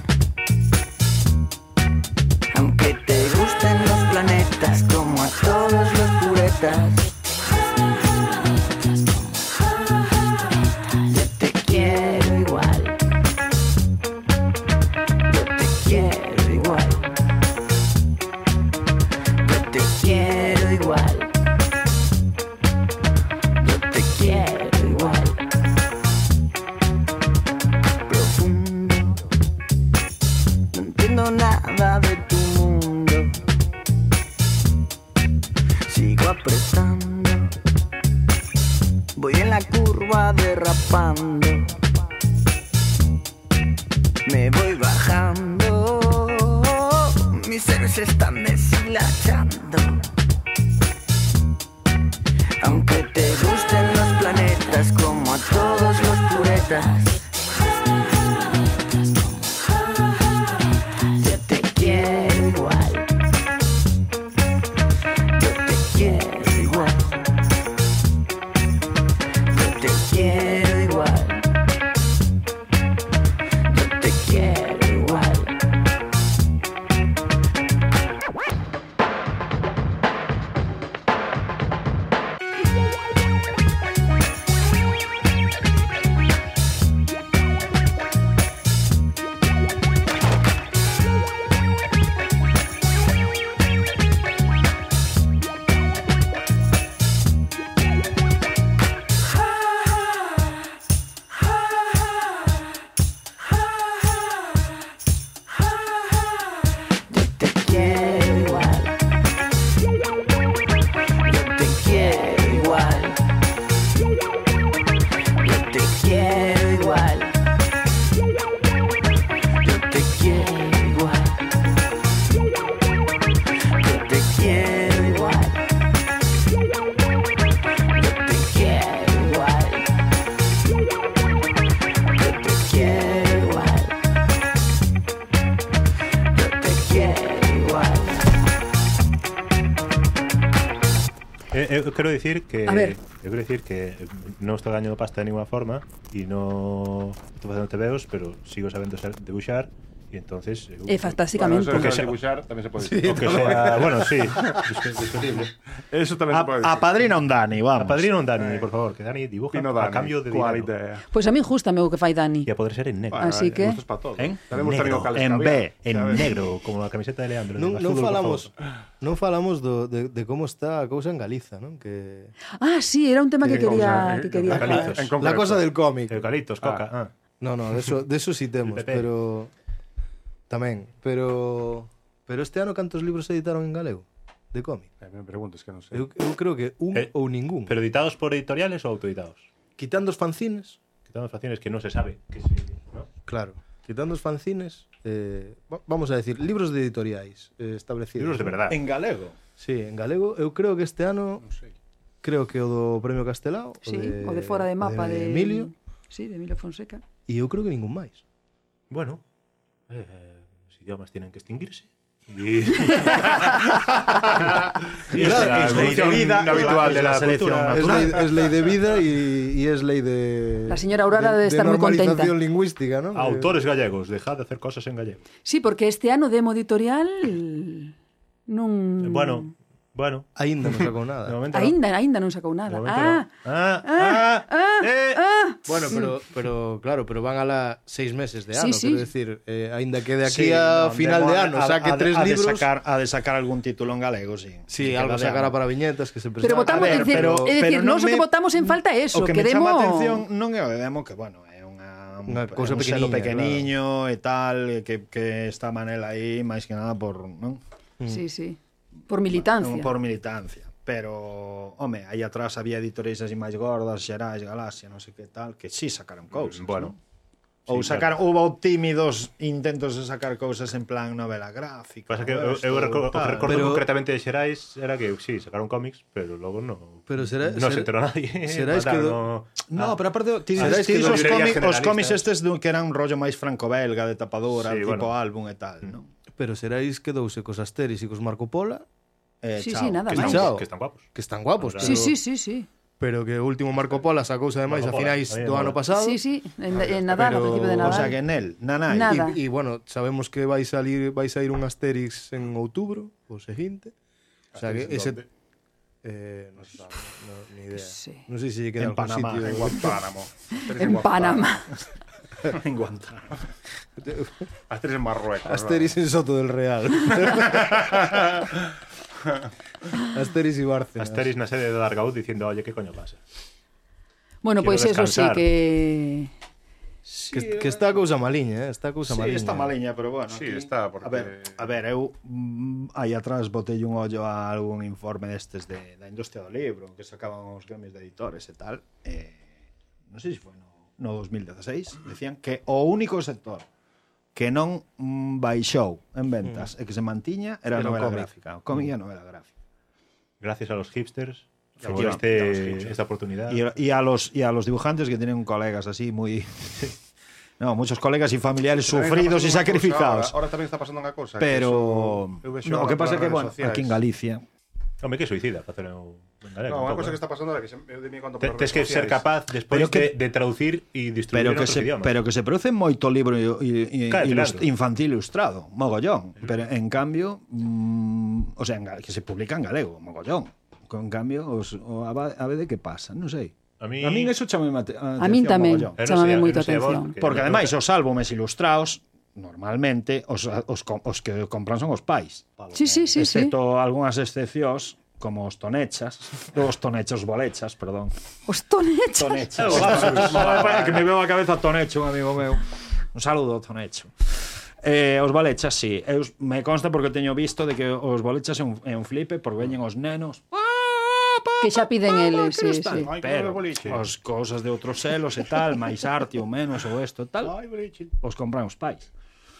se están deshilachando. Aunque te gusten los planetas como a todos los puretas. Yo te quiero igual. Yo te quiero igual. Yo te quiero igual. Yo te quiero igual. quiero igual. Yo te quiero igual. Yo te quiero igual. Yo te quiero igual. Yo te quiero igual. Yo te quiero igual. Yo te quiero igual. Yo te quiero igual. Eh, eh, quiero decir que. A ver. Yo quiero decir que eh, no estou gañando pasta de ninguna forma y no estou facendo tebeos, pero sigo sabendo ser- debuxar e entonces... eh, E fantásticamente. o que Eso de sea- dibuixar tamén se pode Sí, dicir. o que sea, bueno, sí, discu- discutible. Eso Pues tamén se pode dicir. apadrina un Dani, vamos. Apadrina un Dani, por favor, que Dani dibuja Pino a Dani, cambio de cual eh, dinero. Pois a min justa meu que fai Dani. Y a poder ser en negro. Así que- gustos para todos. En Sabemos tamén o negro, cal en escabea, B, en sabes? negro, como la camiseta de Leandro. Non, de non azul, por falamos favor. non falamos do, de, de como está a cousa en Galiza, non? Que Ah, sí, era un tema que Sí, quería Ah, que vamos a- quería. Eucaliptos. falar. La cosa del cómic. Eucaliptos, coca. Ah. No, no, de eso, de eso sí temos, El PP. pero tamén, pero pero este ano cantos libros se editaron en galego de cómic? eh, Me pregunto, es que non sei. Eu, eu creo que un Eh, ou ningún. Pero editados por editoriales o autoeditados? Quitando os fanzines, Quitando facciones que no se sabe. Que sí, ¿no? claro, quitando os fanzines, eh, va- vamos a decir, libros de editoriais eh, establecidos. Libros de ¿no? verdad. En galego. Sí, en galego, eu creo que este ano creo que o do Premio Castelao, Sí, o de fora de o mapa de, Emilio, Sí, de Emilio Fonseca. e eu creo que ningún máis. Bueno, eh, los idiomas tienen que extinguirse. Y... y Claro, ley es ley de vida, habitual es de la, la selección Ah, Es natural. ley, es ley de vida y, y es ley de. La señora Aurora debe estar muy contenta. normalización lingüística, ¿no? Autores gallegos, dejad de hacer cosas en gallego. Sí, porque este ano demo editorial non Bueno, bueno. Ainda no sacó De nada. momento no. aínda aínda non sacou nada. De momento no. Ah, Ah, ah, ah, ah, eh. ah. Bueno, pero, pero claro, pero van a la seis meses de Sí, ano, sí. quiero decir, eh, ainda que de aquí Sí, a no, final de demo- ano a- saque a- tres a de libros. sacar- a de sacar algún título en galego, sí. Sí, Que algo la de sacará ano. para viñetas que se Pero presentan. votamos, ver, é dicir, pero- é dicir, pero non nós o que me- votamos en falta é eso, o que, que, me chama demo- a atención non é o de demo que, bueno, é unha Unha un- cousa é un selo pequeniña, pequeniño e tal, e que, que está Manel aí máis que nada por, non? Sí, sí. Por militancia. Non por militancia, pero home, aí atrás había editoreis así máis gordas, Xerais, Galaxia, non sei que tal, que si sacaron cousas. Mm, Bueno, non? Ou sí, sacaron, houbo tímidos intentos de sacar cousas en plan novela gráfica. Pasa que ou eu, isto, eu recordo, tal. o recordo Pero- concretamente de Xerais era que sí, sacaron cómics, pero logo no Pero será- no será- se enteró nadie. Xerais Mandaron, quedou- No, Ah, pero aparte, ti Ah, dices es que ti no librerías os cómics, os generalistas. cómics estes dun que eran un rollo máis franco-belga de tapadura, Sí, tipo bueno. Mm. álbum e tal, non? Pero seráis quedouse cos Asteris e cos Marco Pola, Eh, Sí, chao, sí, nada que, máis. están, Chao. que están guapos. que están guapos, Claro. pero, Sí, sí, sí, sí. pero que o último Marco Pola sacouse ademais a Marco Pola, finais a mí me do ano mola. pasado. Sí, sí, en, en Nadal, al Pero- principio de Nadal. O sea que nel, nanai. Nada. E, e bueno, sabemos que vai salir vai sair un Asterix en outubro, o seguinte. O sea que ese eh non sei, no, ni idea. Sí. Non sei se lle queda En algún Panamá, sitio. en Guantánamo. en Panamá. en Guantánamo. As tres en Marruecos. Asterix en Soto del Real. Asterix y Bárcenas. Asteris na sede de Dargaud diciendo, oye, ¿qué coño pasa? Bueno, Quiero pois eso sí descansar. que Que, que está a cousa maliña, eh? está a cousa Sí, maliña. está maliña, pero bueno. Sí, está, porque- A ver, a ver eu mm, aí atrás botei un ollo a algún informe destes de, da industria do libro, que sacaban os gremios de editores e tal. Eh, non sei se foi no, no 2016, decían que o único sector que non mm, baixou en ventas mm. e que se mantiña Era era a o novela cómic. gráfica. O cómic e a novela gráfica. Gracias a los hipsters Ya, por ya, ya los este, hipsters. esta oportunidad. Y, y a los, y a los dibujantes que tienen colegas así muy... No, muchos colegas y familiares Tamén está sufridos pasando unha y cousa sacrificados. Ahora, ahora tamén está pasando unha cousa. Pero no, o que pasa é que, bueno, aquí en Galicia Home, que suicida facelo en galego. No, un unha pouco, cousa que eh. está pasando ahora que se, eu de mí cuando Te- Tes que ser capaz despois Pero que- de, de traducir e distribuir pero en que outros se idiomas. pero que se produce moito libro i- i- Claro, ilust- claro. infantil ilustrado, mogollón, pero en cambio, mm, o sea, en gal- que se publica en galego, mogollón. Con cambio, os, o a, va- a ver de que pasa, non sei. A mí, a min eso chamame mate, A min tamén, chámame moito a atención. Porque ademais os álbumes ilustrados normalmente os, os, com- os que compran son os pais. Sí, sí, sí, sí. excepto algunhas excepcións como os tonechas, os tonechos bolechas, perdón. Os tonechas. Tonecho. que Oh, me veo a cabeza Tonecho, un amigo meu. Un saludo, Tonecho. Eh, os balechas, sí. Eu, me consta porque teño visto de que os balechas é un, é un flipe porque veñen os nenos. Que xa piden eles, sí, sí. Ay, pero as cousas de outros selos e tal, máis arte ou menos ou isto e tal, os compran os pais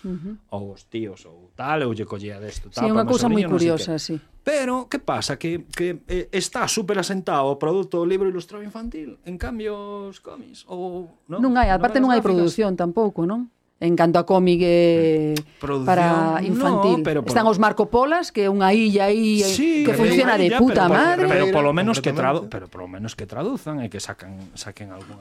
Ujú. ou os tíos ou tal, ou lle collía desto. Sí, é unha cousa moi curiosa, sí. Pero, que pasa? Que, que eh, está super asentado o produto o libro ilustrado infantil. En cambio, os cómics, ou... Non, Non hai, aparte non hai produción tampouco, non? En canto a cómic eh, Produción, para infantil. no, pero por- Están os Marco Polas, que é unha illa aí eh, que funciona de puta pero, madre. Pero polo menos que tradu pero polo menos que traduzan e que sacan saquen alguna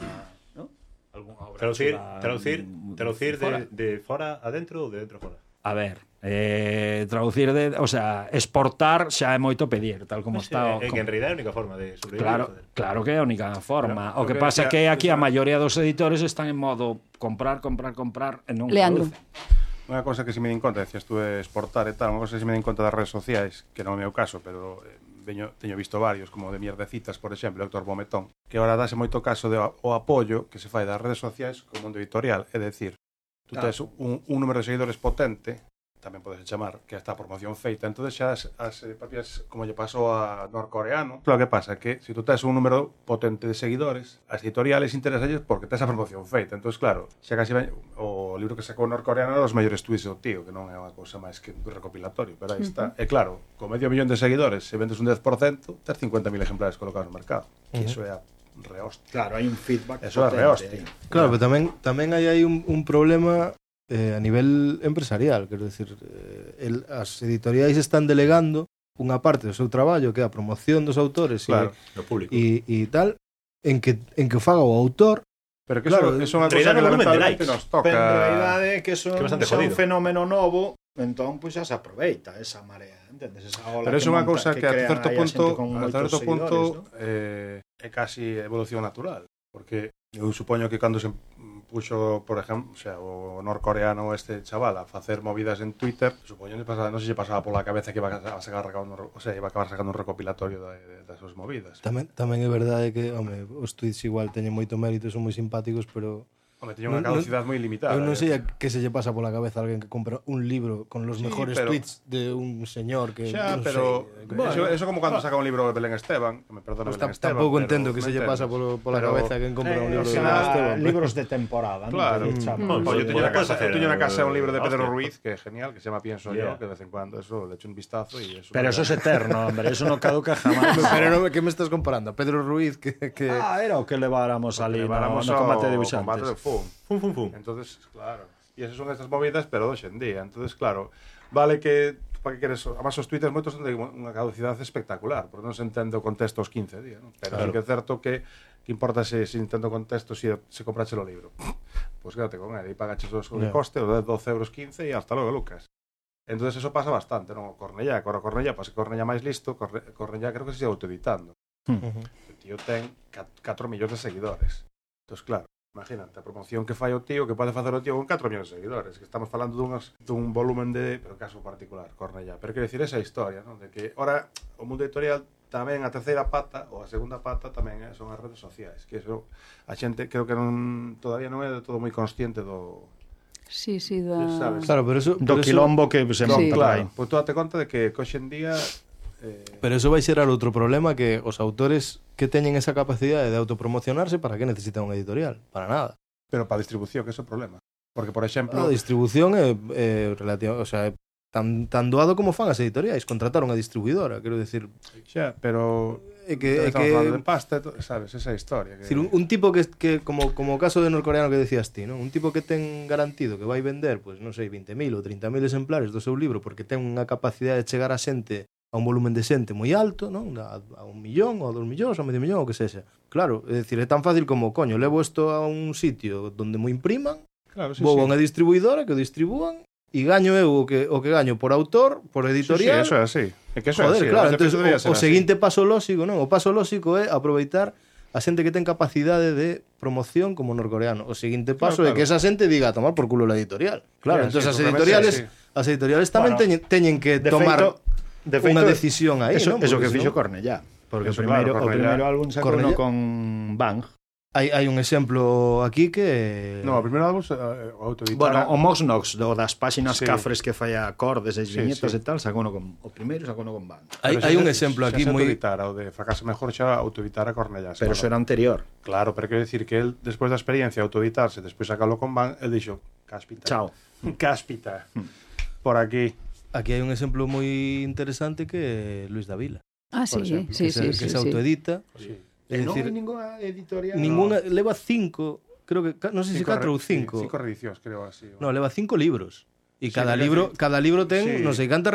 traducir, chula, traducir, traducir fora. de, de fora adentro ou de dentro a fora. A ver, eh, traducir de, o sea, exportar xa é moito pedir, tal como está o, eh, É que en realidad é a única forma de sobrevivir. Claro, joder. claro que é a única forma. Claro, o que creo pasa é que que a- aquí a maioría dos editores están en modo comprar, comprar, comprar e non Leandro. producen. Unha cousa que se me din conta, decías tú de exportar e tal, unha cousa que se me din conta das redes sociais, que non é o meu caso, pero eh, veño, teño visto varios, como de mierdecitas, por exemplo, Héctor Bometón, que ahora dáse moito caso de o apoio que se fai das redes sociais co mundo editorial, é decir, tú Claro. tes un, un número de seguidores potente, tamén podes chamar, que está a promoción feita, entonces xa as, as eh, propias, como lle pasou a norcoreano, claro que pasa, que se tú tes un número potente de seguidores, as editoriales interesalles porque tes a promoción feita, entonces claro, xa casi ven, o libro que sacou o norcoreano era os maiores tweets do tío, que non é unha cousa máis que un recopilatorio, pero aí está. Ujú. E claro, con medio millón de seguidores, se vendes un 10%, tes 50.000 exemplares colocados no mercado, que iso Ujú. é a rehostia. Claro, hai un feedback eh. Eso é a potente, rehostia. Claro, pero tamén tamén hai aí un, un problema eh, a nivel empresarial, quero decir, eh, el, as editoriais están delegando unha parte do seu traballo que é a promoción dos autores Claro, e, no público. E, e tal en que en que o faga o autor. Pero que claro, eso- eso é unha cousa que lamentablemente nos toca. Pero en realidade é que eso Que é bastante xa é un jodido. fenómeno novo, entón pois xa se aproveita esa marea, entendes? Esa ola Pero que é unha monta- cousa que, crea a certo aí a punto, xente con a moitos certo punto seguidores, ¿no? eh, é casi evolución natural, porque eu supoño que cando se puxo, por exemplo, o, sea, o norcoreano este chaval a facer movidas en Twitter, supoño que pasaba, non sei se lle pasaba pola cabeza que iba a sacar un, o sea, iba a acabar sacando un recopilatorio da- de- das súas movidas. Tamén tamén é verdade que, home, os tweets igual teñen moito mérito, son moi simpáticos, pero Home, teñen unha caducidade moi limitada, Eu non eh. sei a que se lle pasa pola cabeza a alguén que compra un libro con los Sí, mejores pero- tweets de un señor que Xa, non pero sei, bueno, eso, eso como cando saca un libro de Belén Esteban, que me perdona Pues Belén tam- Esteban. tampouco pero entendo que me se lle entendes. pasa polo- pola Pero- cabeza que compra un libro de o sea, Belén Esteban. libros de temporada, non? Claro. Entonces, chapa. Mm. Oye, yo teño na Puedes casa, hacer teño na casa un libro de Pedro hostia. Ruiz que é genial, que se llama Pienso Yeah. yo, que de vez en cuando eso le echo un vistazo y eso. Pero eso es eterno, hombre, eso no caduca jamás. Pero no, ¿qué me estás comparando? ¿A Pedro Ruiz? Que, que... Ah, era o que leváramos ali no, Paramos no ao combate de dibuixantes. combate de fum. Fum, fum, fum. Entonces, claro. E esas son estas movidas, pero de hoxe en día. Entonces, claro, vale que para que queres, además os twitters moitos son de unha caducidade espectacular, porque non se entende o contexto os 15 días, non? Pero claro. Claro. sí que é certo que que importa se, se entendo o contexto se, se comprache o libro. Pois pues quédate con ele e pagaches os yeah. Ya. coste, os 12 euros 15 e hasta logo, Lucas. Entonces eso pasa bastante, non? O Cornellá, agora Cornellá, pois Cornellá máis listo, Corre- Cornellá creo que se autoeditando. O tío ten 4 millóns de seguidores. Entón, claro, imagínate a promoción que fai o tío, que pode facer o tío con 4 millóns de seguidores, que estamos falando dunhas, dun volumen de, pero caso particular, Cornellá. Pero quero dicir esa historia, non? De que ora o mundo editorial tamén a terceira pata ou a segunda pata tamén eh, son as redes sociais, que eso a xente creo que non todavía non é de todo moi consciente do, Sí, sí, da... sabes? Claro, pero eso- Do pero eso- quilombo que Sí. se monta por aí. Claro, pois tú date conta de que coxe en día eh, Pero eso vai xerar outro problema que os autores que teñen esa capacidade de autopromocionarse para que necesitan un editorial? Para nada. Pero para distribución, que é o problema. Porque, por exemplo... A distribución é, é relativa, o sea, é tan, tan doado como fan as editoriais. Contrataron a distribuidora, quero decir... Xa, pero... É que... Eh, É estamos falando de que pasta, e to- sabes, esa historia. Que... Decir, un, un tipo que, que como, como o caso de norcoreano que decías ti, non? un tipo que ten garantido que vai vender, pois pues, non sei, 20.000 ou 30.000 exemplares do seu libro porque ten unha capacidade de chegar a xente a un volumen de xente moi alto, non? A, a un millón, ou a dos millóns, ou a medio millón, ou que sexa. Claro, é dicir, é tan fácil como, coño, levo isto a un sitio donde mo impriman, Claro, sí, vou sí. a unha distribuidora que o distribúan, e gaño eu o que, o que gaño por autor, por Sí, editorial, sí, eso é así. É que eso é Joder, así. claro, Realmente entonces, debería o, ser o así. seguinte paso lóxico, non? O paso lóxico é aproveitar a xente que ten capacidade de promoción como norcoreano. O seguinte Claro, paso claro, claro. é claro. que esa xente diga a tomar por culo la editorial. Claro, Sí, sí, pues entonces as seguramente editoriales é así. as editoriales Bueno, tamén teñen, teñen que de tomar feito- de feito, unha decisión aí, eso- non? eso Porque que fixo senón- Cornellá. Porque Eso, o primeiro, claro, o Cornellá. primeiro álbum sacou Cornellá. uno con Bang. Hai hai un exemplo aquí que No, o primeiro álbum eh, o autoeditara. Bueno, o Mox Nox, do das páxinas Sí. sí. cafres que fai acordes e Sí, viñetas sí. e tal, sacou uno con o primeiro sacou uno con Bang. Hai- Pero hai xa un se- exemplo xa aquí se moi- autoeditara, o de fracaso mejor xa autoeditara Cornellá. Pero eso era anterior. Claro, pero quero dicir que el despois da experiencia de autoeditarse, despois sacalo con van, el dixo, cáspita. Chao. Cáspita. Por aquí. aquí hai un exemplo moi interesante que é Luis Davila. Ah, por sí, exemplo, sí, que se, sí, que sí, se sí. autoedita. Sí. É dicir, ninguna editorial. ninguna leva cinco, creo que ca- non sei se Cinco re- 4 ou sí, 5. Cinco reedicións, creo así. o- No, leva cinco libros. E Sí, cada creo que libro, sí. cada libro ten Sí, non sei cantas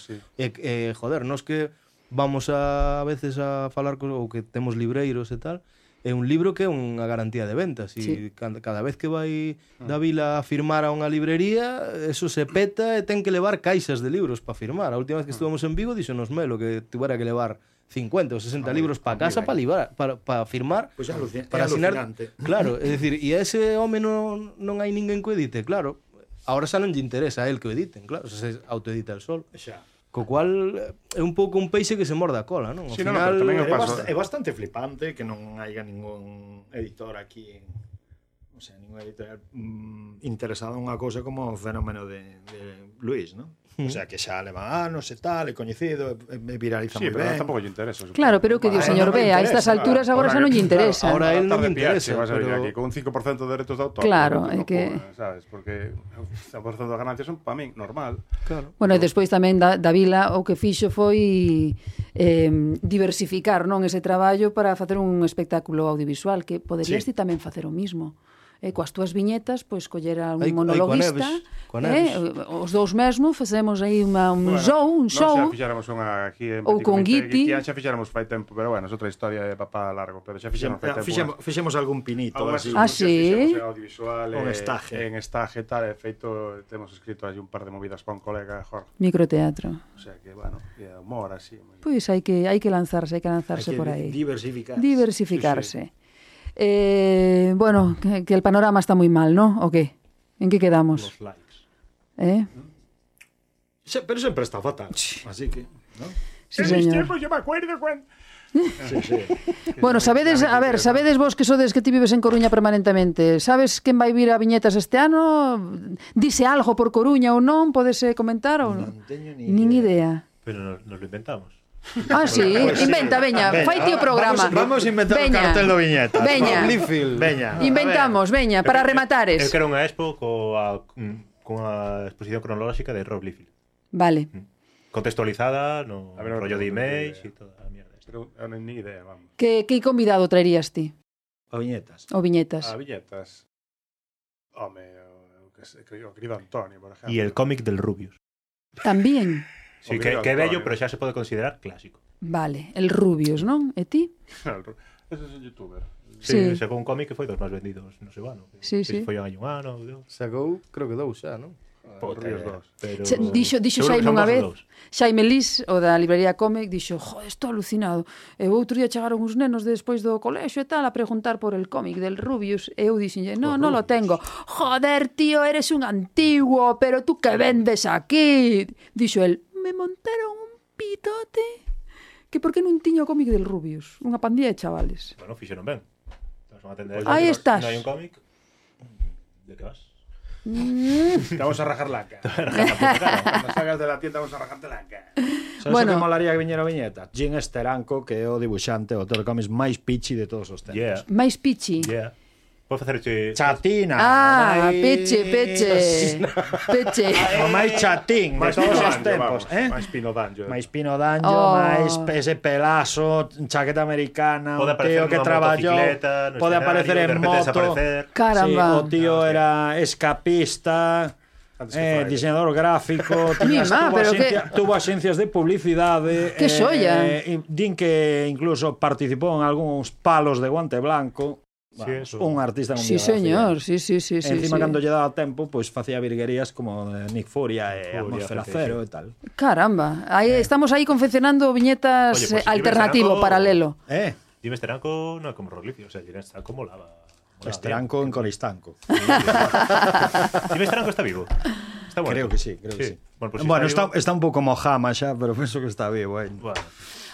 reedicións, sí. E eh, joder, nos que vamos a, a veces a falar co, ou que temos libreiros e tal, é un libro que é unha garantía de ventas e sí. cada, cada vez que vai Ah. da vila a firmar a unha librería eso se peta e ten que levar caixas de libros para firmar. A última vez que Ah. estuvemos en Vigo dixonos Melo que tuvera que levar 50 ou 60 Ah, libros para casa para para pa firmar Pois é alucin- é para asinar alucinante. Claro, é dicir, e a ese home non, non hai ninguén que o edite, claro. Ahora xa non lle interesa a el que o editen, claro, xa se autoedita el sol. Xa. Co cual eh, é un pouco un peixe que se morda a cola, non? Ao Sí, no, no, final, pero tamén É, Eu paso- bast é bastante flipante que non haiga ningún editor aquí en o sea, ningún editorial mm, interesado en unha cousa como o fenómeno de, de Luis, ¿no? O sea, que xa leva anos e tal, é coñecido, e, e viraliza Sí, moi pero ben. tampouco lle interesa. Claro, pero que di o Ah, señor non me B, a interesa, estas alturas agora xa non lle que- interesa. Ahora a él non tarde me piache, interesa, vas a venir pero- aquí con un 5% de derechos de autor. Claro, é non te que- preocupes, Sabes, porque o 5% das ganancias son para min normal. Claro. Bueno, e despois tamén da, da vila o que fixo foi eh, diversificar non ese traballo para facer un espectáculo audiovisual que poderías sí. ti tamén facer o mismo. Eh, coas túas viñetas, pois coller a un Ai, ai, coa monologuista, Neves, coa eh, Neves. os dous mesmo facemos aí unha, un bueno, show, un show. Non xa fixáramos unha aquí en Ou con Guiti. Guiti. Xa fixáramos fai tempo, pero bueno, é outra historia de papá largo, pero xa fixáramos fai Fixemos, tempo. fixemos, fixemos algún pinito, Algo así, así. Ah, que sí? fixemos en audiovisual, Un eh, estaje. En estaje e tal, e de feito temos escrito aí un par de movidas con colega Jorge. Microteatro. O sea que, bueno, e é humor así. moi- Pois hai que hai que lanzarse, hai que lanzarse Hay que por aí. diversificar. Diversificarse. Eh, bueno, que, que el panorama está moi mal, ¿no? O que? En que quedamos? Los likes. Eh? Se- Pero sempre está fatal. Así que, ¿no? Sí, señor. yo me acuerdo cuando... Sí, sí. Bueno, sabedes, a ver, sabedes vos que sodes que ti vives en Coruña permanentemente. Sabes quen vai vir a Viñetas este ano? Dice algo por Coruña ou non? Podes eh, comentar ou non? teño ni Nin idea. Pero nos, nos lo inventamos. Ah, sí, Pues sí. inventa, veña, Veña, fai tío vamos- programa. Vamos, a inventar Veña. un cartel do viñeta. Veña. Veña. Inventamos, veña, para Eu rematares. quero unha expo coa, cunha exposición cronolóxica de Rob Liefeld. Vale. Contextualizada no A ver, rollo de no tengo emails idea. e toda a mierda. esta. Pero non ni idea, vamos. Que, que convidado traerías ti? O viñetas. O Viñetas. A Ah. viñetas. Home, o, o, que se- que- o querido Antonio, por ejemplo. E el cómic del Rubius. También. O Sí, que, querido que é Antonio. bello, pero xa se pode considerar clásico. Vale, el Rubius, non? E ti? Ese es un youtuber. Sí. Sacou un cómic que foi dos máis vendidos no seu ano. Sí, sí. Que Foi hai un ano, deu. Sacou, creo que dous xa, non? Por Ríos 2. Pero... Che- Dixo, dixo Seguro que Xaime son unha vos vez, dous. Xaime Lis, o da librería Comic, dixo, jo, estou alucinado. E o outro día chegaron uns nenos despois do colexo e tal a preguntar por el cómic del Rubius. E eu dixenlle, no, non lo tengo. Joder, tío, eres un antiguo, pero tú que vendes aquí. Dixo el, me montaron un pitote que por que non tiño o cómic del Rubius? Unha pandilla de chavales. Bueno, fixeron ben. Entón, son a tendencia. Aí Non hai- estás. Non hai un cómic. De que vas? Te vamos a rajar la cara. Cuando salgas de la tienda vamos a rajarte la cara. Sabes Bueno. bueno. que molaría que viñera o viñeta? Jim Esteranco, que é o dibuixante, o telecómics máis pichi de todos os tempos. Yeah, Mais pichi. yeah. Vou facerche Chatina. Ah, vai- peche, peche. Peche. O máis chatín de Máis todos os pino tempos, danllo, vamos, eh? máis pino danllo. Máis pino danllo, Oh. máis ese pelazo, chaqueta americana, Pode o tío aparecer que nunha traballou, motocicleta, no pode escenario, aparecer de en repente moto. desaparecer. Caramba. Sí, o tío era escapista, eh, diseñador gráfico, tiñas, Mima, tuvo, pero axencia- que- tuvo axencias de publicidade. Que xoia. eh, e din que incluso participou en algúns palos de guante blanco. Vamos, eso. un artista Sí, mundial. señor, sí, sí, sí, sí. Encima sí. cando lle daba tempo, pois facía virguerías como de Nick Furia e Furia, Atmósfera gente, Cero sí. e tal. Caramba, aí estamos aí confeccionando viñetas Oye, pues, eh, alternativo Iberseraco- paralelo. Eh, Dime Steranco no é como Roglic, o sea, Dime Steranco molaba. molaba Estranco en Coristanco. Ah, bien. Dime Steranco está vivo. Está bueno. Creo que sí, creo que sí. Bueno, pues si bueno, está está, vivo- está un pouco mojama xa, pero penso que está vivo, eh. Bueno,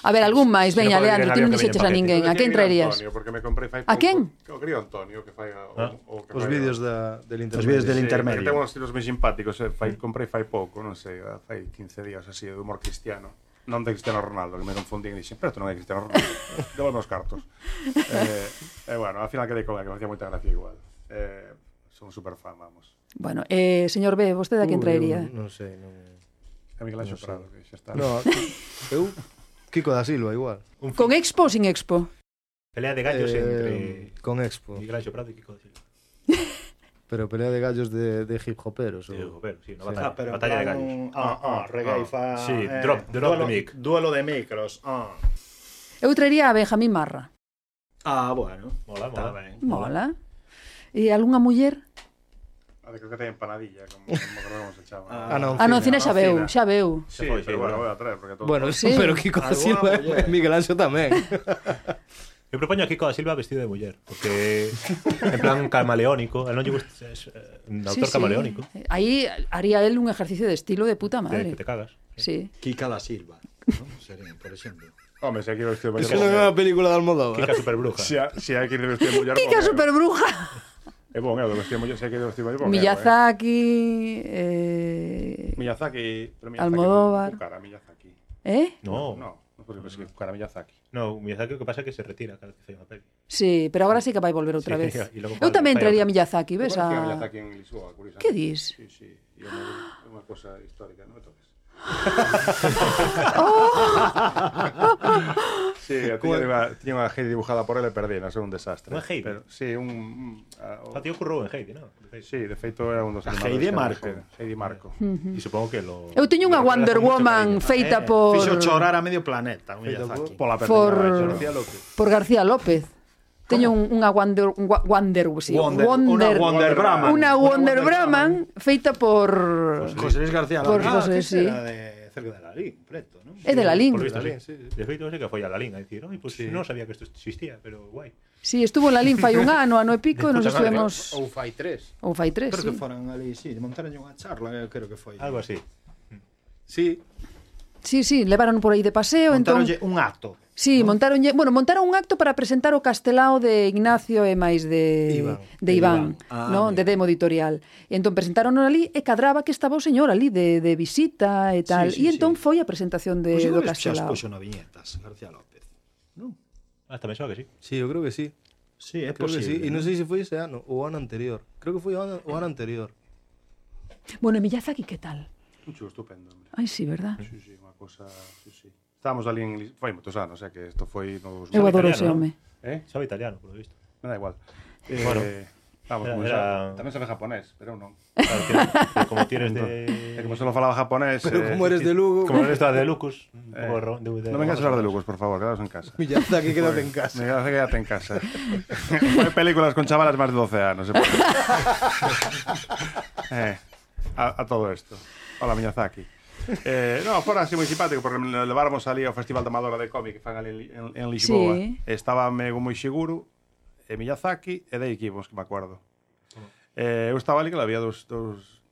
A ver, algún máis, Si non veña, pode Leandro, vir ti non Javier, que dixeches a veña ninguén, a quen traerías? Antonio, porque me comprei A fai pouco- quen? O crío Antonio, que fai... O, Ah. o que fai- Os vídeos da, del intermedio. Os vídeos Sí, del intermedio. Que ten uns estilos moi simpáticos, eh, fai, comprei fai pouco, non sei, ah, fai 15 días así de humor cristiano. Non de Cristiano Ronaldo, que me confundín e dixen, pero isto non é Cristiano Ronaldo, devolve os cartos. E eh, eh, bueno, al final quedei con ela, que me facía moita gracia igual. Eh, son super fan, vamos. Bueno, eh, señor B, vostede a quen Ui, traería? eu Non sei, non... E Miguel Anxo Prado, que xa está. No, eu... Kiko da Silva, igual. Eh, un Con fin. expo ou sin expo? pelea de Eh, gallos entre Con Expo. oh. Miguel Anxo Prado e Kiko de Silva. Pero pelea de gallos de, de hip hoperos. Sí, Ou... pero sí, una Sí. batalla, Ah, batalla de gallos. ah, Ah, Sí, eh, drop, drop duelo, the mic. Duelo de micros. Ah, Eu traería a Benjamín Marra. ah bueno. Mola, Está mola. ben. Mola. E algunha muller? A Ah, de creo que ten empanadilla, como, como creo que se chama. Ah, non. Ah, non, Cine xa Cine. veu, xa veu. Sí, Se foi, sí, pero bueno, verdad. voy a traer, porque todo... Bueno, sí. sí. pero Kiko da Alguna Silva muller. e Miguel Anxo tamén. Eu propoño a Kiko da Silva vestido de muller, porque en plan camaleónico, a non lle gusta es, eh, un autor camaleónico, Aí haría él un ejercicio de estilo de puta de, madre. que te cagas. Ah, Sí. Kika da Silva. ¿no? Sería, por ejemplo. Hombre, si aquí lo estoy Iso non é unha película de Almodóvar. Kika superbruja. Si, ha- si hai que ir vestir muller... Kika Superbruja. É bon, é o de vestir muller, si hai que ir vestir muller... bon, é, eh. Miyazaki... Eh... Miyazaki... pero Miyazaki Almodóvar. non Cara, Miyazaki. eh? No, no, No, non porque pensei que cara Miyazaki. no, Miyazaki o que pasa é que se retira cada vez que fai unha peli. Sí, pero agora sí que vai volver outra Sí, vez. e logo Eu vai- tamén vai traería a outra. Miyazaki, ves? Ah, Eu conocí a A... Miyazaki en Lisboa, curiosamente. Que dis? Sí, sí. E é unha- é unha cosa histórica, non me toques. sí, tiña, unha, tiña unha hate dibujada por ele e perdí, non sei, un desastre. Unha hate? Pero, sí, un... un a- o- O Ah, tío currou en Heidi, non? Sí, de feito era un dos A animadores Heidi que Marco. era- Heidi Marco. E supongo que lo... Eu teño unha lo- Wonder lo- Woman Eh, feita por... Fixo chorar a medio planeta. Un Feito Miyazaki. por- Pola por- García López. por García López. Teño un, unha Wonder, un wa- Wonder, sí, Wonder- una Wonder Brahman. Una Una Wonder Wonder Brahman feita por José Luis García Por López. José, Ah, que sí. Eh, Era de cerca de Lalín, preto, ¿no? é de la Por lo Lin. visto, sí. Lalín, sí, sí. De feito, ese que foi a Lalín a dicir, oi, pues sí. non sabía que isto existía, pero guai. Si, sí, estuvo en la Lin fai un ano, ano e pico, e nos puta madre. estuvemos Ou fai tres. ou fai tres, Creo sí. que foran ali, sí, montaron unha charla, eh, eu creo que foi. Algo así. Sí, Sí, sí, levaron por aí de paseo, entón Montaronlle un acto. Sí, montaron, bueno, montaron un acto para presentar o castelao de Ignacio e máis de Iván. de Iván, Iván. Ah, no, de mira. Demo Editorial. E entón presentaron ali e cadraba que estaba o señor ali de, de visita e tal. Sí, sí, e entón sí. foi a presentación de Pois do igual xa os castelao. puxo na viñetas, García López. Non? Ah, Hasta me soa que sí. sí, eu creo que sí. Sí, é Creo que sí. posible. E non sei se foi ese ano ou o ano anterior. Creo que foi o ano, o ano anterior. Bueno, e Miyazaki que tal? Un chulo estupendo, hombre. Ai, sí, verdad? Sí, sí, unha cosa... Sí, sí. Estábamos ali en... Lis- Foi moitos anos, o sea que isto foi nos... Eu adoro italiano, ese non? home. Eh? Sabe italiano, por lo visto. Me da igual. Eh, Bueno. Vamos, Era- como era- xa- Tamén sabe japonés, pero eu non. Claro, que, que como tienes É de... como solo falaba japonés... Pero como eres de Lugo, Como eres toda de Lucus, un pouco Eh, ro- de, de, non vengas a hablar de Lucas, por favor, quedaos en casa. Miyazaki quédate en casa. Me quedas quédate en casa. Pone películas con chavalas más de 12 años. se pone. eh, a, a todo esto. Hola, Miyazaki. Eh, no, fora así moi simpático porque me leváramos ali ao Festival da Amadora de Cómic que fan ali en, Li- en, en Lisboa. Sí. Sí. Estaba Mego moi seguro, e Miyazaki e de equipos que me acuerdo. Eh, eu estaba ali que había dos, dos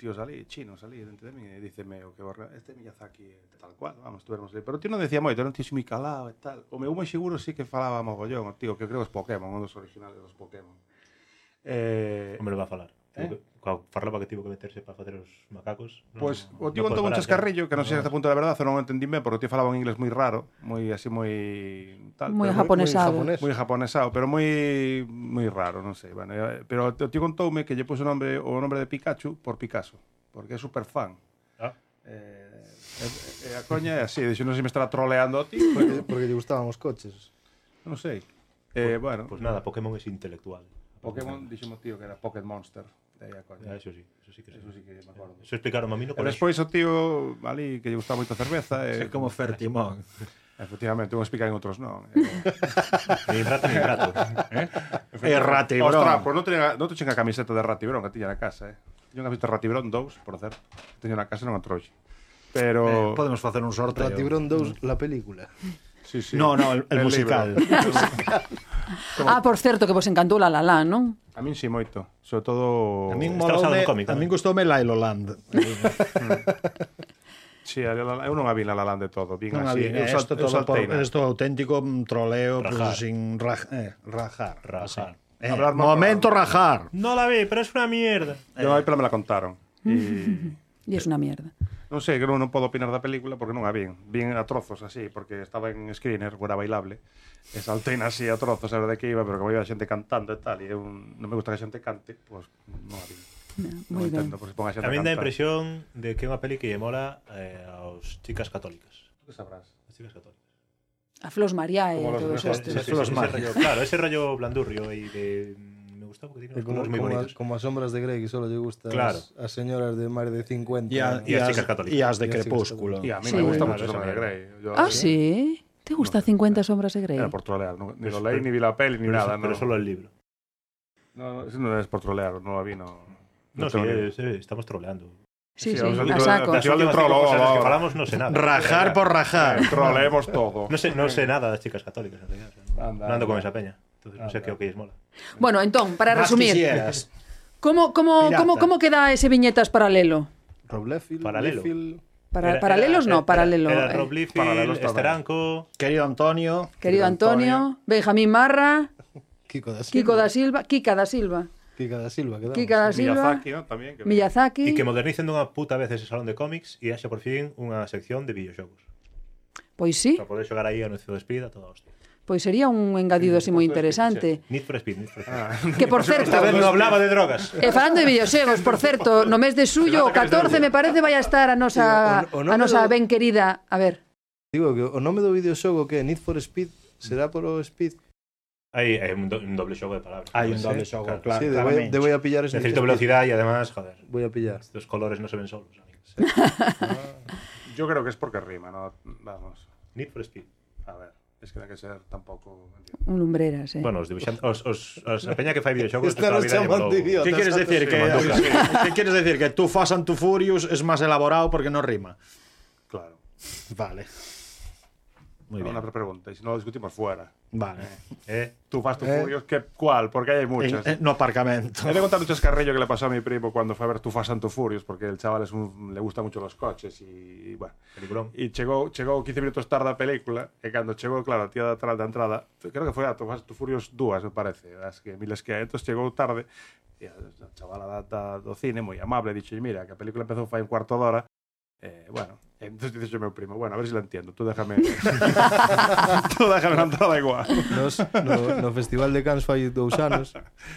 tíos ali, chinos ali, dentro de mí, e díceme o que borra, este Miyazaki é tal cual, vamos, tuvermos ali. Pero o tío non decía moito, era un tío moi calado e tal. O meu moi seguro sí que falaba mogollón, o tío, que creo que é Pokémon, un dos originales dos Pokémon. Eh, Hombre, va a falar. Eh? Coa farlopa que tivo que meterse para facer os macacos. non- Pois o tío non contou un podes parar, chascarrillo ya. que non sei hasta punto da verdade, non o entendín ben, porque o tío falaba un inglés moi raro, moi así moi tal, Moi pero japonesado. moi, moi japonesado, pero moi moi raro, non sei, bueno, eh, pero o tío contoume que lle puso o nome o nome de Pikachu por Picasso, porque é super fan. Ah. Eh, eh, eh, a coña é así, dixo, non sei se me estará troleando o tío, porque, ¿eh? porque lle gustaban os coches. Non sei. Eh, bueno, Pois nada, Pokémon é intelectual. Pokémon dixo tío que era Pocket Monster. De aí a coña. Ah, eso sí, eso sí que, eso sí que me acordo. Eso explicaron a mí no E despois o tío ali que lle gustaba moito a cerveza e É como Fertimón. Efectivamente, uns explican outros non. Nin rato, nin rato. Eh? E Rata e Brón. Os trapos, non teñen, non teñen a camiseta de Ratibrón que tiña na casa, eh. Yo unha vista Ratibrón 2, por certo. que Teño na casa e non a trouxe. Pero Eh, podemos facer un sorteo. Ratibrón 2, la película. Sí, sí. No, no, el- el musical. Ah, por certo, que vos encantou La La Land, non? A min si moito, sobre todo A min Está basado moloume, nun cómic, a min gustoume Lailo Land. Sí, a La La- eu non a vi La La Land de todo, vin Non así. había, eu eh, sal- esto eu todo por, salteina. esto auténtico mm, troleo, Rajar. pues, sin raj, eh, rajar. Rajar. Eh, momento rajar. No la vi, pero es una mierda. Yo eh. aí pero me la contaron. E E é unha mierda. Non sei, que non, non podo opinar da película porque non a vin. Vin a trozos así, porque estaba en screener, era bailable. E salteina así a trozos, a verdade que iba, pero como iba a xente cantando e tal, e eu non me gusta que a xente cante, pois non a vin. moi non ben. entendo, porque se ponga a xente A a mí da cantar. impresión de que é unha peli que lle mola eh, aos chicas católicas. Que sabrás? As chicas católicas. A Flos María e Como los todo eso. mejores, sí, sí, sí, ese rollo- Claro, ese rollo blandurrio aí de... Me gusta porque tiene E unos Como, colores moi como, a, bonitos. como as sombras de Grey que solo lle gustan Claro. as, as señoras de máis de 50 E a- e as chicas católicas. E as de E as chicas Crepúsculo. E a católicas. mí Sí. me gusta Claro, moito esa Sombra de mierda. Grey. Yo, Ah, sí? Te gusta 50 sombras de Grey? Era eh, por trolear, non, ni lo leí, ni vi la peli, ni Pero- nada. pero no. solo el libro. No, no, eso non es por trolear, non la vi, no. No, sí, tengo ni- eh, sí, estamos troleando. Sí, Sí, sí, os a últimos- saco. Las últimas cinco Trolo, cosas que ahora. falamos no sé nada. Eh, Rajar por rajar. Ah, Troleemos todo. No sé, no sé nada das chicas católicas, en realidad. O sea, no- Anda, no ando con anda. esa peña. Entonces no sé qué o que lles mola. Bueno, entón, para resumir. quisieras. Como como Pirata. como como queda ese viñetas paralelo? Rob Liefeld, Paralelo. Liefeld. Para- paralelos no, paralelo, Era, eh. Rob Liefeld, Paralelos tamén. Esteranco... Querido Antonio. Querido Antonio, Benjamín Marra, Kiko da Silva. Kiko da Silva, Kika da Silva, Kika da Silva, quedamos. Kika da Silva, Miyazaki, ¿no? También. que- Miyazaki. E que modernicen dunha puta vez ese salón de cómics e haxa por fin unha sección de videoxogos. Pois sí, Para poder xogar aí a Need for Speed a toda hostia. pois sería un engadido así moi interesante. Need for Speed, Need for Speed. Ah. Que, por certo- Esta vez non hablaba de drogas. E falando de videoxegos, por certo, no mes de suyo, o 14 me parece vai a estar a nosa Tío, o- a o nome nosa do- ben querida, a ver. Digo que o nome do videoxogo que é Need for Speed será por o Speed. Aí hai un, do, un doble xogo de palabras. Hai un Non sei, doble xogo, claro. claro, sí, de claramente. voy, de voy a pillar ese Need for Necesito Speed. velocidad e además, joder, Voy a pillar. estos colores no se ven solos, amigos. Yo creo que es porque rima, ¿no? Vamos. Need for Speed. A ver, es que no hay que ser tampoco. Un lumbreras, eh. Bueno, os dibuixantes, os, os, os a peña que fai videoxogos de Esta toda a nos vida lle chaman molou. de idiotas. ¿Qué quieres decir? sí, Que, Manduca. ¿Qué quieres decir? Que tú Fast and Too Furious es más elaborado porque no rima. Claro. Vale. Muy bien. Una pregunta, y si no lo discutimos fuera. Vale. Eh, Tú Fast and Eh. Furious, ¿qué, ¿cuál? Porque hay muchas. En- eh, en- eh, no aparcamento. He de contar un chascarrillo que le pasó a mi primo cuando fue a ver Tu Fast and Too Furious, porque el chaval es un, le gusta mucho los coches y, bueno. Peliculón. E chegou, chegou 15 minutos tarde a película E cando chegou, claro, a tía da, tra- da entrada Creo que foi a Tomás Tu Furios 2, me parece As que miles que hai Entón chegou tarde E a, a chavala da, da, do cine, moi amable Dixo, mira, que a película empezou fai un cuarto de hora Eh, bueno, entón dixo meu primo Bueno, a ver se si la entiendo, tú déjame Tú déjame la entrada igual Nos, no, no Festival de Cans fai dous anos,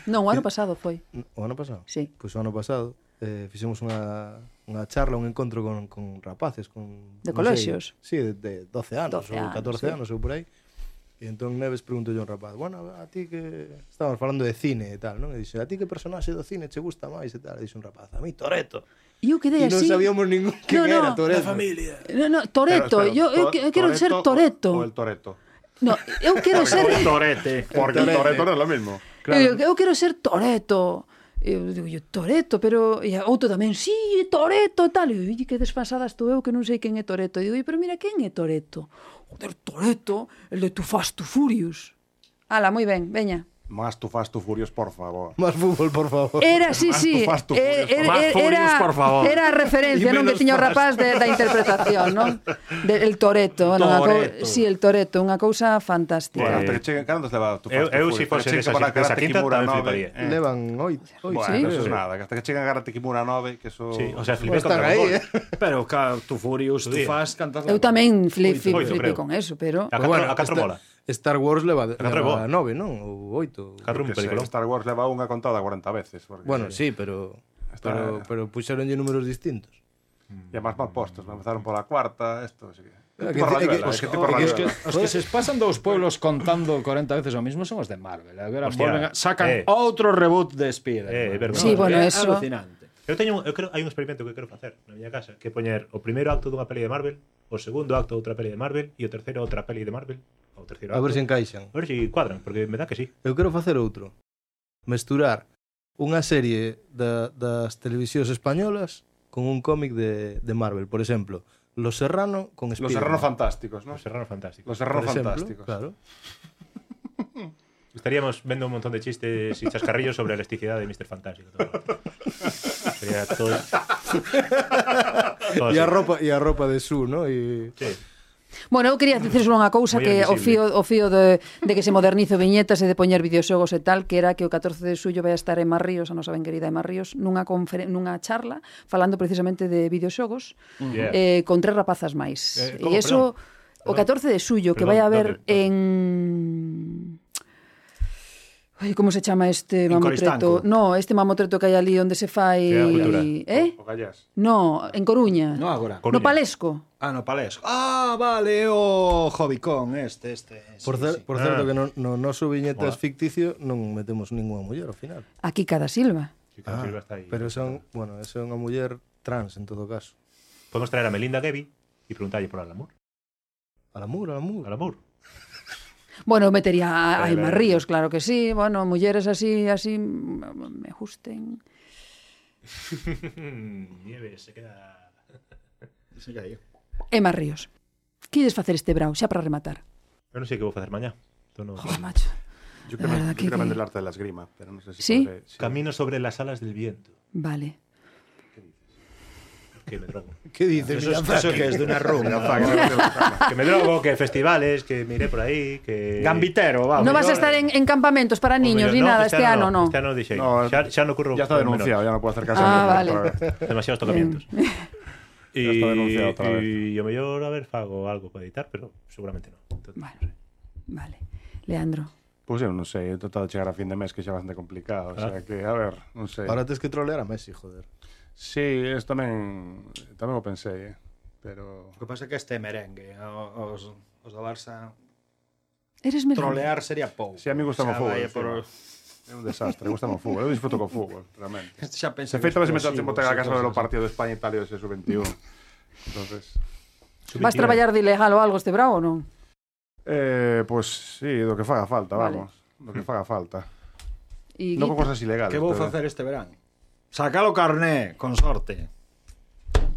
Non, o ano pasado foi. o ano pasado. Sí. Pois o ano pasado eh, fixemos unha, unha charla, un encontro con, con rapaces, con... De non colexios. Sei, sí, de, de 12 anos, 12 12 ou anos, 14 anos, sí. ou por aí. E entón Neves preguntou a un rapaz, bueno, a ti que... Estábamos falando de cine e tal, non? E dixe, a ti que personaxe do cine che gusta máis e tal? E dixe un rapaz, a mí Toreto. E eu quedei E non así. sabíamos ningún No, quen no. era Toreto. La familia. No, no, Toreto, Pero, espera, eu, eu, to- que- eu quero ser o- O Toreto. el Toreto No, eu quero ser O Torete, porque el Torete. Toreto non é lo mismo Eu, eu quero ser Toreto. Eu digo, yo, Toreto, pero... E outro tamén, sí, Toreto, tal. E eu, "Ui, que desfasada estou eu que non sei quen é Toreto. E digo, "Ui, pero mira, quen é Toreto? Joder, Toreto, el de Tu Fast, Tu Furious. Ala, moi ben, veña. Más tu Fast to Furious, por favor. Más fútbol, por favor. Era, sí, Más sí, tu Fast to eh, Furious. era, Más era- Furious, era- por favor. era a referencia, non Y que menos tiña o Fast. rapaz de, da interpretación, non? De, el Toreto, non? A cou- Toretto. Sí, el Toreto, unha cousa fantástica. Bueno, Eh, pero che, cando leva tu Fast eu- to eu Furious? si fose Pero che, desa para empresa Karate quinta, Kimura tamén 9, fliparía. eh. Levan oito. oito, Bueno, sí. eso es nada, que hasta que chegan a Karate Kimura 9, que Oh. eso... Sí, o sea, flipé Pues contra están el ahí, gol. eh. Pero, claro, tú Furious, tú Sí. Fast, cantas... Eu tamén fli- fli- Oito, flipei creo. con eso, pero... Pero A catro, bueno, a catro esta- mola. Star Wars leva, catro é leva boa. nove, non? Ou oito. Catro Que un se- película. Star Wars leva unha contada 40 veces. porque- Bueno, sí, pero... Está- Pero, pero puxeronlle números distintos. E además mal postos. Empezaron pola cuarta, esto... Sí. Tipo É que- é que- Rayuela, es os que que- tipo é que- Rayuela. es Os que se pasan dos pueblos contando 40 veces lo mismo son los de Marvel. Agora Hostia, volven a- sacan eh. outro reboot de Spider. Eh, é verdade. Sí, bueno, É eso. Alucinante. Eu teño un- eu creo hai un experimento que quero facer na miña casa, que é poñer o primeiro acto dunha peli de Marvel, o segundo acto outra peli de Marvel e o terceiro outra peli de Marvel, o terceiro A ver acto. se encaixan. a ver se cuadran, porque me dá que sí. Eu quero facer outro. Mesturar unha serie da, das televisións españolas con un cómic de, de Marvel. Por exemplo, Los Serrano con Los Spiderman. Serrano Fantásticos, ¿no? O Serrano fantástico. Los Por Serrano exemplo, Fantásticos. Claro. Estaríamos vendo un montón de chistes y chascarrillos sobre elasticidad de Mr. Fantástico. todo el rato. Sería todo... todo E a así. ropa, e a ropa de Su, ¿no? E... Sí. Bueno, eu quería dicir unha cousa Moi que o fío, invisible. o fío de, de que se modernizo viñetas e de poñer videoxogos e tal, que era que o 14 de xullo vai a estar en Marríos, a nosa ben querida en Marríos, nunha, conferen- nunha charla falando precisamente de videoxogos Yeah. eh, con tres rapazas máis. Mm. Eh, e como, eso, perdón? o 14 de xullo, que vai Perdón, a haber date, date. en... Ai, como se chama este En Coristanco. mamotreto? No, este mamotreto que hai ali onde se fai... Feira da Cultura. Eh? O Gallás. No, en Coruña. No agora. No Coruña. Palesco. Ah, no, palés. Ah, vale, o Hobbycon, este, este. Sí, Por, sí. cer, Ah. por certo que no, no noso viñetas ficticio non metemos ninguna muller ao final. Aquí cada Silva. Sí, claro, Silva está ahí. Ah, Pero son, bueno, é unha muller trans en todo caso. Podemos traer a Melinda Gaby y preguntarle por Alamur. Al amor, al amor. Alamur. Bueno, metería a, a Vale, Emma vale. Ríos, claro que sí. Bueno, mulleres así, así mm, me gusten. Nieve se queda. Emma Ríos. Quides facer este brau, xa para rematar. Eu non sei que vou facer mañá. Entón, non- Joder, macho. La Yo creo, verdad yo que- creo en el arte de la esgrima, pero no sé si... ¿Sí? podré- Camino sobre las alas del viento. Vale. Que me drogo. Que dices, Eso, es, eso que es de una rumba. que me drogo, que festivales, que miré por aí, que... Eh, Gambitero, va. Ah, no vas mira. a estar en, en campamentos para Pues niños mellor ni non, nada este ano, no. Este ano dixei. No, xa, xa no curro. Ya está con denunciado, menores. ya no puedo acercarse Ah, a vale. Mm. menores otra vez. Demasiados tocamientos. Eh, Y, está denunciado otra vez. y yo mellor, a ver, fago algo para editar, pero seguramente no. Entón, Bueno, vale. Leandro. Pues yo no sé, he tratado de llegar a fin de mes, que es bastante complicado. Ah. O sea que, a ver, no sé. Ahora tes que trolear a Messi, joder. Sí, es también, también lo pensé, eh. Pero... O que pasa é que este é merengue, o- os, os do Barça Eres merengue. trolear sería pouco. Sí, a mí gustame o Xa fútbol, vai encima. por- É un desastre, gusta o fútbol, eu disfruto co fútbol, realmente. Este xa pensei. Se feito que ves meto a explosivo, botar sí, a casa do cosas así. partido de España e Italia de sub-21. Entonces, Vas traballar de ilegal ou algo este brau ou non? eh, pues sí, do que faga falta, Vale. vamos. Mm. Do que faga falta. E Non con Guita. cosas ilegales. Que vou pero- facer este verán? Sacar o carné, con sorte.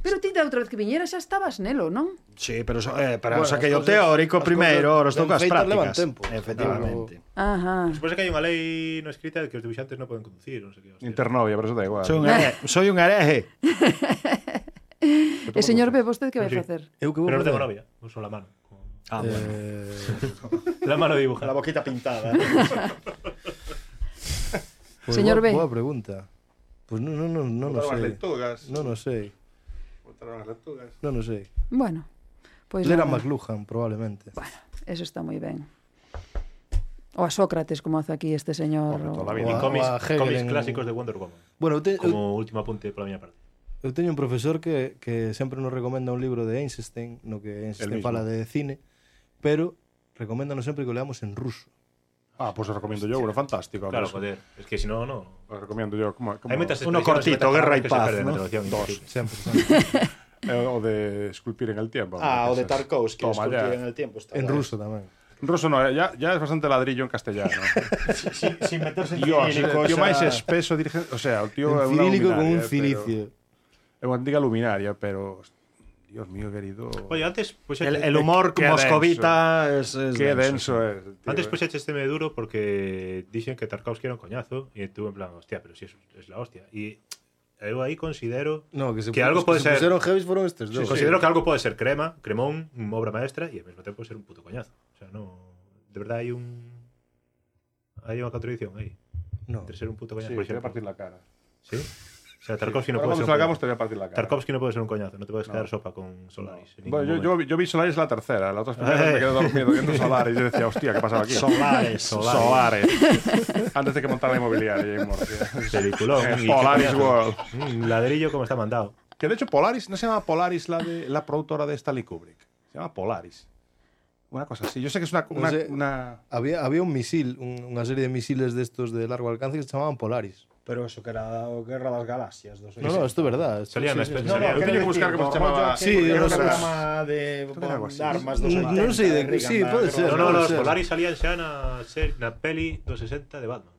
Pero ti da outra vez que viñera xa estabas nelo, non? Sí, pero so, eh, para Bueno, bueno, saquei o as cousas- teórico as primeiro, cousas ahora estou ben coas feitas levan prácticas. tempo. Efectivamente. Ajá. Despois é que hai unha lei no escrita de que os dibuixantes non poden conducir, non sei que. hostia. Internovia, pero eso da igual. Soy un hereje. Soy un hereje. E señor B, vostede que vai Sí. facer? Eu que vou Pero non tengo facer? novia, uso la mano. Con- Ah, eh, bueno. La mano La dibujada. boquita pintada. Pois Señor B. boa- Boa pregunta. Pois non, non, non, non, non Botaron as sei. letugas. Non, non sei. Botaron as letugas. Non, non sei. Bueno. Pois Lera nada. McLuhan, probablemente. Eso está moi ben. O a Sócrates, como hace aquí este señor. Hombre, toda la o- vida. Y O a- cómics, o a Hegel cómics en- Eh, clásicos de Wonder Woman. Bueno, eu, te, eu, Como último apunte pola miña parte. eu teño un profesor que, que sempre nos recomenda un libro de Einstein, no que El Einstein mismo. fala de cine, pero recoméndanos sempre que o leamos en ruso. Ah, pues os recomiendo yo, uno fantástico. Claro, Claro, joder. Es que si no, no. Os recomiendo yo. Como, como... Hay metas Uno cortito, Guerra y Paz, ¿no? Dos. Sempre, sempre. Eh, o de esculpir en el tiempo. ah, o de esas. Tarkovsky, Toma, esculpir ya. en el tiempo. Está en guai. ruso tamén. Ruso no, ya, ya es bastante ladrillo en castellano. Sin, sin meterse en Dios, cirílico, o tío xa- máis espeso, dirige... o sea, o tío é eh, En unha cirílico con luminaria, un cilicio. Pero... É unha antiga luminaria, pero Dios mío, querido. Oye, antes pues el, el humor moscovita es, es que denso. es, tío, Antes eh. pues este me duro porque dicen que Tarkovsky era un coñazo y tú en plan, hostia, pero si es, es la hostia. Y yo ahí considero No, que se pu- algo los que puede se ser. pusieron heavies fueron estos Sí, dos. sí. Considero que algo puede ser crema, cremón, obra maestra y al mismo tiempo ser un puto coñazo. O sea, no. De verdad hay un. Hay una contradicción ahí. No. Entre ser un puto coñazo. Sí, por te voy a ejemplo. partir la cara. ¿Sí? O sea, Tarkovsky no Ahora puede ser. cuando salgamos un coñazo. te voy a partir la cara. Tarkovsky no puede ser un coñazo, no te puedes No. quedar sopa con Solaris. en Bueno, yo, ningún yo, yo vi Solaris la tercera, la otra Eh. primera me quedé dormido viendo Solaris. Yo decía, hostia, ¿qué pasaba aquí? Solaris, Solaris. Solaris. Antes de que montara la inmobiliaria. en Murcia. Peliculón. Eh, Y qué Polaris coñazo. World. Mm, ladrillo como está mandado. Que de hecho Polaris, no se llama Polaris la, de, la productora de Stanley Kubrick. Se llama Polaris. Una cosa así. Yo sé que es una... No una- sé, una- había, había un misil, un- una serie de misiles de estos de largo alcance que se llamaban Polaris. Pero eso que era Guerra de las Galaxias. dos- No, no, esto es verdad. esto- Salía sí, una sí, especie- sí. No, salía- no, tenía que buscar cómo se llamaba. Sí, era un los- programa de que era algo así. armas No, 270. no sé, de- Reagan, sí, la puede guerra ser, de No, las no, puede los ser. Polaris salían xa na, ser- na peli 260 de Batman.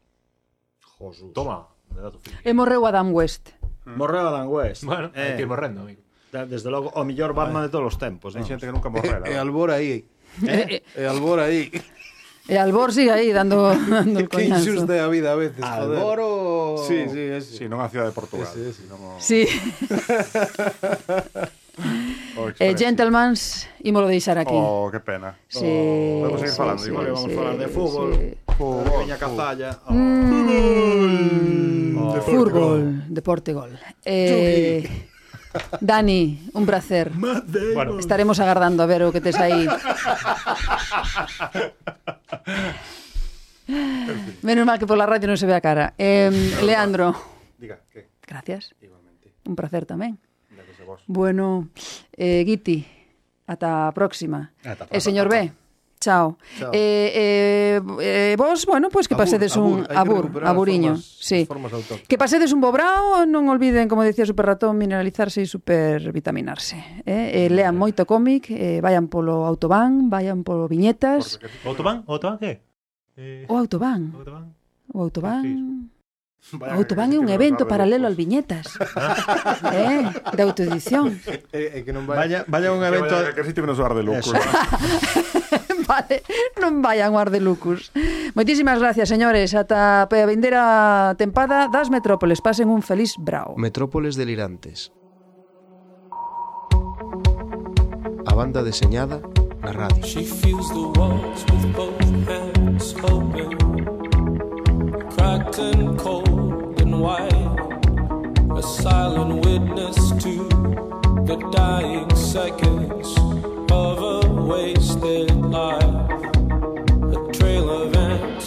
Jesús. Toma, de dato friki. E morreu Adam West. Morreo Dan West. Bueno, Eh, hay que ir morrendo, amigo. da- Desde logo, o mellor Batman de todos os tempos. Hay vamos. gente que nunca E morrerá. Albor aí. Eh? E Albor aí. E Albor sigue aí dando, dando el Que coñazo. insuste a vida a veces, joder. Alboro. Sí, sí, ese. Sí, no en la ciudad de Portugal. Ese, ese. sino como- Sí. o Eh, E Express. eh, Gentlemans, ímolo deixar aquí. Oh, qué pena. Sí, Podemos seguir falando, igual que vamos sí, a falar de fútbol. sí. Oh, Fútbol. Pequeña cazalla. Oh. De fútbol, de Portugal. Eh, Dani, un placer. Bueno, Mm. Estaremos agardando a ver o que tes aí. Menos mal que pola radio non se ve a cara. Eh, Leandro, Diga, ¿qué? gracias. Igualmente. Un placer tamén. Gracias a vos. Bueno, eh, Guiti, ata a próxima. Ata a E señor B, chao. Chao. Eh, eh, eh, vos, bueno, pois pues que Abur, pasedes abur, un hai que abur, recuperar as aburiño. formas- sí. as formas autóctonas. Que pasedes un bo brao, non olviden, como decía Super Ratón, mineralizarse e supervitaminarse. Eh? eh lean moito cómic, eh, vayan polo autobán, vayan polo viñetas. Ah. Autobahn, Autobahn qué? Eh, O Oh. autobán, Autobahn. o autobán... Sí, Vaya, Autobán é un que evento hablar de paralelo locos. al viñetas. eh, de autoedición. E, e que non vai... Vaya, vaya un Que evento... vaya, Que sitio menos bar de locos. Eso. vale, non vayan ao ar de lucus. Moitísimas gracias, señores. Ata a vindeira tempada das metrópoles. Pasen un feliz brao. Metrópoles delirantes. A banda deseñada na radio. She feels the walls with both hands open, cracked and cold and wide, a silent witness to the dying seconds of a wasted life. A trail of ants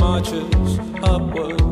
marches upward